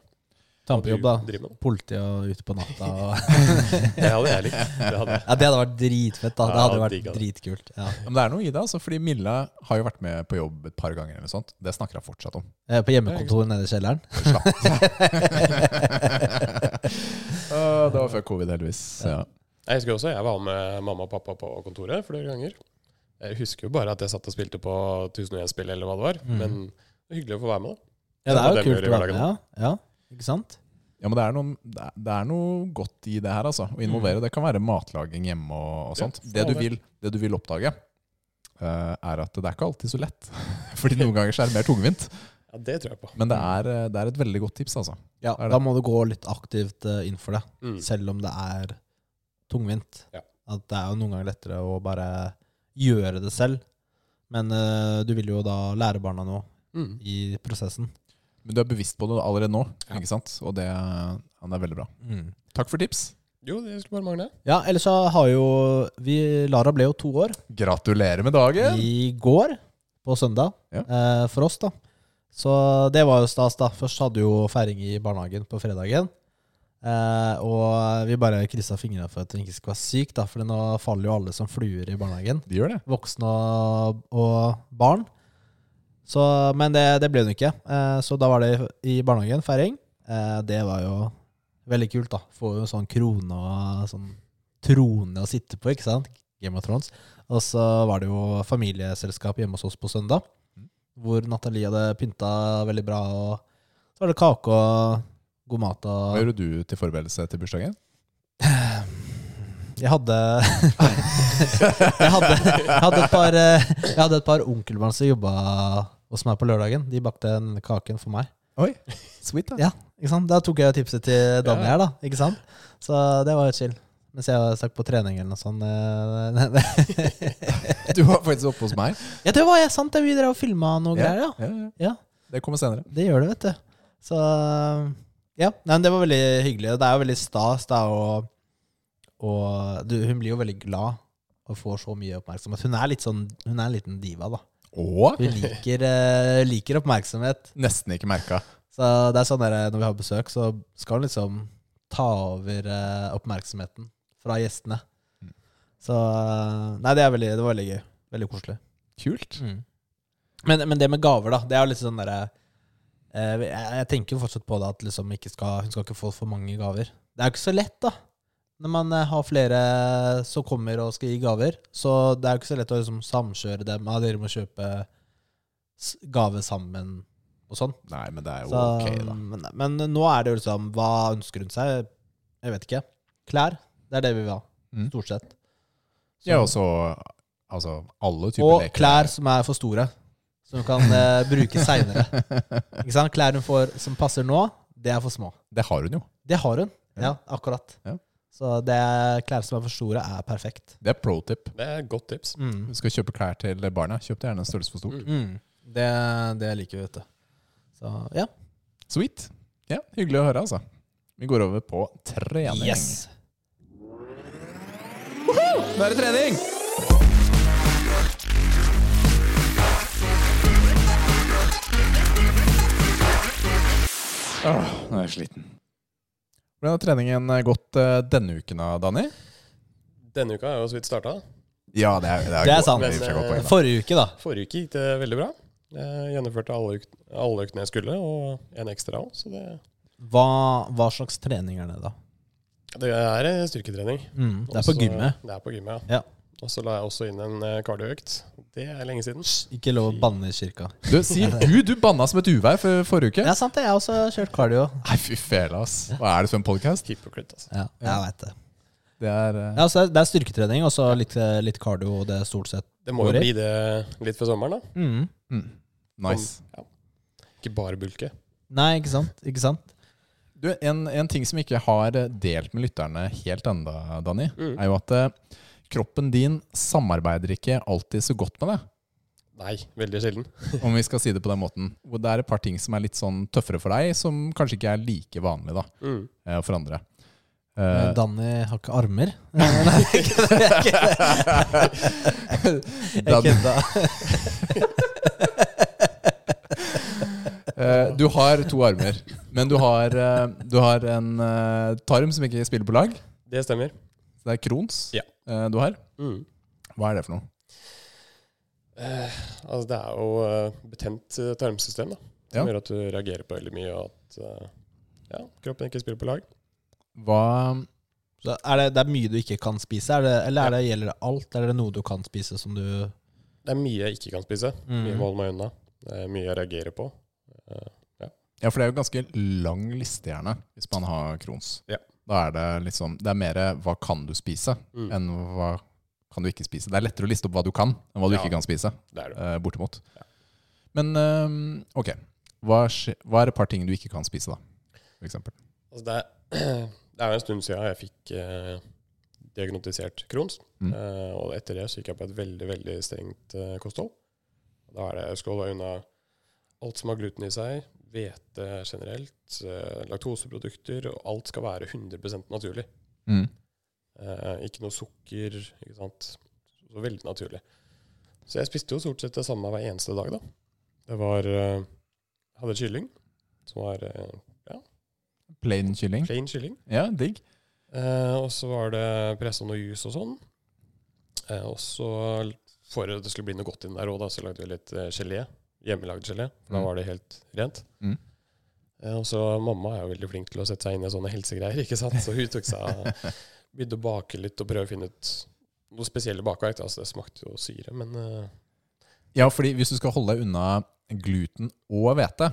Ta med på jobb, da.
driver med.
Politi og ute på natta og
Det hadde jeg likt. Det hadde jeg.
Ja, det hadde vært dritfett, da. Det hadde
Ja,
vært
digg, altså. da.
dritkult. Ja.
Ja, Men det er noe i det, altså, fordi Milla har jo vært med på jobb et par ganger. eller noe sånt. Det snakker hun fortsatt om.
Eh, På hjemmekontoret nede i kjelleren.
Slapp av. Å, det var før covid, heldigvis. Ja.
Jeg husker også jeg var med mamma og pappa på kontoret flere ganger. Jeg husker jo bare at jeg satt og spilte på 1001-spill eller hva det var,
Mm.
men det var hyggelig å få være med. da.
Ja, det
Ja,
er
det
jo
er
kult.
mulig i
Da.
hverdagen.
Ja, ja. Ikke sant?
Ja, men det er, noen, det er- det er noe godt i det her, altså. Å involvere. Det kan være matlaging hjemme og, og
Ja,
sånt.
for
Det
all
du
del.
vil, det du vil oppdage, eh, er at det er ikke alltid så lett. Fordi noen ganger så er det mer tungvint.
Ja, det tror jeg på.
Men det er, eh, det er et veldig godt tips, altså.
Ja,
Er det?
Da må du gå litt aktivt eh, inn for det,
Mm.
selv om det er tungvint.
Ja.
At det er jo noen ganger lettere å bare gjøre det selv. Men eh, du vil jo da lære barna noe
Mm.
i prosessen.
Men du er bevisst på det allerede nå,
Ja.
ikke sant? Og det, ja, det er veldig bra. Takk for tips.
Jo, det skulle bare mangle.
Ja, ellers så har jo vi Lara ble jo to år
Gratulerer med dagen!
i går, på søndag,
Ja.
eh, for oss, da. Så det var jo stas, da. Først hadde jo feiring i barnehagen på fredagen. Eh, og vi bare kryssa fingra for at hun ikke skulle være syk, da, for nå faller jo alle som fluer i barnehagen.
De gjør det.
voksne og, og barn. Så, men det, det ble hun ikke. Eh, så da var det i barnehagen feiring. Eh, det var jo veldig kult, da. Får jo sånn krone og sånn trone å sitte på, ikke sant? Game of Thrones. Og så var det jo familieselskap hjemme hos oss på søndag, hvor Nathalie hadde pynta veldig bra. Og så var det kake og god mat.
Hva
Og
gjorde du til forberedelse til bursdagen?
jeg hadde jeg, hadde, jeg, hadde et par, eh, jeg hadde et par onkelbarn som jobba hos meg på lørdagen. De bakte en kaken for meg.
Oi, sweet da.
Ja, ikke sant? Da tok jeg jo tipset til Danny
Ja.
her, da. Ikke sant? Så det var jo chill. Mens jeg stakk på trening eller noe sånt. eh,
Du var faktisk oppe hos meg.
ja, det var jeg, sant? det. Vi drev og filma noe greier, ja.
Ja, ja.
ja.
Det kommer senere.
Det gjør det, vet du. Så Ja, nei, men det var veldig hyggelig. og Det er jo veldig stas. Det er jo Og du, hun blir jo veldig glad og får så mye oppmerksomhet. Hun er litt sånn Hun er en liten diva, da.
Og
Hun liker, eh, liker oppmerksomhet.
nesten ikke merka.
Så det er sånn der, når vi har besøk, så skal hun liksom ta over eh, oppmerksomheten fra gjestene. Så eh, Nei, det, er veldig, det var veldig gøy. Veldig koselig.
Kult.
Mm. Men, men det med gaver, da. Det er jo litt sånn derre eh, jeg, jeg tenker jo fortsatt på det at liksom ikke skal, hun skal ikke få for mange gaver. Det er jo ikke så lett, da. Når man eh, har flere som kommer og skal gi gaver, så det er jo ikke så lett å liksom samkjøre dem. Ja, dere må kjøpe s- gave sammen og sånn.
Nei, men det er jo
Så, mm,
ok, da.
men, men nå er det jo liksom Hva ønsker hun seg? Jeg vet ikke. Klær. Det er det vi vil ha.
Mm.
Stort sett. Så-
Ja, og så altså, alle typer
og
leker.
klær som er for store, som hun kan eh, bruke seinere. Ikke sant? Klær hun får som passer nå, det er for små.
Det har hun jo.
Det har hun. Ja, akkurat.
Ja.
Så det klær som er for store, er perfekt.
Det er pro tip.
Det er et godt tips.
Mm.
Du skal kjøpe klær til barna. Kjøp det gjerne en størrelse for stort.
Mm.
Mm. Det, det liker vi, vet du. Så ja.
Sweet. Ja, hyggelig å høre, altså. Vi går over på trening.
Yes!
Nå er det trening! Åh, nå er jeg sliten. Hvordan har treningen gått eh, denne uken da, Danny?
Denne uka er jo så vidt starta.
Ja, det er,
Det er sant.
i og for seg godt poeng, da.
Forrige uke, da.
Forrige uke gikk det veldig bra. Jeg gjennomførte alle, økt, alle øktene jeg skulle, og en ekstra òg, så det,
Hva, hva slags trening er det, da?
det er eh, styrketrening.
Mm. Det er på
Også-
gymmet.
Det er på gymmet,
Ja.
Og så la jeg også inn en eh, kardioøkt. Det er lenge siden.
Ikke lov å banne i kirka.
Du, sier du, du banna som et uvær for forrige uke?
Det er sant, det. Jeg har også kjørt cardio.
Nei, fy fela, ass. Hva er det for en podkast?
Hypocrite, altså.
Ja, jeg vet det.
Det er eh,
Ja, så det er- det er styrketrening og så litt, litt cardio, og det er stort sett.
Det må jo
Hvor er-
bli det litt før sommeren, da.
Mm.
mm, nice.
Ikke bare bulke.
Nei, ikke sant? Ikke sant?
Du, en, en ting som vi ikke har eh, delt med lytterne helt enda, Danny,
Mm.
er jo at eh, kroppen din samarbeider ikke alltid så godt med deg,
Nei, veldig sjelden.
om vi skal si det på den måten. Og det er et par ting som er litt sånn tøffere for deg, som kanskje ikke er like vanlig da,
Mm.
eh, for andre.
Men
Eh,
Danny har ikke armer. Nei, jeg kødder. Jeg
Dan-
kødder.
eh, du har to armer, men du har, eh, du har en eh, tarm som ikke spiller på lag.
Det stemmer.
Så det er Crohns
Ja.
eh, du har.
Mm.
Hva er det for noe?
Eh, altså, det er jo eh, betent eh, tarmsystem, da. Som
Ja.
gjør at du reagerer på veldig mye, og at eh, ja, kroppen ikke spiller på lag.
Hva,
Så er det, det er mye du ikke kan spise, er det, eller er det, gjelder det alt? Er det noe du kan spise som du
Det er mye jeg ikke kan spise. Mye jeg må
mm.
holde meg unna. Det er mye jeg reagerer på.
Ja, for det er jo ganske lang liste gjerne, hvis man har krons.
Ja.
Da er det liksom, det er mer hva kan du spise,
Mm.
enn hva kan du ikke spise. Det er lettere å liste opp hva du kan, enn hva du
Ja.
ikke kan spise,
Det er det.
eh, bortimot.
Ja.
Men eh, ok, hva, skje- hva er et par ting du ikke kan spise da, for eksempel?
Altså det, er, det er jo en stund siden jeg fikk eh, diagnotisert Crohns.
Mm.
Eh, og etter det så gikk jeg på et veldig veldig strengt eh, kosthold. Da er det jeg skal holde unna alt som har gluten i seg, hvete generelt, eh, laktoseprodukter, og alt skal være 100 naturlig.
Mm.
Eh, ikke noe sukker, ikke sant. Så veldig naturlig. Så jeg spiste jo stort sett det samme hver eneste dag, da. Det var eh, Jeg hadde kylling, som var eh,
Plain kylling?
plain kylling.
Ja, digg.
Eh, og så var det pressa noe juice og sånn. Eh, og så, for at det skulle bli noe godt inn der òg, så lagde vi litt eh, gelé. Hjemmelagd gelé. For da
Mm.
var det helt rent.
Mm.
Eh, og så Mamma er jo veldig flink til å sette seg inn i sånne helsegreier, ikke sant? så hun tok seg av Begynte å bake litt og prøve å finne ut noen spesielle bakverk. da. Altså, det smakte jo syre, men eh,
Ja, fordi hvis du skal holde deg unna gluten og hvete,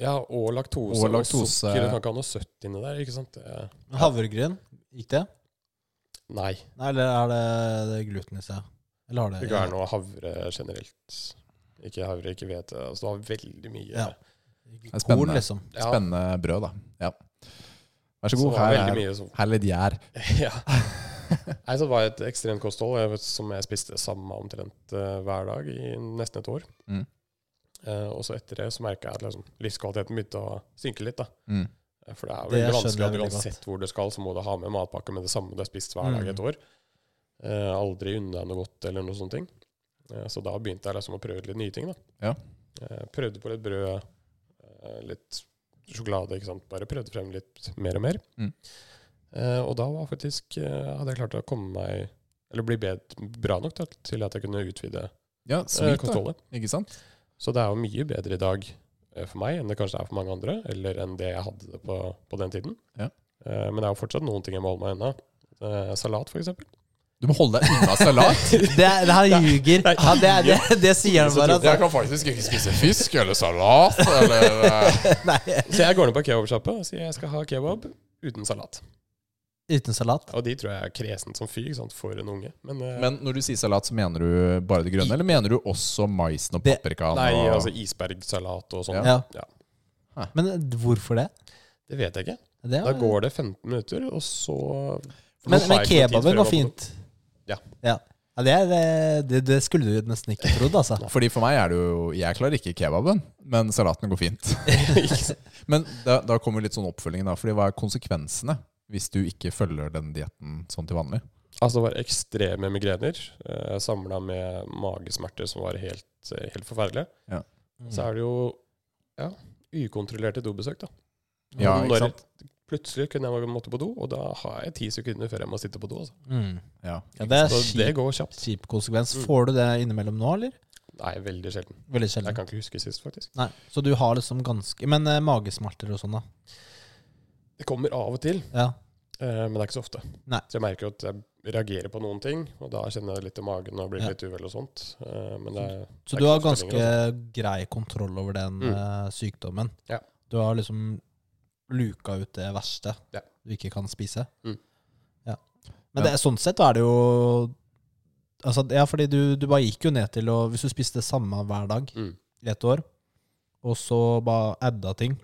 Ja, og laktose
Og
og,
laktose.
sukker. Du kan ikke ha noe søtt inni der, ikke sant? Det,
Men Havregryn, gikk det?
nei.
Nei, eller er det, det er gluten i seg? Eller har det
Det kan være noe havre generelt. Ikke havre, ikke hvete. Altså, du har veldig mye
Ja.
er
Korn,
spennende.
liksom.
Ja,
spennende brød da. Ja. Vær
så
så god,
det var
her
veldig
er,
mye som-
her er litt gjær.
ja. Nei, så det var et ekstremt kosthold jeg vet, som jeg spiste samme omtrent eh, hver dag i nesten et år.
Mm.
Eh, og så etter det så merka jeg at liksom, livskvaliteten begynte å synke litt. da.
Mm.
For det er jo
Det
veldig
skjønner
vanskelig at
jeg veldig godt. Mm.
uansett hvor det skal, så må du ha med matpakke med det samme du har spist hver dag i et år. Eh, aldri unna noe godt eller noe sånne ting. Eh, så da begynte jeg liksom å prøve ut litt nye ting. da.
Ja.
Eh, prøvde på litt brød, eh, litt sjokolade, ikke sant. Bare prøvde frem litt mer og mer.
Mm.
Eh, og da var faktisk, eh, hadde jeg klart å komme meg eller bli bedre, bra nok da, til at jeg kunne utvide
Ja,
eh,
sweet da,
kostholdet.
ikke sant?
Så det er jo mye bedre i dag eh, for meg enn det kanskje er for mange andre, eller enn det jeg hadde det på, på den tiden.
Ja.
Eh, Men det er jo fortsatt noen ting jeg må holde meg unna. Eh, Salat, f.eks.
Du må holde deg unna salat.
Det, er- det her ljuger.
Nei.
Ja, det, er- det, det sier han
altså-
bare.
Jeg kan faktisk ikke spise fisk eller salat eller eh,
Altså. Nei,
Så jeg går ned på kebabsjappa og sier jeg skal ha kebab uten salat.
uten salat.
Og de tror jeg er kresen som fyr ikke sant, for en unge. Men, eh,
Men når du sier salat, så mener du bare det grønne, eller mener du også maisen og
Det-
paprikaen?
nei,
og,
altså isbergsalat og sånn.
Ja.
Ja.
Men hvorfor det?
Det vet jeg ikke.
det er-
Da går det 15 minutter, og så Nå
men,
har
men
jeg ikke noe tid før
kebaben
jeg
går fint.
Ja.
ja. Ja, det, er, eh, det- det, det skulle du nesten ikke trodd, altså.
Fordi for meg er det jo Jeg klarer ikke kebaben, men salaten går fint. men da, da kommer litt sånn oppfølgingen, da. Fordi hva er konsekvensene hvis du ikke følger den dietten sånn til vanlig?
Altså det var ekstreme migrener, eh, samla med magesmerter som var helt, eh, helt forferdelige.
Ja.
Mm.
Så er det jo ja, ukontrollerte dobesøk, da.
Ja,
Og
ikke
når-
sant?
Plutselig kunne jeg måtte på do, og da har jeg ti sekunder før jeg må sitte på do. Altså.
Mm.
Ja.
Ja, det er
Så det
kjip,
går kjapt.
kjip konsekvens.
Mm.
Får du det innimellom nå, eller?
Nei, veldig sjelden.
Veldig
Jeg
sjelden.
kan ikke huske sist, faktisk.
Nei. Så du har liksom ganske Men eh, magesmerter og sånn, da?
Det kommer av og til,
Ja.
eh, men det er ikke så ofte.
Nei.
Så jeg merker jo at jeg reagerer på noen ting, og da kjenner jeg litt i magen og blir
Ja.
litt uvel og sånt. Eh, Men det er
Så
Det er
du
ikke
har
så ofte
ganske
lenger,
grei kontroll over den
Mm.
eh, sykdommen.
Ja.
Du har liksom luka ut det verste
Ja.
du ikke kan spise.
Mm.
Ja. Men det, sånn sett er det jo altså, Ja, fordi du, du bare gikk jo ned til å Hvis du spiste det samme hver dag
mm.
i et år, og så bare adda ting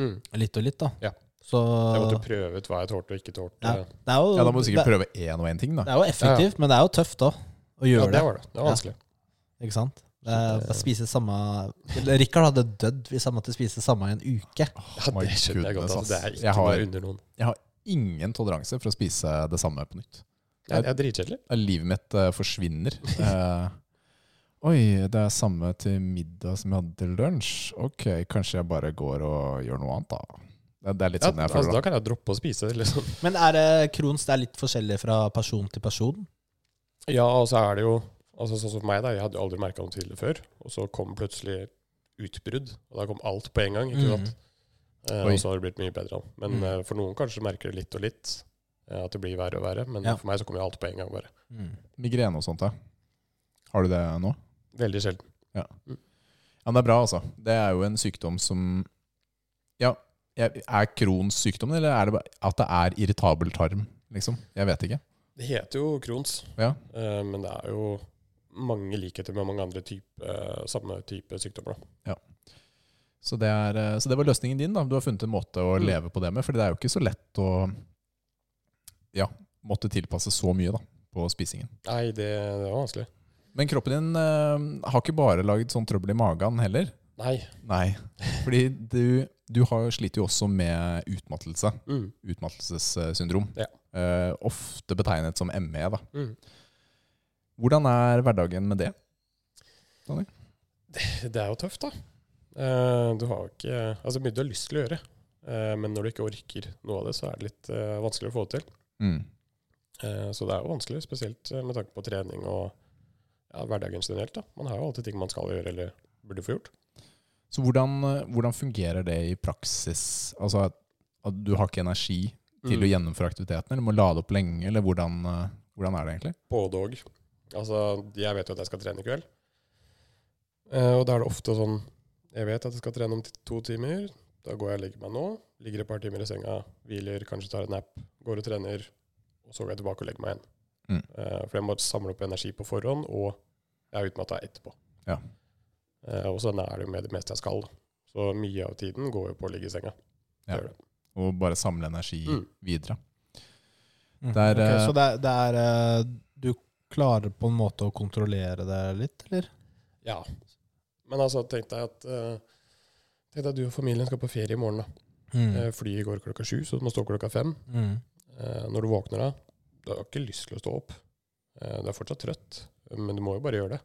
Mm.
litt og litt, da
Ja.
Så
Jeg måtte prøve ut hå jeg tålte og ikke tålte.
Ja. det er jo,
Ah. ja, da må du sikkert
det,
prøve én og én ting, da.
det er jo effektivt, men det er jo tøft òg, å
Ja,
gjøre
det var det. Det
Ja.
var vanskelig.
Ikke sant? Det
Så
er
det-
bare spise samme eller Rikard hadde dødd hvis han måtte spise samme i en uke.
Ja,
Oh My
det skjønner jeg godt.
goodness,
Altså. Det er
ass.
ikke
Jeg har
noe under noen.
ingen toleranse for å spise det samme på nytt.
Det er, det er dritkjedelig.
Ja, Livet mitt eh, forsvinner. Eh, oi, det er samme til middag som jeg hadde til lunsj. Ok, kanskje jeg bare går og gjør noe annet, da. Det, det er litt
Ja,
sånn jeg
altså,
føler
da
det.
kan jeg droppe å spise. Liksom.
Men er det Crohns det er litt forskjellig fra person til person?
Ja, og så er det jo altså, Sånn som for meg, da. Jeg hadde jo aldri merka noe til det før. Og så kom plutselig utbrudd, og da kom alt på en gang. Ikke sant? Eh,
Oi.
og så har det blitt mye bedre. da. Men
Mm.
eh, for noen kanskje merker det litt og litt. eh, At det blir verre og verre. Men
Ja.
for meg så kom jo alt på en gang, bare.
Mm. Mm.
Migrene og sånt, da. Har du det nå?
Veldig sjelden.
Ja, men det er bra, altså. Det er jo en sykdom som Ja, jeg- Er Crohns sykdom, eller er det bare at det er irritabel tarm? liksom? Jeg vet ikke.
Det heter jo Crohns,
Ja.
eh, men det er jo mange likheter med mange andre type, eh, samme type sykdommer. Da.
Så det, er, eh, så det var løsningen din. da. Du har funnet en måte å
Mm.
leve på det med. For det er jo ikke så lett å ja, måtte tilpasse så mye da, på spisingen.
Nei, det, det var vanskelig.
Men kroppen din eh, har ikke bare laget sånn trøbbel i magen heller.
Nei.
Nei, fordi du, du har sliter jo også med utmattelse.
Mm.
Utmattelsessyndrom.
Ja.
Eh, ofte betegnet som ME. da.
Mm.
Hvordan er hverdagen med det?
Det er jo tøft, da. Eh, Du har jo ikke Altså, mye du har lyst til å gjøre, eh, men når du ikke orker noe av det, så er det litt eh, vanskelig å få det til.
Mm.
Eh, Så det er jo vanskelig, spesielt eh, med tanke på trening og ja, hverdagen generelt. da. Man har jo alltid ting man skal gjøre eller burde få gjort.
Så hvordan, eh, hvordan fungerer det i praksis? Altså at, at du har ikke energi til
Mm.
å gjennomføre aktiviteten, eller må lade opp lenge, eller hvordan, eh, hvordan er det egentlig?
Både og. Altså, jeg vet jo at jeg skal trene i kveld. Eh, Og da er det ofte sånn Jeg vet at jeg skal trene om t- to timer. Da går jeg og legger meg nå. Ligger et par timer i senga, hviler, kanskje tar en nap. Går og trener. Og så går jeg tilbake og legger meg igjen.
Mm.
Eh, For jeg må samle opp energi på forhånd, og jeg er utmatta etterpå.
Ja.
Eh, Og sånn er det jo med det meste jeg skal. da. Så mye av tiden går jo på å ligge i senga.
Ja.
Det gjør det.
Og bare samle energi
Mm.
videre.
Mm.
Det er,
Ok,
eh,
så det er, det er eh, Du klarer på en måte å kontrollere det litt, eller?
Ja. Men altså, tenk deg at eh, Tenk deg at du og familien skal på ferie i morgen. da. Eh, Flyet går klokka sju, så du må stå klokka fem.
Mm.
Eh, Når du våkner da, du har ikke lyst til å stå opp. Eh, Du er fortsatt trøtt, men du må jo bare gjøre det.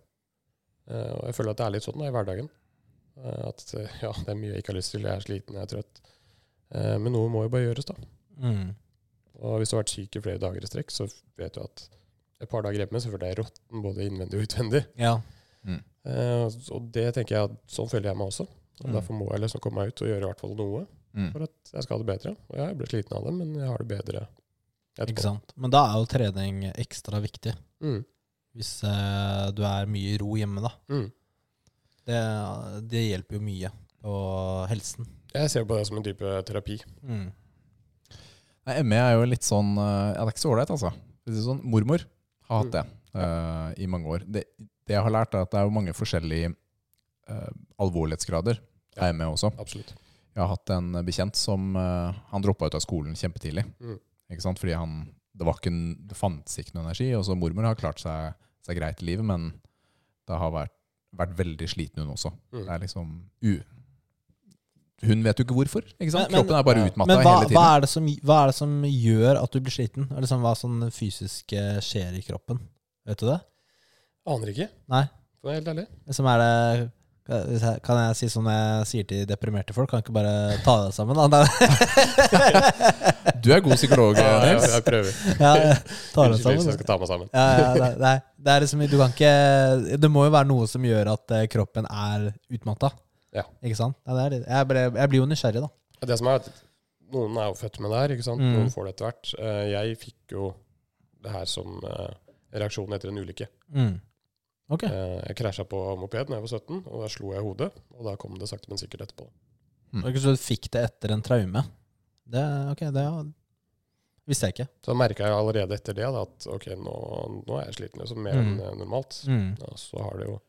Eh, Og jeg føler at det er litt sånn da, i hverdagen. Eh, At eh, ja, det er mye jeg ikke har lyst til, jeg er sliten, jeg er trøtt. Eh, Men noe må jo bare gjøres, da.
Mm.
Og hvis du har vært syk i flere dager i strekk, så vet du at et par dager hjemme selvfølgelig er jeg råtten både innvendig og utvendig.
Ja.
Mm.
Eh, Og det tenker jeg at sånn føler jeg meg også.
Mm.
Og Derfor må jeg liksom komme meg ut og gjøre i hvert fall noe
Mm.
for at jeg skal ha det bedre. Og jeg ble sliten av det, men jeg har det bedre
Ikke
etterpå.
sant? Men da er jo trening ekstra viktig,
Mm.
hvis eh, du er mye i ro hjemme, da.
Mm.
Det, det hjelper jo mye på helsen.
Jeg ser på det som en type terapi.
Mm.
Nei, ME er jo litt sånn eh, ja, Det er ikke så ålreit, altså. For å si det Sånn, mormor har
Mm.
hatt det eh, i mange år. Det, det jeg har lært, er at det er jo mange forskjellige eh, alvorlighetsgrader av ME også.
Absolutt.
Jeg har hatt en bekjent som eh, Han droppa ut av skolen kjempetidlig.
Mm.
Ikke sant? Fordi han, det, var ikke, en- det fantes ikke noe energi. Og så mormor har klart seg, seg greit i livet, men det har vært, vært veldig sliten, hun også.
Mm.
Det er liksom u... Hun vet jo ikke hvorfor. Ikke sant?
Men- men-
Kroppen er bare utmatta
Men hva,
hele tiden.
hva, er det som, hva er det som gjør at du blir sliten? Er det sånn, hva sånn fysisk eh, skjer i kroppen? Vet du det?
Aner ikke,
Nei?
for å være helt ærlig.
Liksom er det hvis jeg- Kan jeg si som jeg sier til deprimerte folk? Kan jeg ikke bare ta deg sammen? Da?
Du er god psykolog, eh,
Ja, jeg,
Nils.
jeg prøver.
Ja, ta deg
Unnskyld hvis jeg
sammen. liksom.
skal ta meg sammen.
Ja, ja, ja, nei, nei, det er liksom Du kan ikke Det må jo være noe som gjør at eh, kroppen er utmatta.
Ja.
Ikke sant? Ja, det er, det. jeg, ble, jeg blir jo nysgjerrig, da.
Ja, Det som er at Noen er jo født med det her, ikke sant?
Mm.
noen får det etter hvert. Eh, Jeg fikk jo det her som eh, reaksjon etter en ulykke.
Mm. Ok.
Eh, Jeg krasja på moped da jeg var 17, og da slo jeg hodet. Og da kom det sakte, men sikkert etterpå.
Det er ikke så du fikk det etter en traume. Det, ok, det er- visste jeg ikke.
Så merka jeg allerede etter det da, at ok, nå, nå er jeg sliten liksom, mer
Mm.
enn normalt.
Mm.
Ja, så har det jo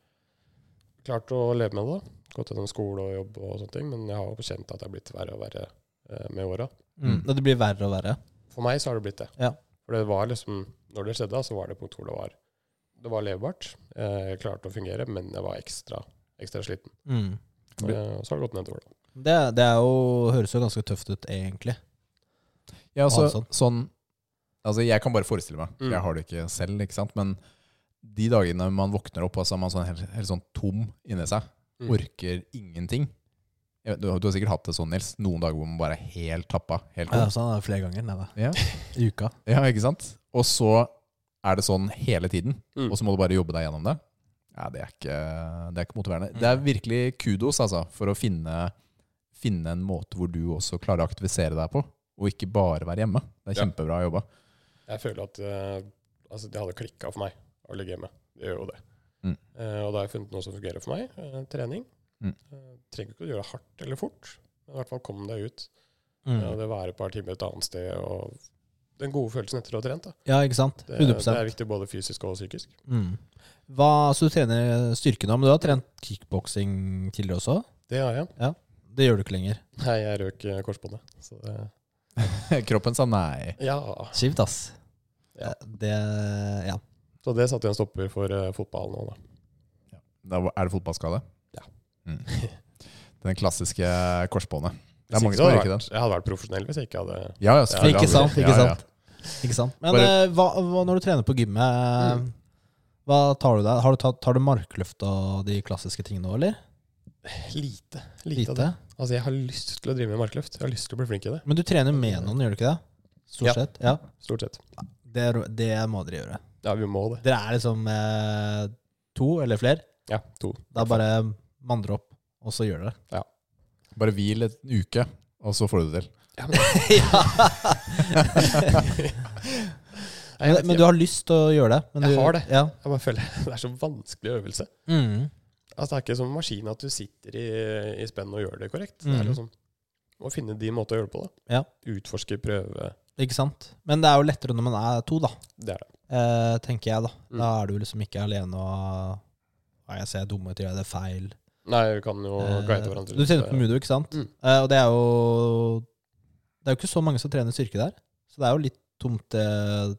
klart å leve med det. da. Gått gjennom skole og jobb og sånne ting, men jeg har jo kjent at det er blitt verre og verre eh, med åra.
Mm. Og det blir verre og verre.
For meg så har det blitt det.
Ja.
For det var liksom, når det skjedde, da, så var det punkt hvor det var det var levbart. Eh, Jeg klarte å fungere, men jeg var ekstra, ekstra sliten.
Mm.
Blir-
Eh, Og så har det gått nedover. da.
Det, det er jo, høres jo ganske tøft ut, egentlig.
Ja, altså,
Hansson.
sånn, altså, jeg kan bare forestille meg.
Mm.
Jeg har det ikke selv, ikke sant? Men de dagene man våkner opp, og så er man sånn helt, helt sånn tom inni seg.
Mm.
Orker ingenting. Jeg vet, Du, du har sikkert hatt det sånn, Nils. Noen dager hvor man bare er helt tappa. Helt
Ja,
tom.
sånn er det flere ganger nei, da.
Ja.
i uka.
Ja, ikke sant? Og så er det sånn hele tiden,
Mm.
og så må du bare jobbe deg gjennom det. Ja, det er ikke, det er ikke motiverende. Det
Mm.
er virkelig kudos altså, for å finne, finne en måte hvor du også klarer å aktivisere deg på, og ikke bare være hjemme. Det er
Ja.
kjempebra jobba.
Jeg føler at eh, altså, det hadde klikka for meg å ligge hjemme. Det gjør jo det.
Mm.
Eh, og da har jeg funnet noe som fungerer for meg. eh, trening.
Mm.
Eh, trenger ikke å gjøre det hardt eller fort, Men i hvert fall kom deg ut.
Mm.
Ja, det å være et par timer et annet sted og den gode følelsen etter å ha trent. da.
Ja, ikke sant?
Det, det
100
er viktig både fysisk og psykisk.
mm. Hva, Så du trener styrke nå, men du har trent kickboksing tidligere også?
Det har jeg.
Det gjør du ikke lenger.
Nei, jeg røk eh, korsbåndet. Så det,
Kroppen sa nei.
ja.
Kjipt, ass.
Ja.
Det, ja.
så det satte en stopper for eh, fotball nå, da.
Da var- er det fotballskade?
Ja.
Mm. Den klassiske korsbåndet. Det
Hvis
er mange
ikke
som har
så hadde jeg
røket
vært-
den.
Jeg hadde vært profesjonell hvis jeg ikke hadde
Ja, ja, selvfølgelig.
Ikke sant, ikke
Ja, ja.
sant. Ikke sant? Men
Bare-
eh, hva, hva, når du trener på gymmet, eh,
Mm.
hva tar du deg? Har du tatt, tar du markløft og de klassiske tingene òg, eller?
Lite. Lite av det. Altså, jeg har lyst til å drive med markløft. Jeg har lyst til å bli flink i det.
Men du trener med noen, gjør du ikke det? Stort
Ja.
sett. Ja.
Stort sett.
Det, er- det må dere gjøre.
Ja, vi må det.
Dere er liksom eh, to eller flere.
Ja, to.
Da bare mandre opp, og så gjør dere det.
Bare hvil en uke, og så får du det til.
Nei, jeg, vet
Men
ikke.
du har lyst til å gjøre det. Men
Jeg
du,
har det.
Ja.
jeg bare føler det er så vanskelig øvelse.
Mm.
Altså, det er ikke som en maskin at du sitter i, i spenn og gjør det korrekt. Det
Mm.
Mhm.
er liksom å finne din måte å gjøre det på, da.
Ja.
Utforske, prøve.
Ikke sant? Men det er jo lettere når man er to, da.
Det er det.
Eh, tenker jeg, da.
Mm.
Da er du liksom ikke alene og Nei, jeg ser dumme ut, gjør jeg det feil?
Nei, vi kan jo guide
Eh,
hverandre.
Du
litt,
trener
eh,
på Mudo, ikke sant?
Mm.
Eh, og det er jo Det er jo ikke så mange som trener styrke der. Så det er jo litt tomt eh,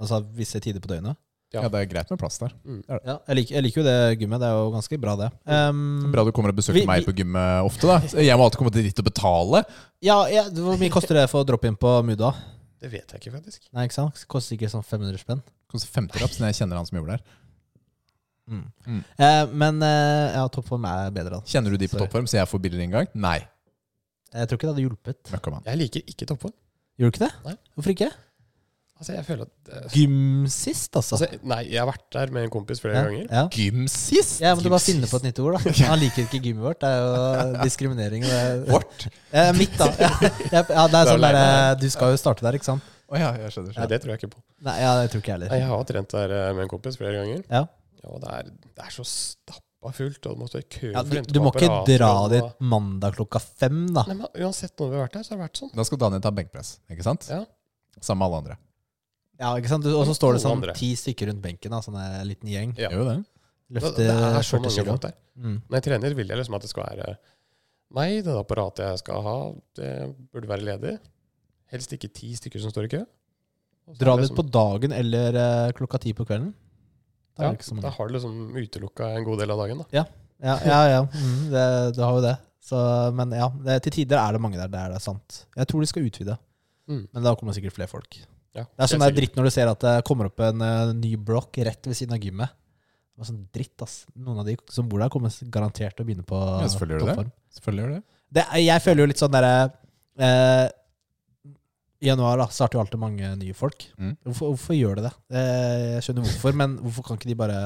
Altså visse tider på døgnet.
Ja.
Ja. det er greit med plass der.
Ja, jeg, liker, jeg liker jo det gymmet. Det er jo ganske bra, det.
Mm.
Ehm,
Bra du kommer og besøker
Vi-
meg
vi-
på gymmet ofte, da. Jeg må alltid komme til dit og betale.
ja, ja, Hvor mye koster det for å droppe inn på Mudo? da?
Det vet jeg ikke, faktisk.
Nei, ikke sant? Koster ikke sånn 500 spenn.
Koster 50 raps når jeg kjenner han som jobber der.
Mm.
Mm.
Eh, men eh, ja, toppform er bedre. Da.
Kjenner du de på
Sorry.
toppform, så jeg får billigere inngang? Nei.
Jeg tror ikke det hadde hjulpet.
Møkkamann.
Jeg liker ikke toppform.
Gjorde du ikke det?
Nei.
Hvorfor ikke?
Altså, jeg føler at eh,
Gym sist, altså.
altså, Nei, jeg har vært der med en kompis flere
ja,
ganger.
ja.
Gym sist!
Jeg måtte bare finne på et nytt ord, da. Han liker ikke gymmet vårt. Det er jo diskriminering. Det er,
Vårt?
Eh, mitt, da. Ja, ja, ja, det er sånn
lei
der, eh,
meg.
Du skal jo starte der, ikke sant?
Å ja, jeg skjønner.
Nei,
skjønner.
det tror jeg ikke på.
Nei, ja, jeg tror ikke jeg
Nei,
heller.
jeg har trent der eh, med en kompis flere ganger.
Ja.
Og det er, det er så stappa fullt, og du må stå i kø
Ja,
for
du,
å hente
du
på
må ikke
apparater,
dra
og-
dit mandag klokka fem, da.
Nei, men Uansett når vi har vært der, så har det vært sånn.
Da skal Daniel ta benkpress, ikke sant?
Ja.
Sammen med alle andre.
Ja, ikke sant? Du- Og så står det
Alle
sånn
andre.
ti stykker rundt benken, da, sånn en liten gjeng.
Ja.
Gjør jo det.
Løfte
det er så
40
mange
kilo.
folk der.
Mm.
Når jeg trener, vil jeg liksom at det skal være meg, det apparatet jeg skal ha, det burde være ledig. Helst ikke ti stykker som står i kø. Og så
Dra
er sånn- det
dit
liksom
på dagen eller eh, klokka ti på kvelden. Da er det ikke så
liksom, ja, Da
mange.
har du liksom utelukka en god del av dagen, da.
Ja, ja, ja. Mm, det, du har jo det. Så, men ja, det, til tider er det mange der. Det er det sant. Jeg tror de skal utvide.
Mm.
Men da kommer det sikkert flere folk.
Ja,
Det er sånn det er
helt sikkert.
dritt når du ser at det kommer opp en eh, ny blokk rett ved siden av gymmet. Det var sånn dritt, ass. Noen av de som bor der, kommer garantert til å begynne på
Ja, selvfølgelig gjør det det.
toppform.
Selvfølgelig gjør det.
Det er- jeg føler jo litt sånn derre eh, I januar da, starter jo alltid mange nye folk.
Mm.
Hvorfor, hvorfor gjør det det? Eh, jeg skjønner hvorfor, men hvorfor kan ikke de bare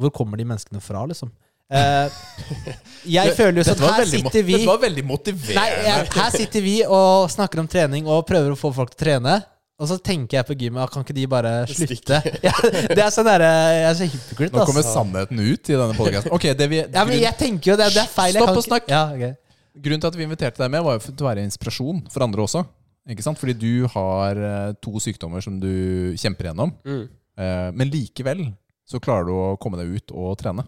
Hvor kommer de menneskene fra, liksom? Eh, jeg føler jo
Dette
sånn
var
Her
veldig mo-
sitter vi
Dette var veldig
Nei,
motiverende.
jeg, her sitter vi og snakker om trening og prøver å få folk til å trene. Og så tenker jeg på gymmet, ah, kan ikke de bare slutte? Ja, det er sånn derre Jeg er så hypocrite,
Nå kommer
ass.
sannheten ut i denne podkasten. det vi,
altså. Ja, men
grunn-
jeg tenker jo det, det er feil. Jeg
Stopp
kan
og
ikke- Ja, ok.
Grunnen til at vi inviterte deg med, var jo for å være inspirasjon for andre også. Ikke sant? Fordi du har eh, to sykdommer som du kjemper gjennom.
Mm.
eh, Men likevel så klarer du å komme deg ut og trene.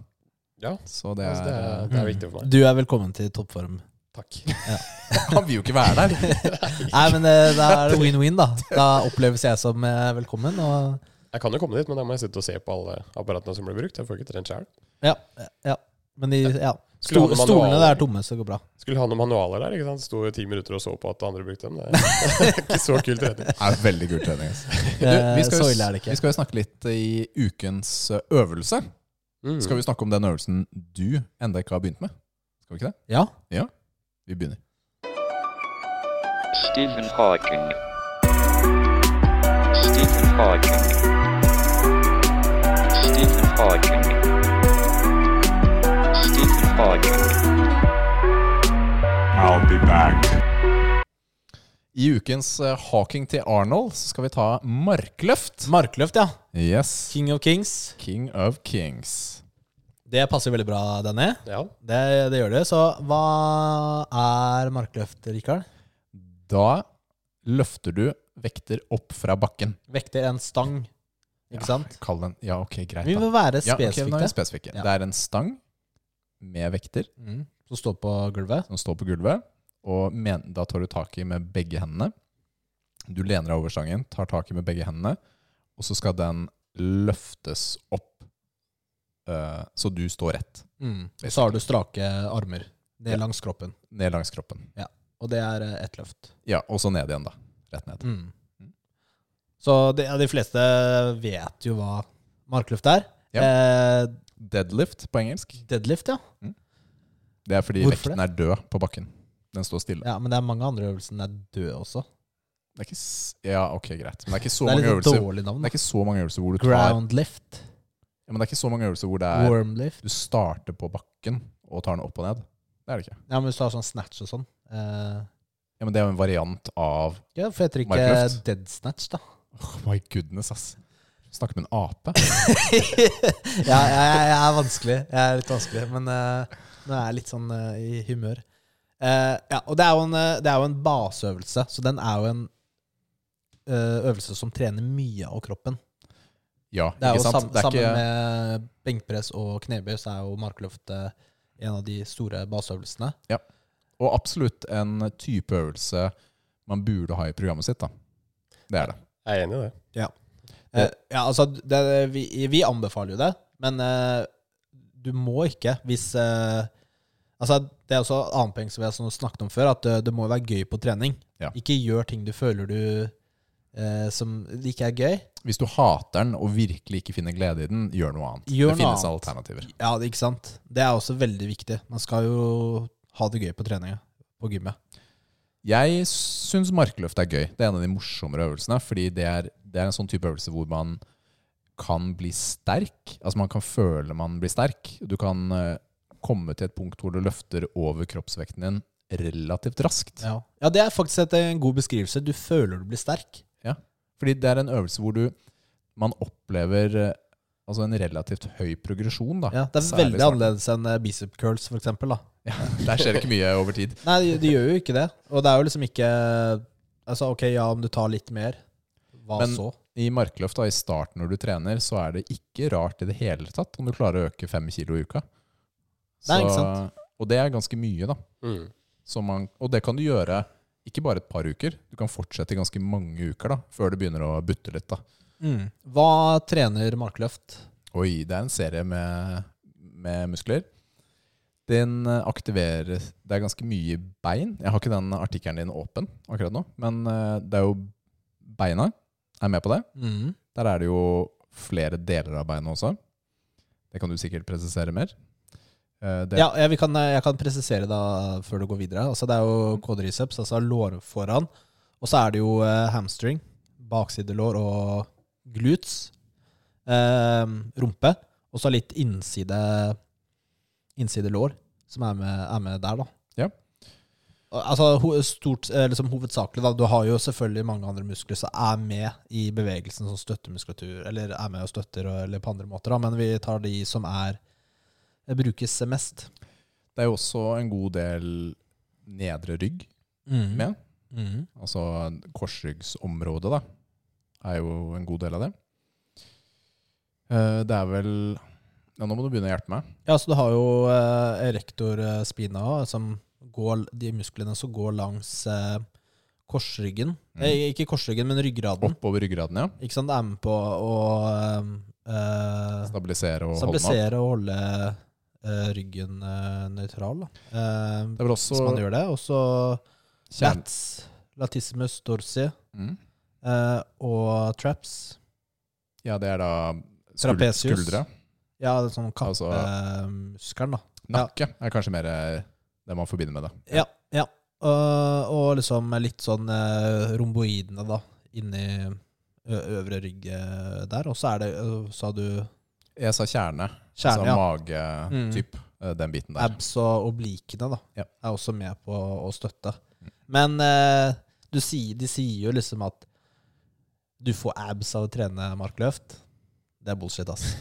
Ja.
Så det er,
altså, det, er,
Mm.
det er viktig for meg.
Du er velkommen til toppform.
Takk.
Han vil jo ikke være der!
Nei, men eh, da er det win-win, da. Da oppleves jeg som eh, velkommen. Og
Jeg kan jo komme dit, men da må jeg sitte og se på alle apparatene som blir brukt. Jeg får ikke trent sjøl.
ja. ja. Men de ja.
Skulle
Sto,
ha noen
stolene der
manualer.
er tomme, så det går bra.
Skulle ha noen manualer der. ikke sant? Sto i ti minutter og så på at andre brukte dem. Det er ikke så kul trening.
Det er veldig kul trening. ass. Du,
Eh,
jo
Så
s-
ille er det
vi
ikke.
skal jo snakke litt i ukens eh, øvelse.
Mm.
Skal vi snakke om den øvelsen du enda ikke har begynt med? Skal vi ikke det?
Ja.
Vi begynner.
Stephen Hawking. Stephen Hawking. Stephen Hawking. Stephen Hawking.
I'll be back.
I ukens eh, Hawking til Arnold så skal vi ta markløft.
Markløft, ja.
Yes.
King of Kings.
King of Kings.
Det passer veldig bra, Danny.
Ja.
Det, det gjør det. Så hva er markløft, Rikard?
Da løfter du vekter opp fra bakken.
Vekter en stang, ikke sant?
Kall den Ja, ok, greit.
Vi
da.
må være
Ja, ok, nå
spesifikke.
er vi spesifikke.
Ja.
Det er en stang med vekter
mm. Som står på gulvet.
som står på gulvet, og men, da tar du tak i med begge hendene. Du lener deg over stangen, tar tak i med begge hendene, og så skal den løftes opp, eh, så du står rett
Mm. Og så har du strake armer ned
Ja.
langs kroppen.
ned langs kroppen.
Og det er eh, ett løft.
Ja, og så ned igjen, da. Rett ned.
Mm. Så det, ja, de fleste vet jo hva markløft er.
Ja.
Eh,
Deadlift på engelsk.
deadlift, ja.
Det er fordi
Hvorfor
vekten er død på bakken. Den står stille.
ja. Men det er mange andre øvelser den er død også.
Det er ikke s ja, ok, greit. Men det er ikke så
Det er
mange
litt sånn
øvelser
dårlig navn.
Det er ikke så mange øvelser hvor du tar ja,
Ground lift.
Men det er ikke så mange øvelser hvor det er
Worm lift.
du starter på bakken og tar den opp og ned. Det er det ikke.
Ja, men hvis du har sånn snatch og sånn. Eh,
Ja, men det er jo en variant av
ja, for heter det ikke
Markløft.
dead snatch, da.
Oh my goodness, ass. Snakker med en ape.
ja, jeg, jeg, jeg er vanskelig. Jeg er litt vanskelig, men eh, nå er jeg litt sånn eh, i humør. Eh, ja, og det er, jo en, eh, det er jo en baseøvelse, så den er jo en eh, øvelse som trener mye av kroppen.
Ja,
Det er
ikke
jo
sant?
sam,
det er
Sammen
ikke,
med benkpress og knebøy så er jo markløft eh, en av de store baseøvelsene.
Og absolutt en type øvelse man burde ha i programmet sitt, da. Det er det.
Jeg er enig i det.
Eh, ja, altså, det, vi, vi anbefaler jo det, men eh, du må ikke hvis eh, Altså, det er også et annet poeng som vi har sånn snakket om før, at eh, det må være gøy på trening.
Ja.
Ikke gjør ting du føler du eh, som ikke er gøy.
Hvis du hater den og virkelig ikke finner glede i den, gjør noe annet.
Gjør
det
noe
finnes
annet.
alternativer.
Ja, det- ikke sant? Det er også veldig viktig. Man skal jo ha det gøy på treninga, på gymmet.
Jeg syns markløft er gøy. Det er en av de morsommere øvelsene. Fordi det er, det er en sånn type øvelse hvor man kan bli sterk. Altså man kan føle man blir sterk. Du kan eh, komme til et punkt hvor du løfter over kroppsvekten din relativt raskt.
Ja, ja det er faktisk et, en god beskrivelse. Du føler du blir sterk.
Fordi det er en øvelse hvor du man opplever eh, altså en relativt høy progresjon. Da.
Ja, det er
Særlig i
veldig
starten.
annerledes enn eh, bicep curls, for eksempel. Da.
Der skjer det ikke mye over tid.
Nei, det de gjør jo ikke det. Og det er jo liksom ikke Altså, ok, ja, om du tar litt mer, hva
Men-
så?
I markløft da, i starten når du trener, så er det ikke rart i det hele tatt om du klarer å øke fem kilo i uka.
Nei, ikke sant?
Og det er ganske mye, da.
Mm.
Så man, og det kan du gjøre ikke bare et par uker. Du kan fortsette i ganske mange uker da, før det begynner å butte litt. da.
Hva trener markløft?
Oi, det er en serie med, med muskler. Den eh, aktiverer Det er ganske mye bein. Jeg har ikke den artikkelen din åpen akkurat nå, men eh, det er jo beina. Er med på det. Der er det jo flere deler av beinet også. Det kan du sikkert presisere mer. Eh, Det,
Ja, jeg, vi kan, jeg kan presisere da før du går videre. Altså, det er
Mm.
jo quadriceps, altså lår foran. Og så er det jo eh, hamstring, baksidelår og glutes. Eh, rumpe. Og så litt innside innsidelår, som er med, er med der, da.
Ja.
Og, Altså ho stort, eh, liksom, hovedsakelig, da. Du har jo selvfølgelig mange andre muskler som er med i bevegelsen som støttemuskulatur, eller er med og støtter, og- eller på andre måter, da. Men vi tar de som er eh, brukes mest.
det er jo også en god del nedre rygg med.
Mhm.
Altså korsryggsområdet, da, er jo en god del av det. Eh, Det er vel Ja, nå må du begynne å hjelpe meg.
Ja, så du har jo eh, erector eh, spina, også, som går, de musklene som går langs eh, korsryggen.
Mhm.
Eh, ikke korsryggen, men ryggraden.
Oppover ryggraden, ja.
Ikke sant? Det er med på å eh,
Stabilisere og holde den opp.
stabilisere og holde eh, ryggen eh, nøytral. Da. Eh,
Det er vel
hvis man
også
gjør det. Og så
kjern...
lats, latissimus dorsi
Mm.
eh, og traps.
Ja, det er da skul
Trapezius.
skuldre.
Ja, det er sånn
Altså-
kappemuskelen, da.
Nakke er kanskje mer eh, det man forbinder med det.
Ja. ja. Og, og liksom litt sånn eh, romboidene, da, inni ø- øvre rygg eh, der. Og så er det, ø, sa du,
Jeg sa kjerne.
kjerne, ja. Mm.
altså mage typ, eh, den biten der.
Abs og oblikene, da,
Ja.
er også med på å støtte. Men eh, du sier, de sier jo liksom at du får abs av å trene markløft. Det er bullshit, ass.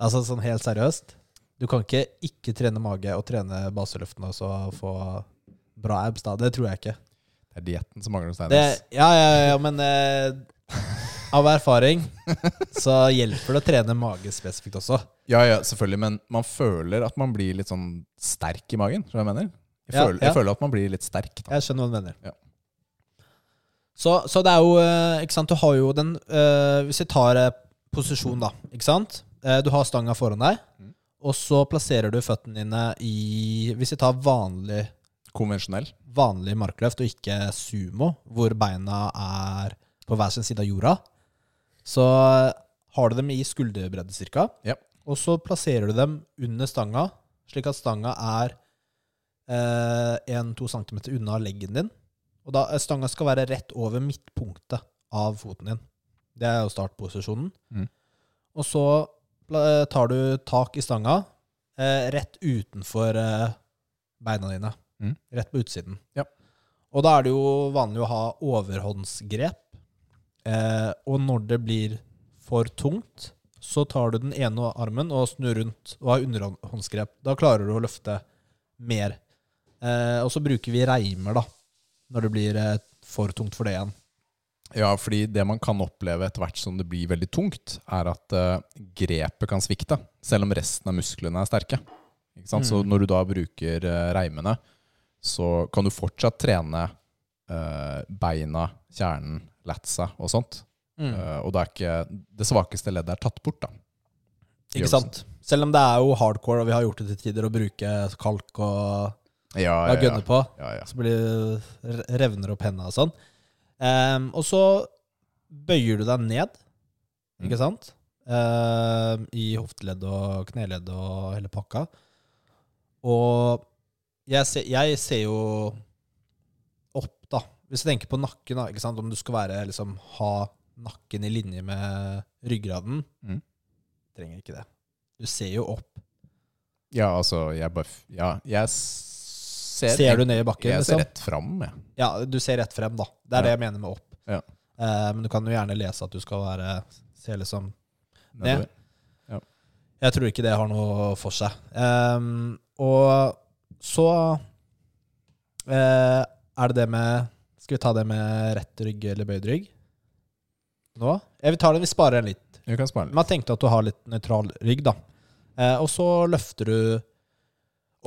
Altså sånn helt seriøst. Du kan ikke ikke trene mage og trene baseløftene og så få bra abs, da. Det tror jeg ikke.
Det er dietten som mangler hos
Det,
Steiners.
ja, ja, ja, men eh, av erfaring så hjelper det å trene mage spesifikt også.
Ja, ja, selvfølgelig, men man føler at man blir litt sånn sterk i magen, tror jeg jeg mener. Jeg,
Ja,
føler,
ja.
jeg føler at man blir litt sterk, da.
Jeg skjønner hva du mener.
Ja.
Så, så det er jo eh, Ikke sant, du har jo den eh, Hvis vi tar eh, posisjon, da. Ikke sant? Eh, Du har stanga foran deg,
Mm.
og så plasserer du føttene dine i Hvis vi tar vanlig,
Konvensjonell.
vanlig markløft og ikke sumo, hvor beina er på hver sin side av jorda, så eh, har du dem i skulderbredde cirka,
Ja.
og så plasserer du dem under stanga, slik at stanga er eh, 1-2 cm unna leggen din. Og da, eh, stanga skal være rett over midtpunktet av foten din. Det er jo startposisjonen.
Mm.
Og så pla- eh, tar du tak i stanga eh, rett utenfor eh, beina dine.
Mm.
Rett på utsiden.
Ja.
Og da er det jo vanlig å ha overhåndsgrep. Eh, og når det blir for tungt, så tar du den ene armen og snur rundt og har underhåndsgrep. Da klarer du å løfte mer. Eh, og så bruker vi reimer, da, når det blir eh, for tungt for det igjen.
Ja, fordi det man kan oppleve etter hvert som det blir veldig tungt, er at eh, grepet kan svikte, selv om resten av musklene er sterke. Ikke sant?
Mm.
Så når du da bruker eh, reimene, så kan du fortsatt trene eh, beina, kjernen, latsa og sånt.
Mm.
Eh, og da er ikke det svakeste leddet er tatt bort, da.
Ikke sant? Selv om det er jo hardcore, og vi har gjort det til tider å bruke kalk og
Ja,
ja,
ja, ja.
gønne på,
ja, ja.
så blir, revner opp hendene og sånn. Ehm, og så bøyer du deg ned,
Mm.
ikke sant? Ehm, I hofteledd og kneledd og hele pakka. Og jeg ser, jeg ser jo opp, da. Hvis du tenker på nakken, da, ikke sant? om du skal være, liksom, ha nakken i linje med ryggraden
Mm.
Trenger ikke det. Du ser jo opp.
Ja, altså, jeg bare f- Ja, jeg s- ser
Ser du ned i bakken?
Jeg
liksom?
ser rett fram, jeg.
Ja, du ser rett frem, da. Det er
Ja.
det jeg mener med opp.
Ja.
Eh, men du kan jo gjerne lese at du skal være se liksom
Nedover.
Jeg tror ikke det har noe for seg. Ehm, og så eh, er det det med Skal vi ta det med rett rygg eller bøyd rygg? Nå? Jeg vil ta den, vi sparer den litt.
Vi kan spare litt.
Man tenkte at du har litt nøytral rygg, da. Eh, og så løfter du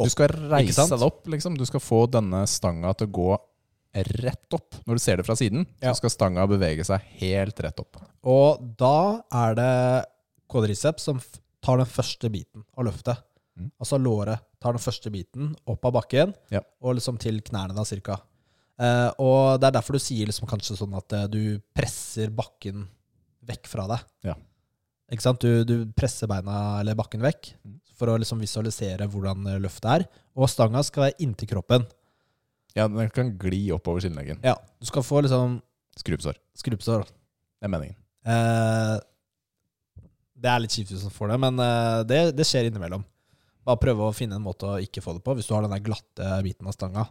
Du skal
ikke
reise
sant?
deg opp, liksom. Du skal få denne stanga til å gå rett opp. Når du ser det fra siden,
Ja.
så skal stanga bevege seg helt rett opp.
Og da er det kvadriceps som f- tar den første biten av løftet.
Mm.
Altså låret tar den første biten opp av bakken
Ja.
og liksom til knærne da, cirka. Eh, og det er derfor du sier liksom kanskje sånn at eh, du presser bakken vekk fra deg.
Ja.
Ikke sant? Du, du presser beina eller bakken vekk
Mm.
for å liksom visualisere hvordan eh, løftet er. Og stanga skal være inntil kroppen.
Ja, den kan gli oppover skinnleggen.
Ja, du skal få liksom
Skrubbsår.
skrubbsår.
Det er meningen.
Eh, det er litt kjipt hvis man får det, men eh, det, det skjer innimellom. Bare prøve å finne en måte å ikke få det på, hvis du har den der glatte biten av stanga.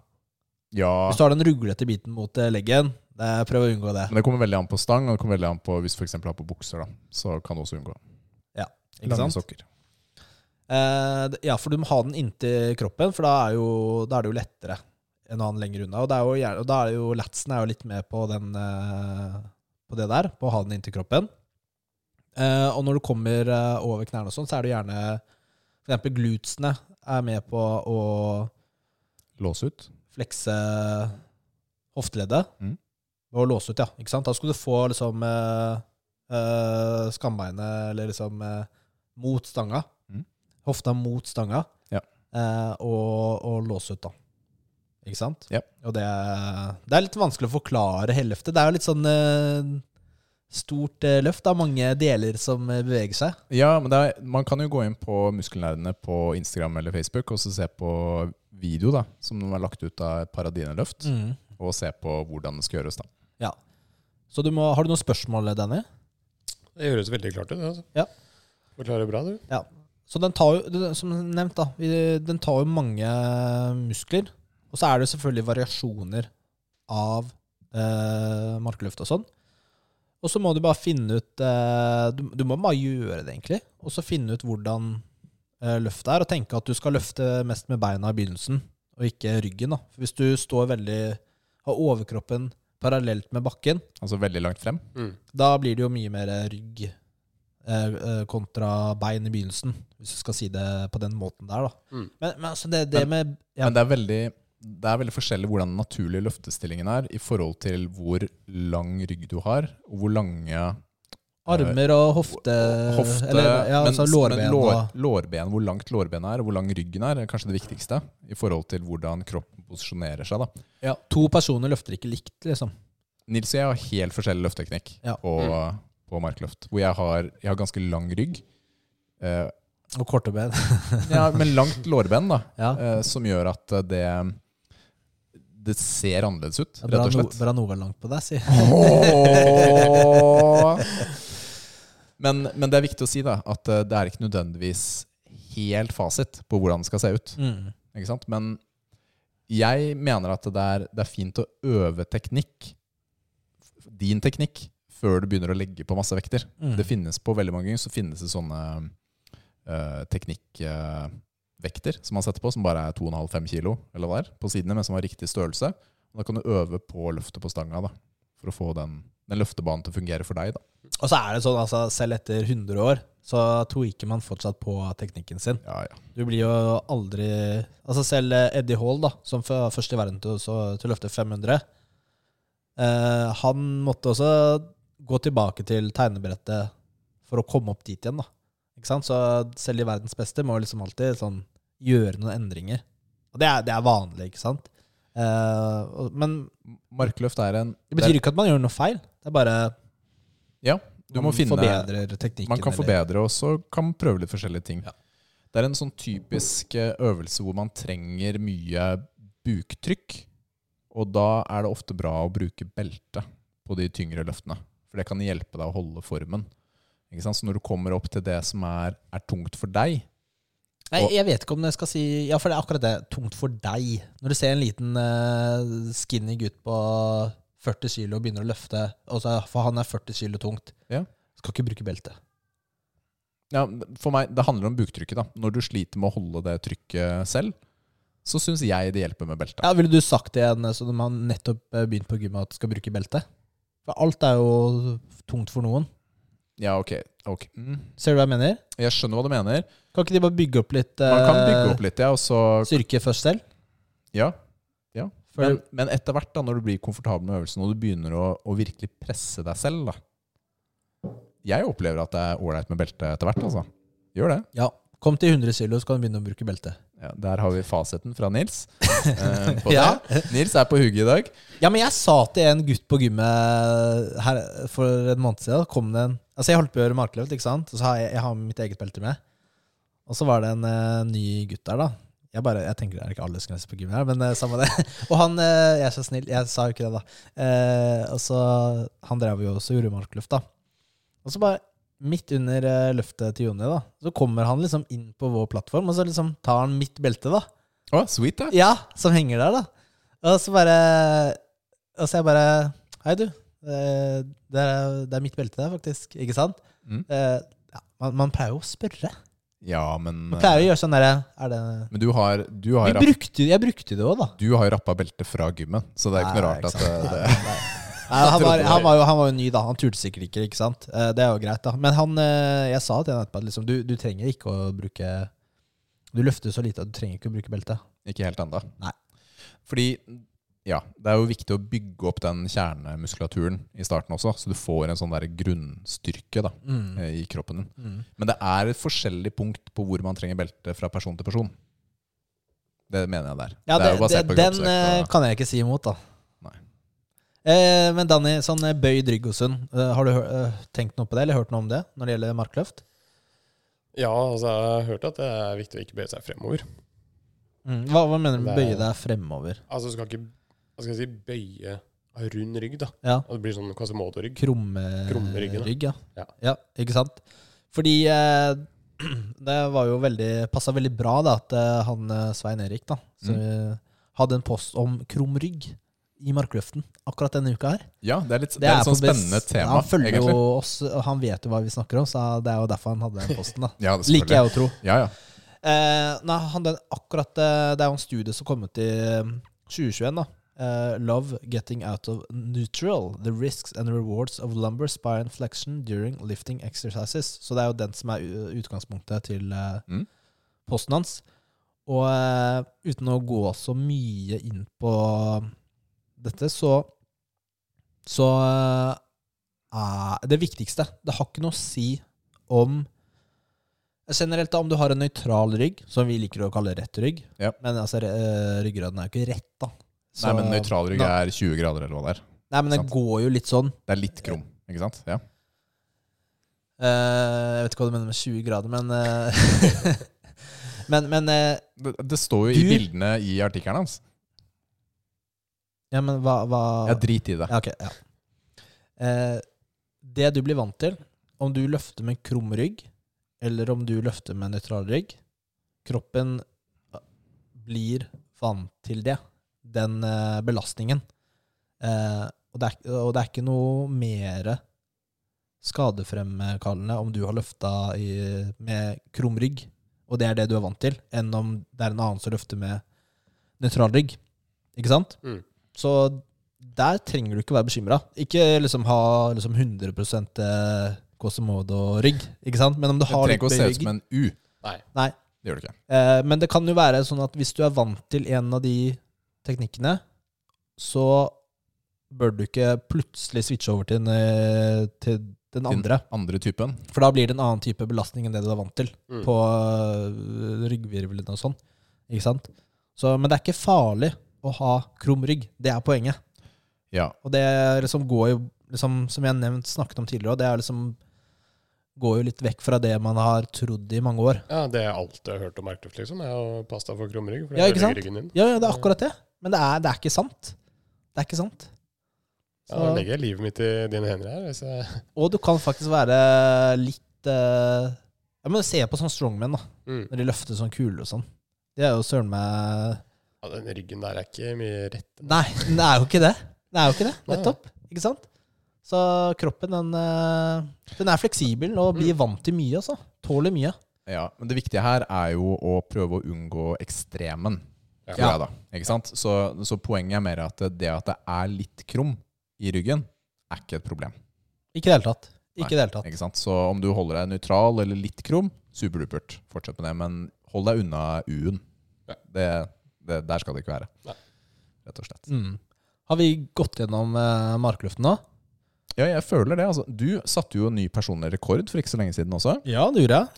Ja,
Hvis du har den ruglete biten mot eh, leggen, det, prøv å unngå det.
men det kommer veldig an på stang, og det kommer veldig an på hvis du f.eks. har på bukser, da. Så kan du også unngå.
Ikke
Lange
sant?
sokker.
Eh, d- ja, for du må ha den inntil kroppen, for da er, jo, da er det jo lettere enn å ha den lenger unna. Og, det er jo, gjerne- og da er det jo latsen er jo litt med på, den, eh, på det der, på å ha den inntil kroppen. Eh, og når du kommer eh, over knærne og sånn, så er det gjerne for eksempel glutesene er med på å
Lås ut.
flekse hofteleddet.
Mm.
Og låse ut, ja. Ikke sant? Da skulle du få liksom eh, eh, skambeinet, eller liksom eh, mot stanga.
Mm.
Hofta mot stanga,
Ja.
eh, og, og låse ut, da. Ikke sant?
Ja.
Og det, det er litt vanskelig å forklare helløftet. Det er jo litt sånn eh, stort eh, løft. Det er mange deler som eh, beveger seg.
Ja, men det er, man kan jo gå inn på muskelnerdene på Instagram eller Facebook og så se på video da, som de har lagt ut av et Paradine-løft,
Mm.
og se på hvordan det skal gjøres. da.
Ja. Så du må, har du noen spørsmål, Danny?
Det høres veldig klart ut. det, Altså.
Ja.
Forklarer bra, du.
Ja. Så den tar jo, det- som nevnt, da, vi- den tar jo mange eh, muskler. Og så er det jo selvfølgelig variasjoner av eh, markløft og sånn. Og så må du bare finne ut eh, du, du må bare gjøre det, egentlig. Og så finne ut hvordan eh, løft der, og tenke at du skal løfte mest med beina i begynnelsen, og ikke ryggen. da. For Hvis du står veldig, har overkroppen parallelt med bakken,
Altså veldig langt frem.
Mm.
da blir det jo mye mer rygg eh, eh, kontra bein i begynnelsen, hvis du skal si det på den måten der. da.
Mm.
Men, men altså det, det med ja,
Men det er veldig det er veldig forskjellig hvordan den naturlige løftestillingen er i forhold til hvor lang rygg du har, og hvor lange
armer og hofte,
hofte
Eh, Eller ja, altså lårben.
men lår,
og-
lårben, Hvor langt lårbenet er, og hvor lang ryggen er, er kanskje det viktigste i forhold til hvordan kroppen posisjonerer seg. da.
ja, to personer løfter ikke likt, liksom.
Nils og jeg har helt forskjellig løftteknikk
Ja.
på, på markløft. Hvor jeg har, jeg har ganske lang rygg, eh,
Og korte ben.
ja, men langt lårben, da.
Ja.
eh, som gjør at eh, det det ser annerledes ut,
Ja,
rett
Bra,
og
no,
slett.
bra Nova langt på deg, si.
Åh. men, men det er viktig å si da, at eh, det er ikke nødvendigvis helt fasit på hvordan det skal se ut.
Mm.
Ikke sant? Men jeg mener at det er, det er fint å øve teknikk, din teknikk, før du begynner å legge på masse vekter.
Mm.
Det finnes på veldig mange ganger så finnes det sånne eh, teknikkvekter som man setter på, som bare er 2,5-5 kilo eller hva det er, på sidene, men som har riktig størrelse. Da kan du øve på løftet på stanga da, for å få den, den løftebanen til å fungere for deg. Da.
Og så er det sånn, altså, selv etter 100 år, så tweaker man fortsatt på teknikken sin.
Ja, ja.
Du blir jo aldri Altså selv eh, Eddie Hall, da, som var først i verden til, å- så- til å løfte 500 eh, Han måtte også gå tilbake til tegnebrettet for å komme opp dit igjen, da. Ikke sant? Så selv de verdens beste må liksom alltid sånn gjøre noen endringer. Og det er, det er vanlig, ikke sant? Eh, og- men
Markløft er en
det betyr ikke at man gjør noe feil. Det er bare
Ja, du må
man
finne
forbedrer teknikken.
Man kan
eller-
forbedre, og så kan man prøve litt forskjellige ting. Det er en sånn typisk eh, øvelse hvor man trenger mye buktrykk, og da er det ofte bra å bruke belte på de tyngre løftene. For det kan hjelpe deg å holde formen. Ikke sant? Så når du kommer opp til det som er, er tungt for deg
Nei,
Og-
jeg vet ikke om jeg skal si Ja, for det er akkurat det. Tungt for deg. Når du ser en liten eh, skinny gutt på 40 kilo og begynner å løfte, og så, for han er 40 kilo tungt,
Ja.
skal ikke bruke belte.
ja, For meg, det handler om buktrykket. da. Når du sliter med å holde det trykket selv, så syns jeg det hjelper med belte.
Ja, Ville du sagt det igjen som om han nettopp eh, begynt på gymmet, at skal bruke belte? For alt er jo tungt for noen.
Ja, ok. ok. Mm.
Ser du hva jeg mener?
Jeg skjønner hva du mener.
Kan ikke de bare bygge opp litt
Man kan
eh,
bygge opp litt, ja, og så
styrke først selv?
Ja. ja.
For-
Men, men etter hvert, da, når du blir komfortabel med øvelsen, og du begynner å, å virkelig presse deg selv, da Jeg opplever at det er ålreit med belte etter hvert, altså. Gjør det.
Ja. Kom til 100 kilo, så kan du begynne å bruke belte.
Ja, der har vi fasiten fra Nils. Eh, på
Ja.
det. Nils er på hugget i dag.
Ja, men jeg sa til en gutt på gymmet her for en måned siden kom det en, Altså, jeg holdt på å gjøre markløft, ikke sant? Og så har jeg, jeg har mitt eget belte med. Og så var det en eh, ny gutt der, da. Jeg bare, jeg tenker det er ikke aldersgrense på gymmet her, men eh, samme det. Og han eh, Jeg er så snill, jeg sa jo ikke det, da. Eh, og så Han drev jo også og gjorde markløft, da. Og så bare Midt under eh, løftet til Jonny, da, så kommer han liksom inn på vår plattform, og så liksom tar han mitt belte, da.
Å, sweet, da.
Ja, som henger der, da. Og så bare Og så jeg bare Hei, du. eh, Det er, det er mitt belte der, faktisk. Ikke sant?
Mm.
Eh, Ja, man, man pleier jo å spørre.
Ja, men,
Man pleier å gjøre sånn derre Er det
men du har, du
Vi
har, rapp,
brukte, Jeg brukte det òg, da.
du har rappa belte fra gymmen, så det er ikke noe
Nei,
rart at
sant.
eh, det,
Nei, nei. Nei, han, var, han, var jo, han var jo ny, da. Han turte sikkert ikke. ikke sant? Eh, Det er jo greit, da. Men han, eh, jeg sa til henne etterpå at liksom, du, du trenger ikke å bruke Du løfter så lite at du trenger ikke å bruke belte.
Ikke helt ennå.
Nei.
Fordi ja, det er jo viktig å bygge opp den kjernemuskulaturen i starten også, så du får en sånn der grunnstyrke da, eh, i kroppen din.
Mm.
Men det er et forskjellig punkt på hvor man trenger belte fra person til person. Det mener jeg der.
Ja,
det er
det,
jo basert
det,
på
den
kroppsvekt
eh,
og-
kan jeg ikke si imot, da.
Nei.
Eh, men Danny, sånn eh, bøyd rygg og sunn. Eh, har du hø- eh, tenkt noe på det, eller hørt noe om det når det gjelder markløft?
Ja, altså, jeg har hørt at det er viktig å ikke bøye seg fremover.
Mm, Hva, hva mener du med
Det er-
bøye deg fremover?
Altså, du skal ikke hva skal jeg si, bøye av rund rygg, da.
Ja.
Og det blir sånn Quasimodo-rygg. Krumme ryggen, da.
Krummerygg, ja.
Ja.
ja. Ikke sant? Fordi eh, det var jo veldig Passa veldig bra da at eh, han eh, Svein Erik da så, eh,
Mm.
hadde en post om krum rygg i markløften akkurat denne uka her.
Ja, det er, litt, det er et
på
sånn spennende
bes-
tema,
Han følger
egentlig.
jo oss, og han vet jo hva vi snakker om, så det er jo derfor han hadde den posten. da
Ja,
Liker
selvfølgelig.
jeg å tro.
Ja, ja.
Eh, nei, han den akkurat eh, Det er jo en studie som kom ut i eh, 2021, da. Eh, Love Getting Out of Neutral. The Risks and Rewards of Lumber Spine Flexion During Lifting Exercises. Så det er jo den som er u- utgangspunktet til eh,
Mm.
posten hans. Og eh, uten å gå så mye inn på um, dette, så Så eh, er det viktigste Det har ikke noe å si om eh, Generelt, da, om du har en nøytral rygg, som vi liker å kalle rett rygg
Ja.
Men altså, re- eh, ryggraden er jo ikke rett, da.
Nei, men nøytral rygg
Nei.
er 20 grader eller hva det er.
Nei, men det
sant.
går jo litt sånn.
Det er litt krum, ikke sant? Ja.
Eh, jeg vet ikke hva du mener med 20 grader, men eh, Men, men eh,
Det, det står jo i
Du-
bildene i artikkelen hans.
Ja, men hva, hva
Jeg drit i det.
Ja, ok, ja. Eh, det du blir vant til, om du løfter med krum rygg, eller om du løfter med nøytral rygg, kroppen eh, blir vant til det, den eh, belastningen. Eh, og, det er, og det er ikke noe mer skadefremkallende om du har løfta i, med krum rygg, og det er det du er vant til, enn om det er en annen som løfter med nøytral rygg. Ikke sant?
Mm.
Så der trenger du ikke være bekymra. Ikke liksom ha liksom 100 eh, Quasimodo-rygg, ikke sant? Men om du
Det
har
trenger
litt
ikke å se
bøyd
ut
rygg
som en U.
Nei.
Nei.
Det gjør det ikke.
Eh, Men det kan jo være sånn at hvis du er vant til en av de teknikkene, så bør du ikke plutselig switche over til den, eh, til den andre.
Andre typen.
For da blir det en annen type belastning enn det du er vant til
Mm.
på øh, ryggvirvelen og sånn. Ikke sant? Så, men det er ikke farlig å ha krum rygg. Det er poenget.
Ja.
Og det liksom går jo, liksom, som jeg har nevnt, snakket om tidligere, og det er liksom går jo litt vekk fra det man har trodd i mange år.
Ja, det er alt jeg har hørt om markluft, liksom. Er jo pasta for krumrygg. For
Ja,
det
ikke
ødelegger
sant?
ryggen din.
Ja, ja, det er akkurat det. Men det er, det er ikke sant. Det er ikke sant.
Ja, da
Så-
legger jeg livet mitt i dine hender her. Hvis jeg,
Og du kan faktisk være litt eh, Ja, men Se på sånn strongman, da.
mm.
Når de løfter sånn kuler og sånn. Det er jo søren meg
ja, den ryggen der er ikke mye rett.
Nei, det er jo ikke det. Det er jo ikke det,
Nei.
nettopp. Ikke sant? Så kroppen, den, eh, den er fleksibel og
Mm.
blir vant til mye, altså. Tåler mye.
Ja, men det viktige her er jo å prøve å unngå ekstremen.
Ja.
Tror jeg da, ikke sant? Så, så poenget er mer at det at det er litt krum i ryggen, er ikke et problem.
Ikke i det hele tatt. Ikke
Nei.
i det hele tatt.
Ikke sant? Så om du holder deg nøytral eller litt krum, superdupert. Fortsett med det, men hold deg unna U-en.
Ja.
Det, det, der skal det ikke være.
Nei.
Rett og slett.
Mm. Har vi gått gjennom eh, markluften nå?
Ja, jeg føler det. Altså, du satte jo en ny personlig rekord for ikke så lenge siden også.
Ja, det gjorde jeg.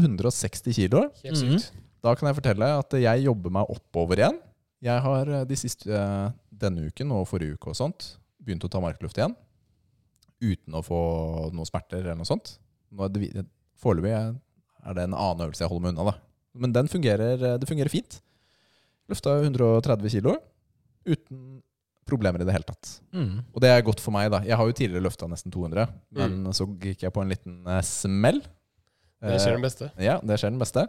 260 kilo.
Helt sykt.
Da kan jeg fortelle at jeg jobber meg oppover igjen. Jeg har eh, de siste, eh, denne uken og forrige uke og sånt begynt å ta markluft igjen. Uten å få noen smerter eller noe sånt. Nå er det, vi- foreløpig er det en annen øvelse jeg holder meg unna. da. Men den fungerer, eh, det fungerer fint. Løfta 130 kilo uten problemer i det hele tatt.
Mm.
Og det er godt for meg. da. Jeg har jo tidligere løfta nesten 200, men så gikk jeg på en liten eh, smell.
Mm.
Dere
Eh,
ser den beste.
ja, det skjer den beste.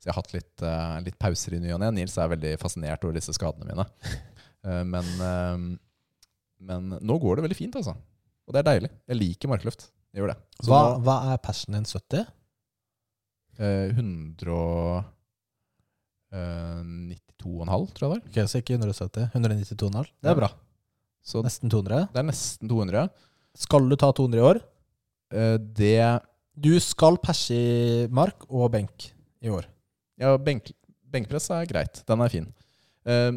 Så jeg har hatt litt, eh, litt pauser i ny og ne. Nils er veldig fascinert over disse skadene mine. Eh, men, eh, men nå går det veldig fint, altså. Og det er deilig. Jeg liker markløft. Jeg gjør det. Så
Hva,
nå,
hva er passion din 70?
eh, 192,5, tror jeg det er.
Ok, Så ikke 170. 192,5. Det
Ja.
er bra.
Så det
Nesten 200.
er nesten 200.
Skal du ta 200 i år?
Eh, det
Du skal perse i mark og benk i år.
Ja, benk, benkpress er greit. Den er fin. Eh,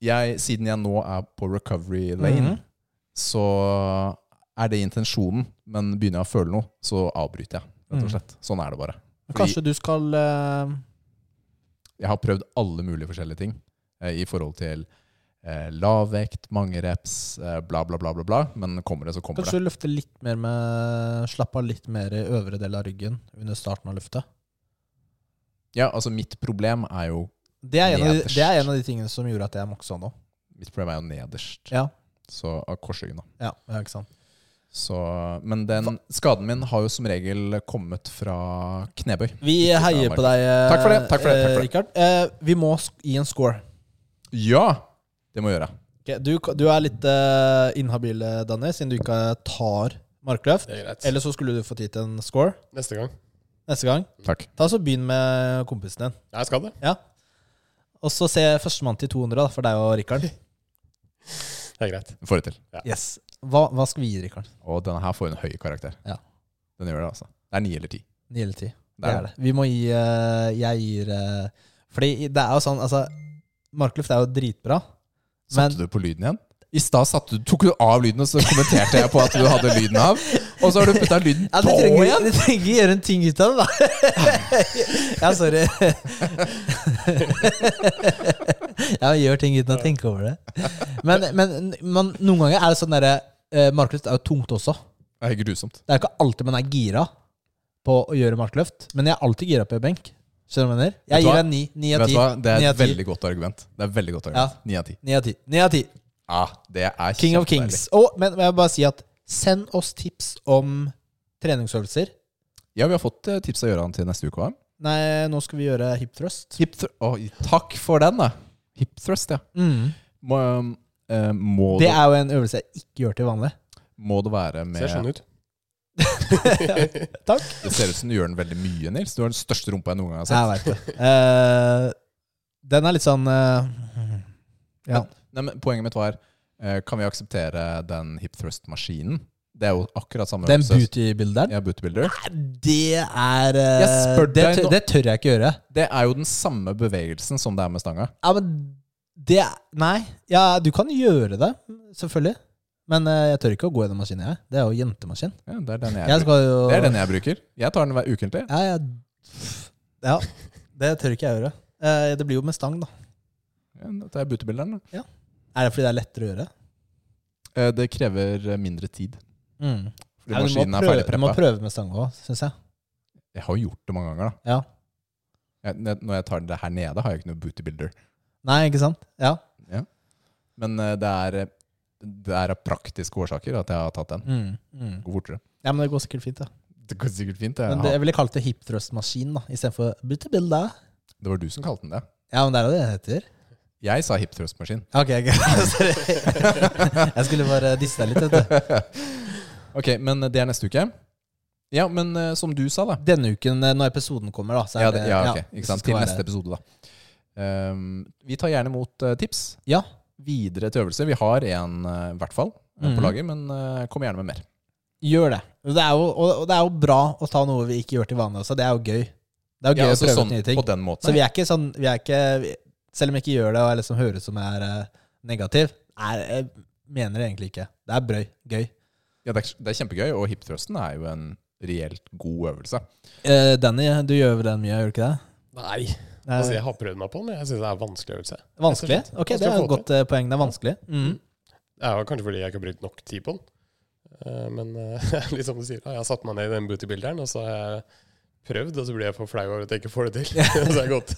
jeg, siden jeg nå er på recovery lane,
Mhm.
så er det intensjonen, men begynner jeg å føle noe, så avbryter jeg, rett og
Mm.
slett. Sånn er det bare. Fordi-
Kanskje du skal eh,
Jeg har prøvd alle mulige forskjellige ting eh, i forhold til eh, lav vekt, mange reps, eh, bla, bla, bla, bla, bla. Men kommer det, så kommer
Kanskje du løfter litt mer med Slapp av litt mer i øvre del av ryggen under starten av løftet.
det. Ja, altså mitt problem er jo
Det er, en av de,
Nederst.
det er en av de tingene som gjorde at jeg maksa nå.
Mitt problem er jo nederst.
Ja.
Så av korsryggen, da.
Ja, ja, ikke sant?
Så, men den skaden min har jo som regel kommet fra knebøy.
Vi
Ikke fra
heier
mark.
på deg, eh,
Takk for det, takk for det, takk for det.
eh, Rikard. Eh, vi må sk- gi en score.
Ja! Det må jeg gjøre.
Ok, Du, du er litt eh, inhabil, eh, Danny, siden du ikke tar markløft.
Det er greit.
Eller så skulle du fått gitt en score.
Neste gang.
neste gang.
Takk.
Ta så Begynn med kompisen din.
Jeg skal det.
Og så se førstemann til 200, da, for deg og Rikard.
Det er greit.
Får det til.
Yes. Hva, hva skal vi gi Rikard?
Og denne her får en høy karakter.
Ja.
Den gjør det, altså. Det er ni eller ti.
Ni eller ti?
Det er det.
Vi må gi eh, Jeg gir eh, Fordi det er jo sånn, altså Markløft er jo dritbra. Men
Satte du på lyden igjen? I stad satte du- tok du av lyden, og så kommenterte jeg på at du hadde lyden av. Og så har du putta lyden
ja,
på
du trenger,
igjen!
du trenger ikke gjøre en ting ut av det, da. ja, sorry. ja, jeg gjør ting uten å tenke over det. Men, men man, noen ganger er det sånn derre eh, Markløft er jo tungt også.
Det er grusomt.
Det er jo ikke alltid man er gira på å gjøre markløft, men jeg er alltid gira på benk. Skjønner du hva jeg mener?
Vet
Jeg
du
gir
hva?
deg ni. Ni av
Vet du
ti.
hva? Det er
Ni av
et
ti.
veldig godt argument. Det er et veldig godt argument. Ni av ti.
Ni av ti. Ni av ti.
Ah, det er
King of
kjempedeilig.
Kings. Og, men jeg vil bare si at send oss tips om treningsøvelser.
Ja, vi har fått eh, tips av Gøran til neste uke. hva?
Nei, nå skal vi gjøre hip thrust.
Hip thr- Oi, takk for den, da. Hip thrust, ja.
Mm.
Må, eh, må,
Det
det,
er jo en øvelse jeg ikke gjør til vanlig.
må det være med
Ser sånn ut.
Takk.
Det ser ut som du gjør den veldig mye, Nils. Du har den største rumpa jeg noen gang har sett.
Jeg veit det. Eh, den er litt sånn eh, ja.
Nei, men poenget mitt var eh, Kan vi akseptere den hip thrust-maskinen? Det er jo akkurat samme
Den
øvelse.
beautybilderen,
Ja, bootbuilder.
det er eh,
Jeg spør
det,
deg
tør,
nå-
det tør jeg ikke gjøre.
Det er jo den samme bevegelsen som det er med stanga.
Ja, men det Nei. Ja, du kan gjøre det, selvfølgelig. Men eh, jeg tør ikke å gå gjennom maskinen, jeg. Det er jo jentemaskin.
Ja, det, er den jeg
Jeg skal jo
bruker. det er den jeg bruker. Jeg tar den hver ukentlig.
Ja, jeg, ja det tør ikke jeg gjøre. Eh, Det blir jo med stang, da.
Ja, det er bootbuilderen. da.
Er det fordi det er lettere å gjøre?
Eh, Det krever eh, mindre tid.
Mm. Nei, men du
Fordi
må
maskinen er
prøve-
ferdig
Du må
preppa.
prøve med stang òg, syns jeg.
Jeg har jo gjort det mange ganger, da.
Ja.
Jeg, når- når jeg tar det her nede, har jeg ikke noe bootybuilder.
Nei, ikke sant? Ja.
Men eh, det er, eh, det er av praktiske årsaker at jeg har tatt den.
Mm. Mm.
Gå fortere.
ja, men det går sikkert fint, da.
Det går sikkert fint. Jeg
Men det,
har-
jeg ville kalt det hip thrust-maskin da, istedenfor butabilda.
det var du som kalte den det.
Ja, men det er jo det det heter.
Jeg sa hip thrust-maskin.
Ok, ok. Sorry. jeg skulle bare disse deg litt, vet du.
ok, men det er neste uke. Ja, men eh, som du sa, da.
Denne uken, eh, når episoden kommer, da. Så er
Ja, det, ja, ok.
det
Ikke sant?
skal
Til
være-
neste episode, da. Um, vi tar gjerne imot eh, tips
Ja.
videre til øvelse. Vi har en eh, i hvert fall eh,
Mhm.
på lager, men eh, kom gjerne med mer.
Gjør det. Det er jo, og, og det er jo bra å ta noe vi ikke gjør til vanlig også. Det er jo gøy. Det er jo gøy
Ja, altså
å prøve
sånn,
ut nye ting.
På den måten.
Så vi er ikke sånn vi er ikke, vi- Selv om jeg ikke gjør det, og jeg liksom høres som jeg er eh, negativ, er, jeg mener det egentlig ikke. Det er brøy. Gøy.
Ja, det, er, det er kjempegøy, og hipthrusten er jo en reelt god øvelse.
Eh, Danny, du gjør vel den mye, gjør du ikke det?
Nei.
Det er
Altså, jeg har prøvd meg på den, men jeg syns det er en vanskelig øvelse.
vanskelig?
rett og slett.
Ok, det
Vanskelig
er et
å få
godt eh, poeng. Det er vanskelig. Mm.
Det er jo kanskje fordi jeg ikke har brukt nok tid på den. Eh, Men eh, litt som du sier, da, jeg har satt meg ned i den bootybilderen, og så har jeg prøvd, og så blir jeg for flau over at jeg ikke får det til. så det er godt.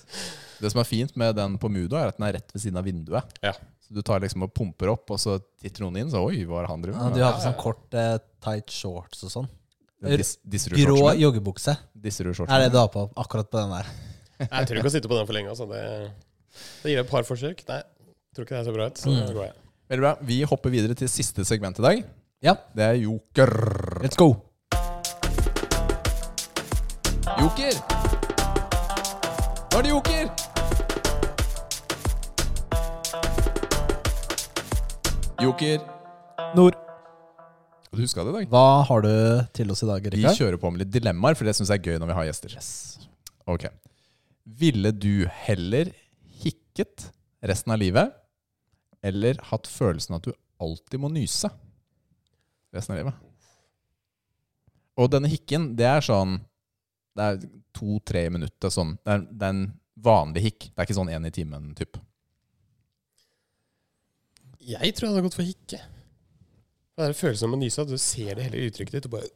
Det som er fint med den på Mudo, er at den er rett ved siden av vinduet.
Ja.
Så du tar liksom og pumper opp, og så titter noen inn, så oi, hva er det han
Mm.
driver
Ja,
med?
du har på sånn kort eh, tight shorts og sånn.
Den dis, disser du
Grå
shortsene?
joggebukse
Disser
er
du
det
shortsene?
du har på akkurat på den der.
Jeg tør ikke å sitte på den for lenge. Altså. Det, det gir et par forsøk. Nei, tror ikke det ser bra ut, så
Mm.
da går jeg.
Veldig bra. Vi hopper videre til siste segment i dag.
Ja.
Det er joker.
Let's go!
Joker! Nå er det joker! Joker.
Nord,
Du huska det i dag?
hva har du til oss i dag,
Vi
Rikard?
kjører på med litt dilemmaer, for det syns jeg er gøy når vi har gjester. Ok. Ville du heller hikket resten av livet, eller hatt følelsen at du alltid må nyse resten av livet? Og denne hikken, det er sånn Det er to-tre minutter sånn. Det er, det er en vanlig hikk. Det er ikke sånn én i timen typ.
Jeg tror jeg hadde gått for hikke. Det er følelsen av å nyse, at du ser det hele i uttrykket ditt. Og bare,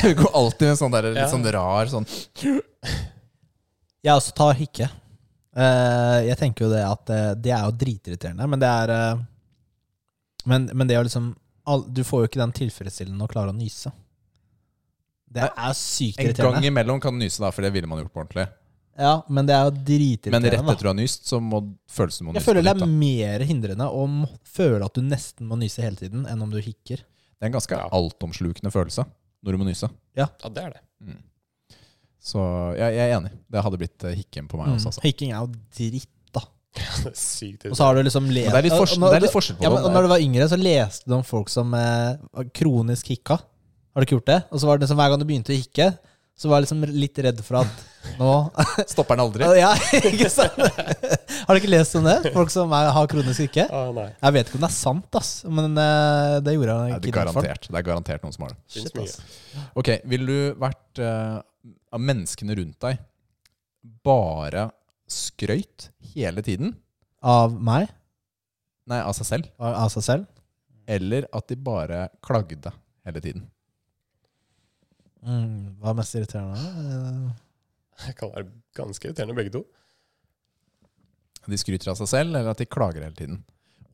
Du går alltid med en sånn der,
Ja.
litt sånn rar sånn
Jeg også tar hikke. Eh, jeg tenker jo det at eh, det er jo dritirriterende, men det er eh, men, men det er jo liksom all, Du får jo ikke den tilfredsstillende å klare å nyse. Det er sykt
En gang
irriterende.
imellom kan du nyse, da, for det ville man gjort på ordentlig.
Ja, men det er jo
Men rett
dritirriterende. da.
etter du har nyst, så må følelsen må
Jeg
nyse.
føler
på
det
nytt,
er
da.
mer hindrende å må- føle at du nesten må nyse hele tiden, enn om du hikker.
Det er en ganske
Ja.
altomslukende følelse når du må nyse.
ja, det er det.
Så jeg, jeg er enig. Det hadde blitt eh, hikken på meg
Mm.
også. Altså.
Hikking er jo dritt, da.
Det er sykt
Og så har du liksom le-
Men det er litt, fors
Og når
det er
du-
litt forskjell på
ja, men,
det.
og når du var yngre, så leste du om folk som eh, var kronisk hikka. Har du ikke gjort det? Og så var det liksom hver gang du begynte å hikke, så var jeg liksom litt redd for at nå
Stopper den aldri.
Ja, ikke sant? Har du ikke lest om det? Folk som er, har kronisk hikke?
Ah, nei.
Jeg vet ikke om det er sant, ass, men eh, det gjorde han
Nei, det,
ikke.
er garantert. det er garantert noen som har det.
Finnes
Shit,
mye.
ass.
Ok, Ville du vært eh, av menneskene rundt deg bare skrøyt hele tiden?
Av meg?
Nei, av seg selv.
Av av seg selv?
Eller at de bare klagde hele tiden?
Mm, hva er mest irriterende? Eh,
Det kan være ganske irriterende, begge to.
De skryter av seg selv, eller at de klager hele tiden?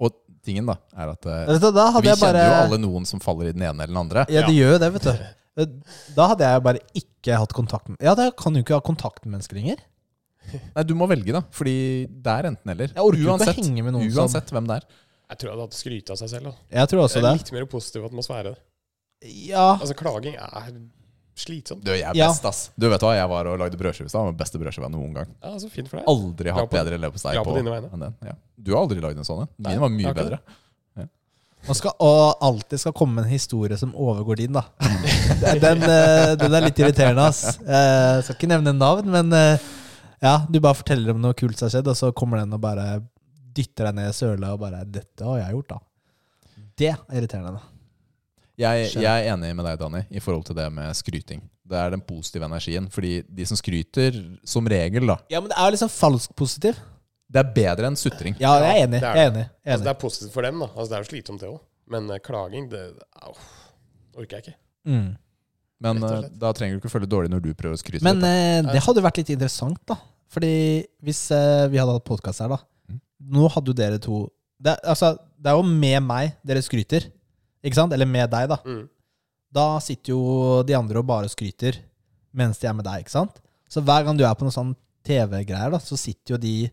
Og tingen da, er at eh,
Vet du, da hadde
vi
jeg bare
kjenner jo alle noen som faller i den ene eller den andre.
Ja, det gjør jo det, vet du. Eh, Da hadde jeg bare ikke hatt kontakt med Ja, da kan du ikke ha kontakt med mennesker lenger.
Nei, du må velge, da. Fordi det er enten eller.
Jeg orker jo ikke å henge med noen som-
uansett hvem det er.
Jeg tror jeg hadde hatt skryt av seg selv. da.
Jeg tror
Det
også
er
det.
litt mer positiv atmosfære.
Ja,
Altså, klaging er slitsomt.
Du, jeg er
Ja.
best, ass. Du vet hva, jeg var og lagde brødskive i stad. Den beste brødskiva noen gang.
Ja, så fint for deg.
Aldri hatt
på-
bedre leverpostei
ja, på
på,
dine vegne.
enn den. Ja. Du har aldri lagd en sånn en.
Nei,
Mine var mye
jeg har ikke
bedre.
man skal og alltid skal komme med en historie som overgår din, da. Den, eh, den er litt irriterende, ass. Eh, Skal ikke nevne navn, men eh, ja, du bare forteller om noe kult som har skjedd, og så kommer den og bare dytter deg ned i søla og bare 'Dette har jeg gjort', da. Det er irriterende. da.
Jeg,
Skjønner.
jeg er enig med deg, Dani, i forhold til det med skryting. Det er den positive energien. Fordi de som skryter, som regel, da
Ja, men det er liksom falsk positiv.
Det er bedre enn sutring.
Ja, jeg er enig.
det er
Jeg er enig. Jeg er
Altså,
enig.
det er positivt for dem, da. Altså, det er jo slitsomt, det òg. Men eh, klaging, det au, orker jeg ikke.
Mm.
Men
Rett og
eh,
slett.
da trenger du ikke føle deg dårlig når du prøver å skryte.
Men
litt,
eh, det hadde jo vært litt interessant, da. Fordi hvis eh, vi hadde hatt podkast her, da
Mm.
Nå hadde jo dere to det, er- altså, det er jo med meg dere skryter, ikke sant? Eller med deg, da.
Mm.
Da sitter jo de andre og bare skryter mens de er med deg, ikke sant? Så hver gang du er på noen sånn TV-greier, da, så sitter jo de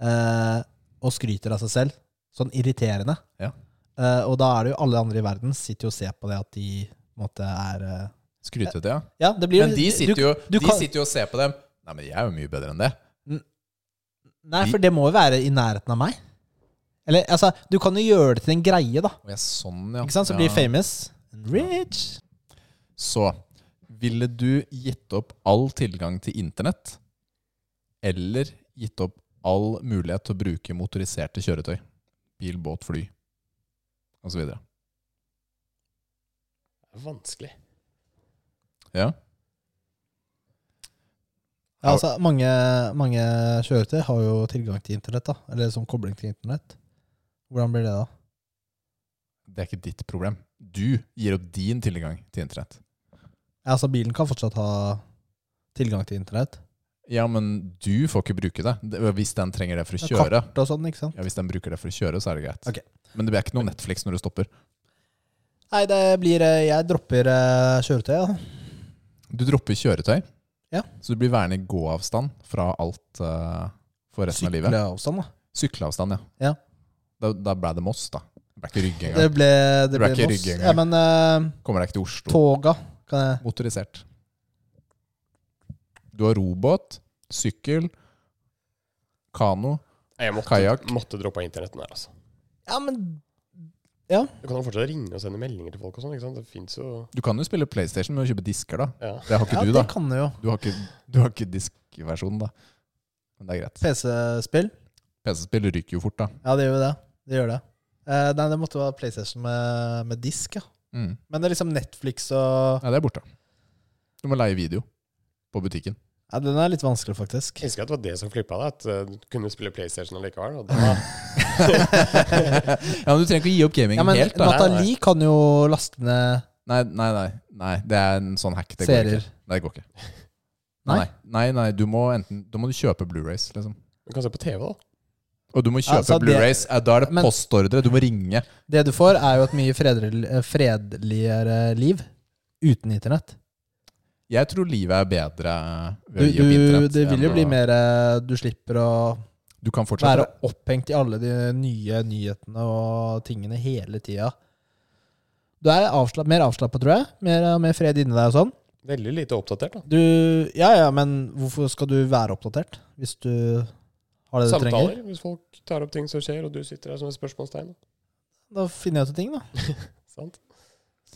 eh, og skryter av seg selv. Sånn irriterende.
Ja.
Eh, og da er det jo alle andre i verden sitter jo og ser på det at de på en måte er eh,
da. Skrytete, ja.
Ja, det blir
Men de sitter, jo,
eh, du
de
kan-
sitter jo og ser på dem. Nei, men jeg er jo mye bedre enn det.
Nei, for det må jo være i nærheten av meg. Eller, altså, du kan jo gjøre det til en greie, da.
Og jeg er sånn, ja.
Ikke sant? Så
ja.
blir det famous. And Rich.
Så ville du gitt opp all tilgang til internett, eller gitt opp all mulighet til å bruke motoriserte kjøretøy? Bil, båt, fly osv.
Det er vanskelig.
Ja.
Ja, altså, mange, mange kjøretøy har jo tilgang til internett, da. Eller som kobling til internett. Hvordan blir det, da?
Det er ikke ditt problem. Du gir opp din tilgang til internett.
Ja, altså, bilen kan fortsatt ha tilgang til internett.
Ja, men du får ikke bruke det. det. Hvis den trenger det for å
Ja,
kjøre.
Kart og sånn, ikke sant?
Ja, Hvis den bruker det for å kjøre, så er det greit.
Ok.
Men det blir ikke noe Netflix når du stopper.
Nei, det blir eh, Jeg dropper eh, kjøretøy, da.
Du dropper kjøretøy,
Ja.
så du blir værende i gåavstand fra alt eh, for resten av livet.
Sykleavstand, da.
Sykleavstand, ja.
Ja.
Da, da ble det Moss, da. Det ble ikke Rygge
Det
engang.
ble, det
Du
ble
er ikke
Moss.
rygg engang.
Ja, men eh,
Kommer deg ikke til Oslo.
toga kan jeg
Motorisert. Du har robåt, sykkel, kano.
Nei, Jeg måtte,
Kajakk.
måtte droppe av internetten her, altså.
Ja, men
Du kan jo fortsatt ringe og sende meldinger til folk og sånn, ikke sant. Det fins jo
Du kan jo spille PlayStation med å kjøpe disker, da.
Ja.
Det har ikke
ja,
du,
det
da.
kan du jo.
Du har ikke, du har ikke diskversjonen, da. Men det er greit.
PC-spill.
PC-spill ryker jo fort, da.
Ja, det gjør jo det. Det gjør det. Eh, nei, det måtte være PlayStation med, med disk, ja.
Mm.
Men det er liksom Netflix og
Nei, det er borte. Du må leie video på butikken.
Ja, den er litt vanskelig, faktisk.
Jeg husker at det var det som flippa deg, at eh, du kunne spille PlayStation allikevel. Og da,
ja, men Du trenger ikke å gi opp gamingen
Ja, men
helt. da.
Nathalie kan jo laste ned
Nei, nei, nei, nei. Det er en sånn hack. Det går
Serier.
ikke. Nei, Det går ikke.
Nei?
Nei, nei, nei du må enten Da må du kjøpe Blu-rays, liksom.
du kan se på TV, da.
Og du må kjøpe
Altså, det-
Blu-rays. Eh, Da er det
Men-
postordre. Du må ringe.
Det du får, er jo et mye fredel- eh, fredeligere liv uten internett.
Jeg tror livet er bedre ved
Du,
å gi opp
du,
internett.
det vil jo
enn å-
bli mer eh, Du slipper å
Du kan fortsatt
være opphengt i alle de nye nyhetene og tingene hele tida. Du er avsla mer avslappa, tror jeg. Mer, mer fred inni deg og sånn.
Veldig lite oppdatert, da.
Du, ja ja, men hvorfor skal du være oppdatert hvis du har det du trenger?
Samtaler. Hvis folk tar opp ting som skjer, og du sitter her som et spørsmålstegn.
Da finner jeg ut av ting, da.
Sant?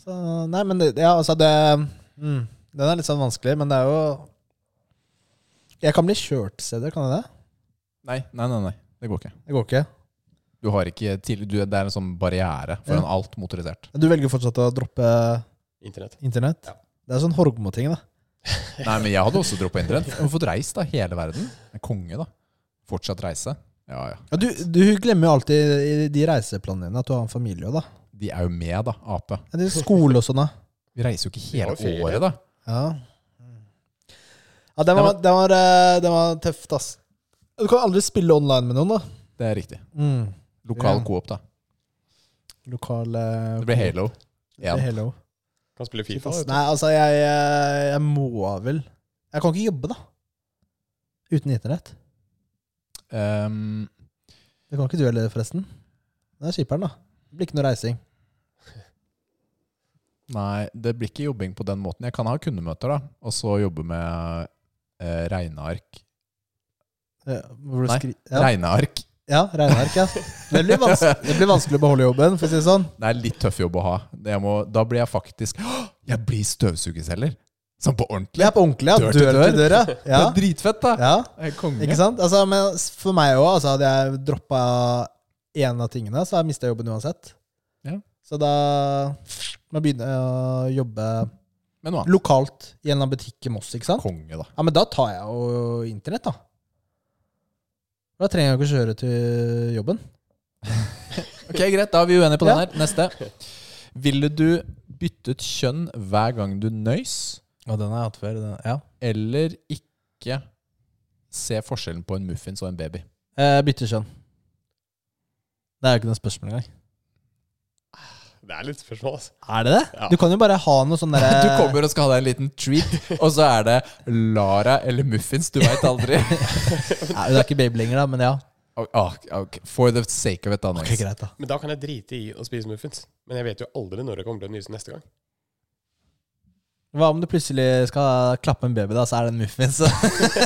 Så, nei, men det, ja, altså det mm, Den er litt sånn vanskelig, men det er jo Jeg kan bli kjørt steder, kan jeg det?
Nei, nei, nei, nei. det går ikke.
Det går ikke.
Du har ikke til, du, Det er en sånn barriere foran alt motorisert.
Du velger fortsatt å droppe
Internett.
internett?
Ja.
Det er sånn Horgmo-ting, da.
Nei, men jeg hadde også droppa internett. Jeg har fått reist, da. Hele verden. En konge, da. Fortsatt reise. Ja, ja.
Ja, du, du glemmer jo alltid i de reiseplanene dine at du har en familie òg, da.
De er jo med, da. Ape.
Ja, det er skole og sånn, da.
Vi reiser jo ikke
har
hele
jo ferie.
året, da.
Ja. ja den, var, den, var, eh, den var tøft, ass. Du kan aldri spille online med noen, da.
Det er riktig.
Mm.
Lokal
Ja.
coop, da.
Lokal eh,
Det blir Halo.
det blir
Igjen.
Halo.
Kan spille
Fy
Fifa.
faen.
vet du.
Nei, altså, jeg, eh, jeg må vel Jeg kan ikke jobbe, da. Uten internett.
Ehm,
Det kan ikke du heller, forresten. Det er skipperen, da. Det blir ikke noe reising.
nei, det blir ikke jobbing på den måten. Jeg kan ha kundemøter, da. Og så jobbe med eh, regneark.
Eh, Hvor du
Nei,
skri ja.
Regneark!
ja, regneark, ja. Det blir, vans det blir vanskelig å beholde jobben, for å si det sånn.
Det er litt tøff jobb å ha. Det Jeg må, da blir jeg faktisk Åh, Jeg blir støvsugerselger! Sånn på ordentlig.
Ja, på ordentlig, ja.
Dør
Dør
til
til dør. ja.
Det er dritfett, da!
ja.
Jeg er konge.
Ikke sant? Altså, men for meg òg, altså, hadde jeg droppa én av tingene, så hadde jeg mista jobben uansett.
Ja.
Så da må jeg begynne å jobbe
Men noe annet.
lokalt i en eller annen butikk i Moss, ikke sant?
Konge, da.
Ja, men da tar jeg jo internett, da. Da trenger jeg jo ikke kjøre til jobben.
Ok, Greit, da er vi uenige på den
Ja.
her. Neste. Ville du byttet kjønn hver gang du nøys,
Ja, den har jeg hatt før. Ja.
eller ikke se forskjellen på en muffins og en baby?
Eh, bytte kjønn. Det er jo ikke noe spørsmål engang.
Det er litt spørsmål, altså.
Er det det?
Ja.
Du kan jo bare ha noe sånn derre
Du kommer og skal ha deg en liten treat, og så er det Lara eller muffins. Du veit aldri.
Nei, Du er ikke baby lenger, da, men ja.
Ah, ok, For the sake of it, da.
Ok,
Nice.
greit, da.
Men da kan jeg drite i å spise muffins. Men jeg vet jo aldri når det kommer til å nyse neste gang.
Hva om du plutselig skal klappe en baby, da, så er det en muffins?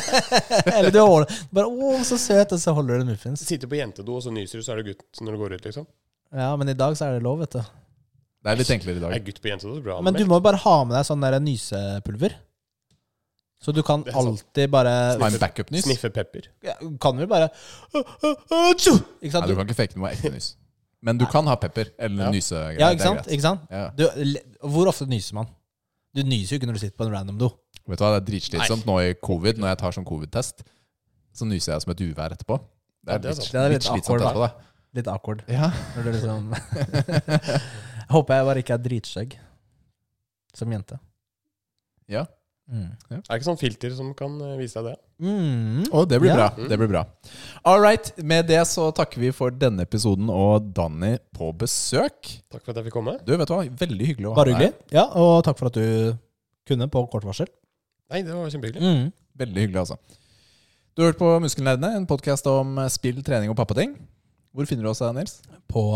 Eller du holder bare, å, så søt, og så holder du en muffins.
Sitter på jentedo, og så nyser du, så er det gutt når du går ut, liksom.
Ja, men i dag så er det lov, vet du.
Det er litt enklere i
Er
dag.
gutt på jentedo, så blir han
Men du
melk.
må jo bare ha med deg sånn der nysepulver. Så du kan
Det er sant.
alltid bare
Ha en backup-nys. Nei,
Sniffe pepper.
Ja, Kan vel bare Ikke sant?
du kan ikke fake det med ekte nys. Men du kan ha pepper eller
Ja.
nysegreier.
Ja,
det
ikke
er
sant?
greit.
Ikke sant?
Ja.
Du, le- hvor ofte nyser man? Du nyser jo ikke når du sitter på en random do.
Vet du hva, Det er dritslitsomt nå i covid. Når jeg tar sånn covid-test, så nyser jeg som et uvær etterpå. Det
Ja,
er
det er
litt,
sant.
Det er
litt
litt awkward,
slitsomt etterpå, da.
Litt awkward.
Ja.
Når du liksom Jeg Håper jeg bare ikke er dritskjegg som jente.
Ja.
Mm.
Er det ikke sånn filter som kan eh, vise deg det?
Mm.
Å, det blir
Ja.
bra. Det blir bra. All right, med det så takker vi for denne episoden og Danny på besøk.
Takk for at jeg fikk komme.
Du, vet du hva, veldig hyggelig å ha
Bare
deg
hyggelig. Ja, og takk for at du kunne på kort varsel.
Nei, det var kjempehyggelig.
Mm.
Veldig hyggelig, altså. Du har hørt på Muskelnerdene, en podkast om spill, trening og pappating. Hvor finner du oss, Nils?
På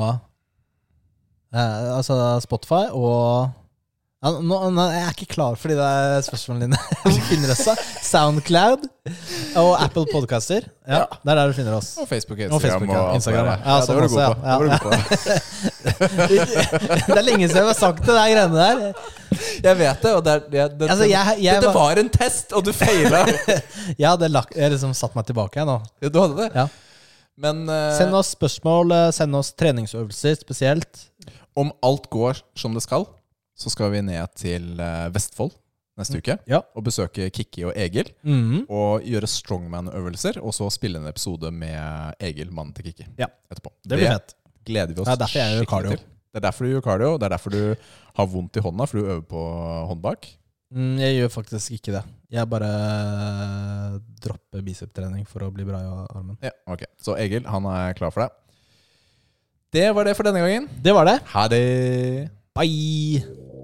eh, altså Spotify og ja, nå, nå, Jeg er ikke klar for de der spørsmålene dine. Hvor finner oss da? Soundcloud og Apple Podcaster. Ja, Det er der du finner oss.
Og Facebook,
Og Facebook,
Instagram.
ja.
alt
Instagram,
det der.
ja. Ja, sånn
det var du god
også, ja.
på. Det var du god på.
Det er lenge siden jeg har sagt det der greiene der.
Jeg vet det, og det, er- det, det,
Altså, jeg, jeg,
Dette
var,
var en test, og du feila!
jeg hadde lagt, jeg liksom satt meg tilbake jeg nå.
Ja, du hadde det?
Ja.
Men eh,
Send oss spørsmål, eh, send oss treningsøvelser spesielt.
om alt går som det skal, så skal vi ned til eh, Vestfold neste uke
Mm. Ja.
og besøke Kikki og Egil.
Mhm.
Og gjøre strongman-øvelser, og så spille en episode med Egil, mannen til Kikki,
Ja.
etterpå.
Det blir fett.
gleder vi oss
Det er derfor jeg gjør
skikkelig
cardio.
til. Det er derfor du gjør cardio, det er derfor du har vondt i hånda, for du øver på håndbak.
Mm, jeg gjør faktisk ikke det. Jeg bare eh, dropper biceptrening for å bli bra i armen.
Ja, ok. Så Egil, han er klar for deg. Det var det for denne gangen.
Det var det.
Ha det!
Bye!